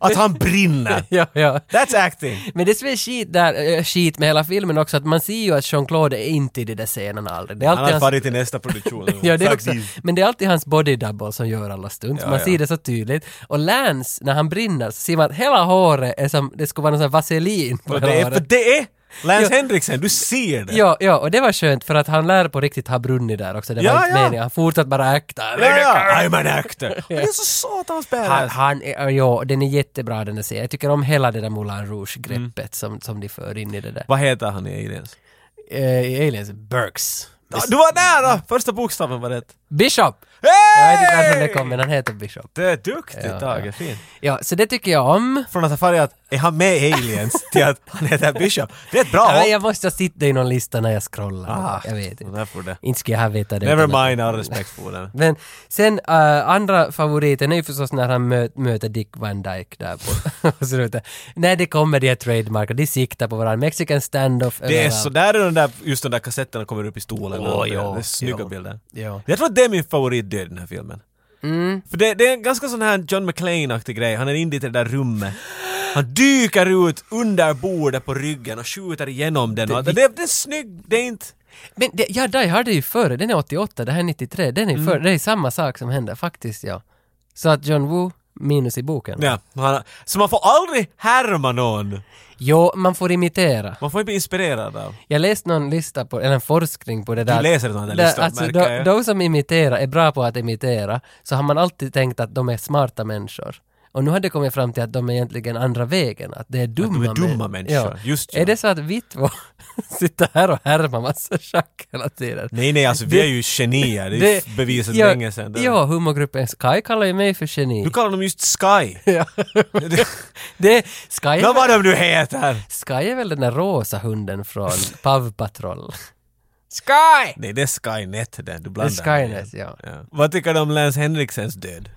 [SPEAKER 2] att han brinner.
[SPEAKER 1] ja, ja.
[SPEAKER 2] That's acting.
[SPEAKER 1] Men det som är skit där, eh, skit med hela filmen också, att man ser ju att Jean-Claude är inte i de där scenerna aldrig. Det är
[SPEAKER 2] Han
[SPEAKER 1] alltid
[SPEAKER 2] har
[SPEAKER 1] hans
[SPEAKER 2] farit till nästa produktion.
[SPEAKER 1] Ja, det är också,
[SPEAKER 2] Faktiskt.
[SPEAKER 1] men det är alltid hans body double som gör alla stunts. Man
[SPEAKER 2] ja.
[SPEAKER 1] ser det så tydligt. Och Lance, när han brinner, så ser man att hela håret är som, det skulle vara någon sån här vaselin på
[SPEAKER 2] Och
[SPEAKER 1] hela
[SPEAKER 2] det är, för
[SPEAKER 1] håret.
[SPEAKER 2] det är Lance
[SPEAKER 1] Ja.
[SPEAKER 2] Henriksen, du ser det.
[SPEAKER 1] Ja, ja, och det var skönt för att han lär på riktigt ha brunnit där också. Det var
[SPEAKER 2] Ja,
[SPEAKER 1] inte
[SPEAKER 2] ja.
[SPEAKER 1] meningen. Han fortsatte bara akta.
[SPEAKER 2] Ja, ja. I'm an actor. Han är så satans
[SPEAKER 1] Han,
[SPEAKER 2] badass.
[SPEAKER 1] han är, ja, den är jättebra den där serien. Jag tycker om hela det där Moulin Rouge-greppet
[SPEAKER 2] Mm.
[SPEAKER 1] som, som de för in i det där.
[SPEAKER 2] Vad heter han i Aliens?
[SPEAKER 1] Eh, I Aliens, Burks.
[SPEAKER 2] Ja, Du var nära! Första bokstaven var rätt.
[SPEAKER 1] Bishop! Jag vet inte varför det kom, men han heter Bishop.
[SPEAKER 2] Det är duktigt
[SPEAKER 1] Ja,
[SPEAKER 2] Tage,
[SPEAKER 1] ja.
[SPEAKER 2] fint.
[SPEAKER 1] Ja, så det tycker jag om.
[SPEAKER 2] Från att ha farit att är han med i Aliens till att han heter Bishop. Det är ett bra
[SPEAKER 1] Ja,
[SPEAKER 2] hopp.
[SPEAKER 1] men jag måste sitta i någon lista när jag scrollar.
[SPEAKER 2] Ah,
[SPEAKER 1] jag vet
[SPEAKER 2] och
[SPEAKER 1] inte.
[SPEAKER 2] därför det.
[SPEAKER 1] Inte ska jag här veta det.
[SPEAKER 2] Never
[SPEAKER 1] utan att-
[SPEAKER 2] mind, all respekt för den.
[SPEAKER 1] Men sen eh, andra favoriten är ju förstås när han mö- möter Dick Van Dyke där på slutet. när det kommer de här trademarker, de siktar på varandra. Mexican standoff
[SPEAKER 2] Det är
[SPEAKER 1] överallt.
[SPEAKER 2] så, där är den där, just den där kassetterna kommer upp i stolen.
[SPEAKER 1] Åh,
[SPEAKER 2] och det,
[SPEAKER 1] ja,
[SPEAKER 2] det är snygga
[SPEAKER 1] ja.
[SPEAKER 2] bilder.
[SPEAKER 1] Ja. Mm.
[SPEAKER 2] Jag tror att det är min favoritdöd i den här filmen. För det, det är en ganska sån här John McClane-aktig grej. Han är inne i det där rummet. Han dyker ut under bordet på ryggen och skjuter igenom den. Det, det, det, är snygg, det är inte...
[SPEAKER 1] Men det, ja, Die Hard är ju före, den är 88, det här är 93, den är
[SPEAKER 2] Mm.
[SPEAKER 1] före, det är samma sak som händer faktiskt ja. Så att John Woo minus i boken.
[SPEAKER 2] Ja, han, så man får aldrig härma någon.
[SPEAKER 1] Jo, man får imitera.
[SPEAKER 2] Man får inte bli inspirerad av.
[SPEAKER 1] Jag läste någon lista på, eller en forskning på det där.
[SPEAKER 2] läser sådana där
[SPEAKER 1] Där,
[SPEAKER 2] listor,
[SPEAKER 1] Alltså,
[SPEAKER 2] märker
[SPEAKER 1] de,
[SPEAKER 2] jag.
[SPEAKER 1] de som imiterar är bra på att imitera, så har man alltid tänkt att de är smarta människor. Och nu har det kommit fram till att de är egentligen andra vägen, att det är dumma,
[SPEAKER 2] de är dumma
[SPEAKER 1] män-
[SPEAKER 2] människor, just
[SPEAKER 1] Är
[SPEAKER 2] så.
[SPEAKER 1] det så att vi två sitter här och härmar massa schack hela tiden?
[SPEAKER 2] Nej, nej, alltså vi
[SPEAKER 1] Det-
[SPEAKER 2] är ju genier. Det är
[SPEAKER 1] Det-
[SPEAKER 2] ju bevisat
[SPEAKER 1] ja,
[SPEAKER 2] länge sedan. Det-
[SPEAKER 1] Ja, humorgruppen Sky kallar ju mig för geni.
[SPEAKER 2] Du kallar dem just Sky.
[SPEAKER 1] Ja.
[SPEAKER 2] Det-
[SPEAKER 1] det, Sky, är
[SPEAKER 2] Nå,
[SPEAKER 1] väl,
[SPEAKER 2] vad de nu heter!
[SPEAKER 1] Sky är väl den där rosa hunden från Pav Patrol?
[SPEAKER 2] Nej, det är Skynet det. Du
[SPEAKER 1] Det är
[SPEAKER 2] blandar.
[SPEAKER 1] Skynet, ja.
[SPEAKER 2] Ja. Vad tycker du om Lance Henriksens död?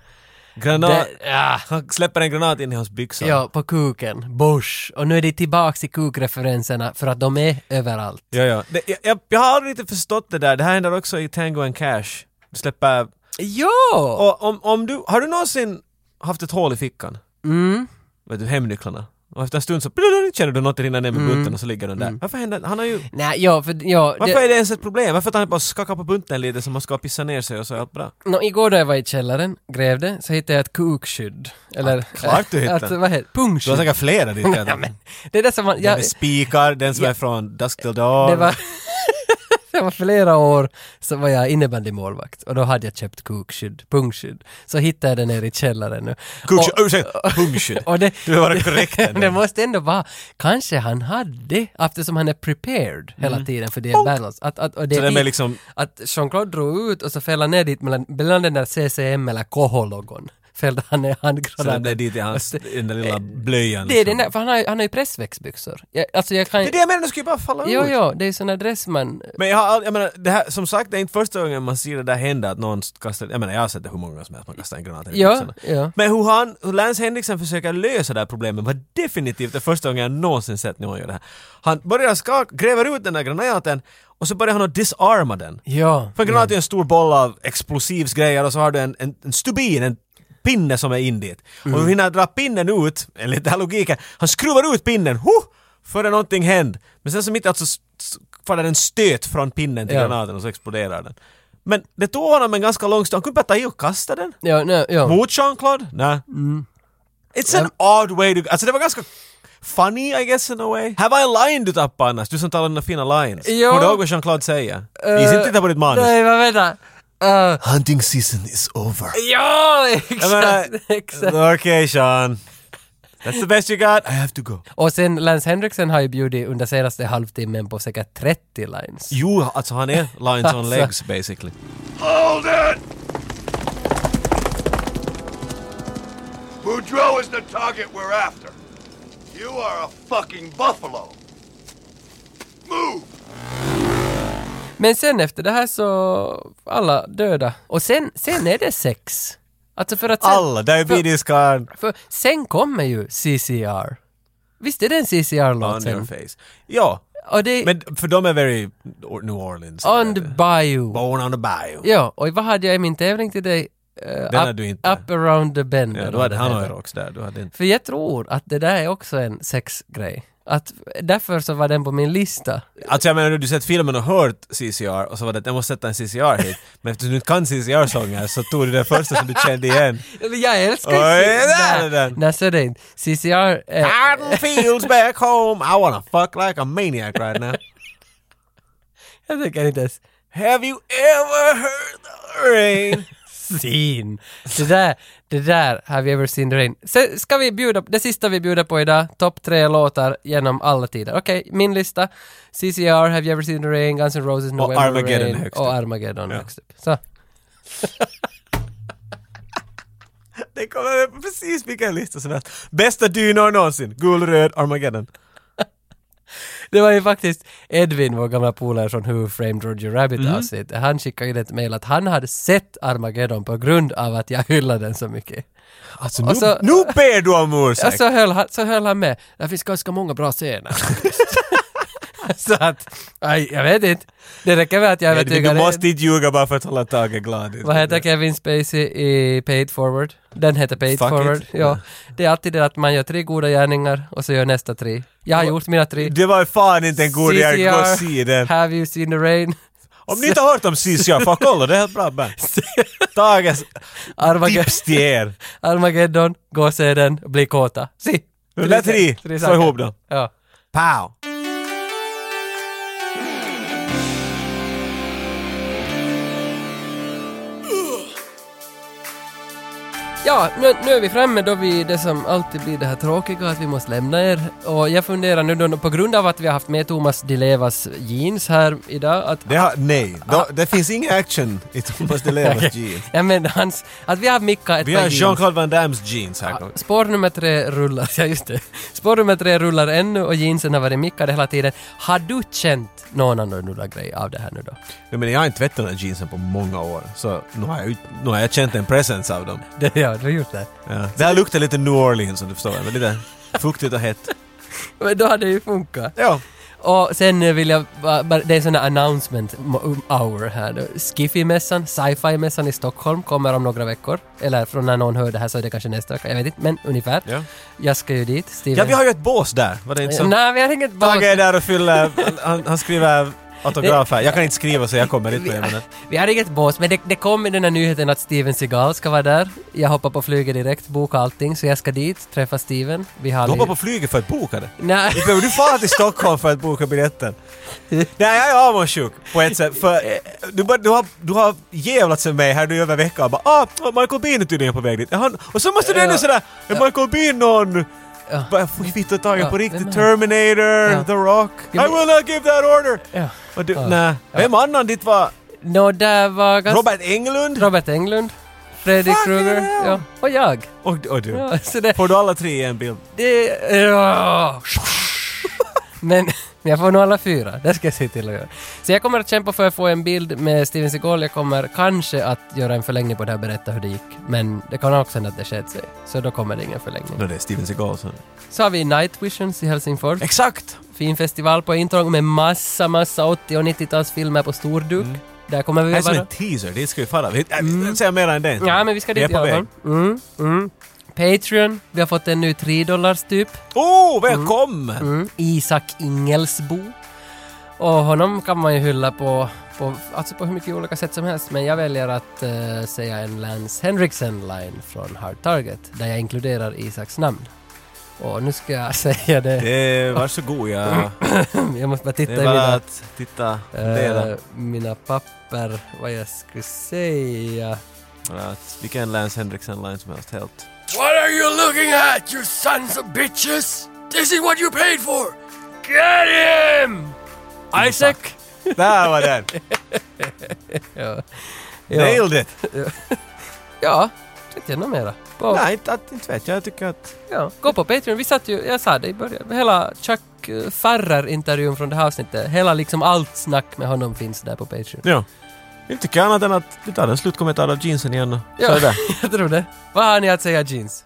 [SPEAKER 2] Granat...
[SPEAKER 1] Det- ja.
[SPEAKER 2] Han släpper en granat in i hans byxor.
[SPEAKER 1] Ja, på kuken. Bush. Och nu är det tillbaks i kukreferenserna för att de är överallt.
[SPEAKER 2] ja, ja. Det, jag- jag, jag har aldrig riktigt förstått det där. Det här händer också i Tango and Cash. Du släpper...
[SPEAKER 1] Jo!
[SPEAKER 2] Och om, om du... Har du någonsin haft ett hål i fickan?
[SPEAKER 1] Mm.
[SPEAKER 2] Vet du, hemnycklarna? Och efter en stund så plurr, känner du något rinna ner
[SPEAKER 1] Mm.
[SPEAKER 2] med bunten och så ligger den där. Varför händer Han har ju...
[SPEAKER 1] Nej, ja, för ja,
[SPEAKER 2] Varför
[SPEAKER 1] det,
[SPEAKER 2] är det ens ett problem? Varför att han bara skakar på bunten lite som man ska pissa ner sig och så är allt bra?
[SPEAKER 1] nå, igår då jag var i källaren, grävde, så hittade jag ett kukskydd. Eller...
[SPEAKER 2] klart du hittade.
[SPEAKER 1] att, vad heter
[SPEAKER 2] Du har
[SPEAKER 1] Pungskydd.
[SPEAKER 2] säkert flera dit.
[SPEAKER 1] Ja, men, det är det som man...
[SPEAKER 2] Den
[SPEAKER 1] Jag,
[SPEAKER 2] med spikar, den som är från Dusk Till Dawn.
[SPEAKER 1] det var... Det var flera år så var jag innebandymålvakt och då hade jag köpt kukskydd, pungskydd. Så hittade jag det nere i källaren nu.
[SPEAKER 2] Kukskydd,
[SPEAKER 1] Och-
[SPEAKER 2] äh, ursäkta, pungskydd.
[SPEAKER 1] Och det,
[SPEAKER 2] Du var korrekt ändå.
[SPEAKER 1] det måste ändå vara, kanske han hade, eftersom han är prepared hela tiden för det är battles. Att, att, och det
[SPEAKER 2] Mm. Så det är
[SPEAKER 1] vi-
[SPEAKER 2] med liksom-
[SPEAKER 1] Att Jean-Claude drog ut och så fällde han ner dit mellan, mellan den där CCM eller KH-logon. Fällde han ner
[SPEAKER 2] Så det blev
[SPEAKER 1] handgranaten.
[SPEAKER 2] dit i hans, i den där lilla blöjan.
[SPEAKER 1] Eh, Det är den
[SPEAKER 2] liksom.
[SPEAKER 1] där, för han har, ju- han har ju pressväxtbyxor. Jag, alltså jag kan
[SPEAKER 2] Det är det jag menar, det skulle ju bara falla
[SPEAKER 1] Jo,
[SPEAKER 2] ut.
[SPEAKER 1] jo, det är ju sån där dress man...
[SPEAKER 2] Men jag, har all, jag menar, det här, som sagt, det är inte första gången man ser det där hända att någon kastar, jag menar jag har sett det hur många gånger som helst, man kastar en granat i
[SPEAKER 1] Ja,
[SPEAKER 2] byxorna.
[SPEAKER 1] ja.
[SPEAKER 2] Men hur han, hur Lance Henriksen försöker lösa det här problemet var definitivt det första gången jag någonsin sett någon göra det här. Han börjar skaka, gräver ut den där granaten och så börjar han att disarma den.
[SPEAKER 1] Ja.
[SPEAKER 2] För en granat är en stor boll av explosivsgrejer och så har du en, en, en stubin, en pinne som är in dit.
[SPEAKER 1] Mm.
[SPEAKER 2] Och hon hinner dra pinnen ut, enligt den här logiken. Han skruvar ut pinnen, huh! Före någonting händer. Men sen så mitt alltså s- s- faller en stöt från pinnen till
[SPEAKER 1] Ja.
[SPEAKER 2] granaten och så exploderar den. Men det tog honom en ganska lång stund, han kunde bara ta i och kasta den.
[SPEAKER 1] Ja, nej, ja.
[SPEAKER 2] Mot Jean-Claude? Nej.
[SPEAKER 1] Mm.
[SPEAKER 2] It's an odd way to... Alltså det var ganska funny I guess in a way. Här var en line du tappade annars, du som talar dina fina lines.
[SPEAKER 1] Jo.
[SPEAKER 2] Kommer du ihåg vad Jean-Claude säger?
[SPEAKER 1] Eh,
[SPEAKER 2] Gissa inte titta på ditt manus.
[SPEAKER 1] Nej, men vänta. Eh,
[SPEAKER 2] Hunting season is over.
[SPEAKER 1] ja,
[SPEAKER 2] Jag menar,
[SPEAKER 1] exakt, exakt.
[SPEAKER 2] Okej Sean. That's the best you got. I have to go.
[SPEAKER 1] Och sen Lance Henriksen har ju bjudit under senaste halvtimmen på säkert 30 lines.
[SPEAKER 2] Jo, alltså han är lines on legs basically.
[SPEAKER 5] Hold it! Boudreaux is the target we're after. You are a fucking buffalo. Move!
[SPEAKER 1] Men sen efter det här så, alla döda. Och sen, sen är det sex. Alltså för att sen,
[SPEAKER 2] Alla, diabetes karn.
[SPEAKER 1] för sen kommer ju CCR. Visst är det en CCR-låt
[SPEAKER 2] On
[SPEAKER 1] sen?
[SPEAKER 2] your face. Ja,
[SPEAKER 1] Och det är
[SPEAKER 2] men för de är very or- New Orleans.
[SPEAKER 1] On the Bayou.
[SPEAKER 2] Born on the bayou.
[SPEAKER 1] Ja, och vad hade jag i min tävling till dig? Eh,
[SPEAKER 2] Den hade
[SPEAKER 1] up,
[SPEAKER 2] du inte.
[SPEAKER 1] up around the bend.
[SPEAKER 2] Ja,
[SPEAKER 1] eller
[SPEAKER 2] du
[SPEAKER 1] vad
[SPEAKER 2] hade
[SPEAKER 1] den heter.
[SPEAKER 2] Hanoi-rocks där. Du hade inte...
[SPEAKER 1] För jag tror att det där är också en sexgrej. Att därför så var den på min lista.
[SPEAKER 2] Alltså jag menar, du har sett filmen och hört CCR och så var det att jag måste sätta en CCR-hit. Men eftersom du inte kan CCR-sånger så tog du det första som du kände igen.
[SPEAKER 1] Eller Jag älskar
[SPEAKER 2] Oj, där är
[SPEAKER 1] Nej,
[SPEAKER 2] den. Ah!
[SPEAKER 1] Nej, så är det inte. CCR är...
[SPEAKER 2] Cotton fields back home, I wanna fuck like a maniac right now.
[SPEAKER 1] Jag tänker inte ens...
[SPEAKER 2] Have you ever heard the rain?
[SPEAKER 1] Sin. Det där, det där have you ever seen the rain. Sen ska vi bjuda, det sista vi bjuder på idag, topp tre låtar genom alla tider. Okej, min lista. CCR, Have you ever seen the rain, Guns N' Roses, November
[SPEAKER 2] Armageddon
[SPEAKER 1] rain,
[SPEAKER 2] högst upp.
[SPEAKER 1] Och Armageddon högst upp. Så.
[SPEAKER 2] Det kommer med precis vilken lista som helst. Bästa dynor någonsin. Gul, röd, Armageddon.
[SPEAKER 1] Det var ju faktiskt Edvin, vår gamla polare från Who Framed Roger Rabbit
[SPEAKER 2] Mhm.
[SPEAKER 1] avsnittet. Han skickade in ett mejl att han hade sett Armageddon på grund av att jag hyllade den så mycket.
[SPEAKER 2] Alltså
[SPEAKER 1] Och
[SPEAKER 2] nu,
[SPEAKER 1] så-
[SPEAKER 2] nu ber du om ursäkt!
[SPEAKER 1] Ja, så höll han, så höll han med. Det finns ganska många bra scener. så att, aj, jag vet inte. Det räcker med att jag
[SPEAKER 2] Edvin, du
[SPEAKER 1] övertygar
[SPEAKER 2] måste inte ljuga bara för att hålla Tage glad.
[SPEAKER 1] Vad heter Kevin Spacey i Paid Forward? Den heter Paid
[SPEAKER 2] Fuck it.
[SPEAKER 1] Forward. Ja. Det är alltid det att man gör tre goda gärningar och så gör nästa tre. Jag har gjort mina tre.
[SPEAKER 2] Det var ju fan inte en god reaktion, gå och se den.
[SPEAKER 1] CCR, Have You Seen The Rain?
[SPEAKER 2] Om ni inte har hört om CCR, fan kolla, det är ett bra band. Tages
[SPEAKER 1] Armageddon.
[SPEAKER 2] tips till er.
[SPEAKER 1] Armageddon, gå och se den, bli kåta. Si!
[SPEAKER 2] De där tre, slå
[SPEAKER 1] saker.
[SPEAKER 2] ihop dem.
[SPEAKER 1] Ja.
[SPEAKER 2] Pow!
[SPEAKER 1] Ja, nu, nu är vi framme då vi det som alltid blir det här tråkiga att vi måste lämna er. Och jag funderar nu då på grund av att vi har haft med Thomas Di Levas jeans här idag att
[SPEAKER 2] Det har, nej, Då- det finns ingen action i Thomas Di Levas jeans.
[SPEAKER 1] ja, men hans, att vi har mickat ett
[SPEAKER 2] Vi
[SPEAKER 1] par
[SPEAKER 2] har
[SPEAKER 1] jeans.
[SPEAKER 2] Jean-Claude Van Dammes jeans här.
[SPEAKER 1] Ja, Spår nummer tre rullar, ja just det. Spår nummer tre rullar ännu och jeansen har varit mickade hela tiden. Har du känt någon annorlunda grej av det här nu då?
[SPEAKER 2] Jag menar, jag har inte tvättat de här jeansen på många år. Så nu har jag, ut- nu har jag känt en presence av dem.
[SPEAKER 1] Det, ja, du har gjort det.
[SPEAKER 2] Ja. Det här luktar lite New Orleans om du förstår. Men lite fuktigt och hett.
[SPEAKER 1] Men då hade det ju funkat.
[SPEAKER 2] Ja.
[SPEAKER 1] Och sen eh, vill jag, bara- bara- det är sån här announcement mo- um, hour här då. Skiffy-mässan, sci-fi-mässan i Stockholm kommer om några veckor. Eller från när någon hör det här så är det kanske nästa vecka, jag vet inte, men ungefär.
[SPEAKER 2] Ja.
[SPEAKER 1] Jag ska ju dit, Steven.
[SPEAKER 2] Ja, vi har ju ett bås där. Var det inte så?
[SPEAKER 1] Nej, vi har inget
[SPEAKER 2] Tage är
[SPEAKER 1] bås.
[SPEAKER 2] där och fyller, han, han skriver autografer. Jag kan inte skriva så jag kommer inte med det.
[SPEAKER 1] Vi har inget bås, men det, det kom i den här nyheten att Steven Seagal ska vara där. Jag hoppar på flyget direkt, bokar allting, så jag ska dit, träffa Steven. Vi har...
[SPEAKER 2] Du hoppar
[SPEAKER 1] lite-
[SPEAKER 2] på flyget för att boka det.
[SPEAKER 1] Nej.
[SPEAKER 2] Inte behöver du fara till Stockholm för att boka biljetten. Nej, jag är avundsjuk på ett sätt. För eh, du, bara- du, har, du har jävlats med mig här nu över veckan och bara ah, Michael Bean är tydligen på väg dit. Är Han, och så måste du ändå sådär, är Michael Bean någon...
[SPEAKER 1] Ja.
[SPEAKER 2] Bara, "Fy, Vi tar taget
[SPEAKER 1] Ja,
[SPEAKER 2] på
[SPEAKER 1] vem är
[SPEAKER 2] riktigt.
[SPEAKER 1] han?
[SPEAKER 2] Terminator,
[SPEAKER 1] Ja.
[SPEAKER 2] The Rock. I
[SPEAKER 1] Ja, men-
[SPEAKER 2] will not give that order!
[SPEAKER 1] Ja.
[SPEAKER 2] Och du, nej. Vem annan dit var?
[SPEAKER 1] Nå, där var... ganska-
[SPEAKER 2] Robert Englund?
[SPEAKER 1] Robert Englund. Fredrik
[SPEAKER 2] Fucking
[SPEAKER 1] Krueger.
[SPEAKER 2] hell.
[SPEAKER 1] Ja. Och jag.
[SPEAKER 2] Och, och du.
[SPEAKER 1] Ja, så det,
[SPEAKER 2] Får du alla tre i en bild?
[SPEAKER 1] det, ja. Men men jag får nog alla fyra, det ska jag se till att göra. Så jag kommer att kämpa för att få en bild med Steven Seagal. Jag kommer kanske att göra en förlängning på det här och berätta hur det gick. Men det kan också hända att det sket sig. Så då kommer det ingen förlängning.
[SPEAKER 2] No, det är Steven Seagal som...
[SPEAKER 1] Så har vi Night Visions i Helsingfors.
[SPEAKER 2] Exakt! Mm.
[SPEAKER 1] Fin festival på Intrång med massa, massa 80 och 90-talsfilmer på storduk. Där kommer vi
[SPEAKER 2] Det här är som
[SPEAKER 1] vara...
[SPEAKER 2] en teaser, dit ska vi falla. Vi, äh, vi ska säga mer än det.
[SPEAKER 1] Ja, men vi ska dit i
[SPEAKER 2] Vi är på
[SPEAKER 1] alla
[SPEAKER 2] väg.
[SPEAKER 1] fall. Mm, mm. Patreon, vi har fått en ny 3 dollars typ.
[SPEAKER 2] Oh, välkommen!
[SPEAKER 1] Mm. Isak Ingelsbo. Och honom kan man ju hylla på, på, alltså på hur mycket olika sätt som helst, men jag väljer att eh, säga en Lance Henriksen-line från Hard Target, där jag inkluderar Isaks namn. Och nu ska jag säga det.
[SPEAKER 2] Det, Eh, varsågod, jag...
[SPEAKER 1] jag måste bara titta
[SPEAKER 2] Det är
[SPEAKER 1] i
[SPEAKER 2] bara
[SPEAKER 1] mina,
[SPEAKER 2] att titta,
[SPEAKER 1] Mm. eh,
[SPEAKER 2] fundera.
[SPEAKER 1] mina papper, vad jag skulle säga.
[SPEAKER 2] Att Vilken Lance Henriksen-line som helst, helt.
[SPEAKER 1] What are you looking at, you sons of bitches? This is what you paid for! Get him! Isaac!
[SPEAKER 2] Där var den!
[SPEAKER 1] Ja,
[SPEAKER 2] Nailed it!
[SPEAKER 1] ja vet jag något mera. På,
[SPEAKER 2] Nej, inte, att, inte vet jag. Jag tycker att...
[SPEAKER 1] ja. Gå på Patreon, vi satt ju, jag sa det i början, hela Chuck eh, Farrer-intervjun från det här avsnittet, hela liksom allt snack med honom finns där på Patreon.
[SPEAKER 2] Ja. Inte tycker annat än att vi tar en slutkommentar av jeansen igen. och Så
[SPEAKER 1] Ja,
[SPEAKER 2] är det.
[SPEAKER 1] jag tror det. Vad har ni att säga Jeans?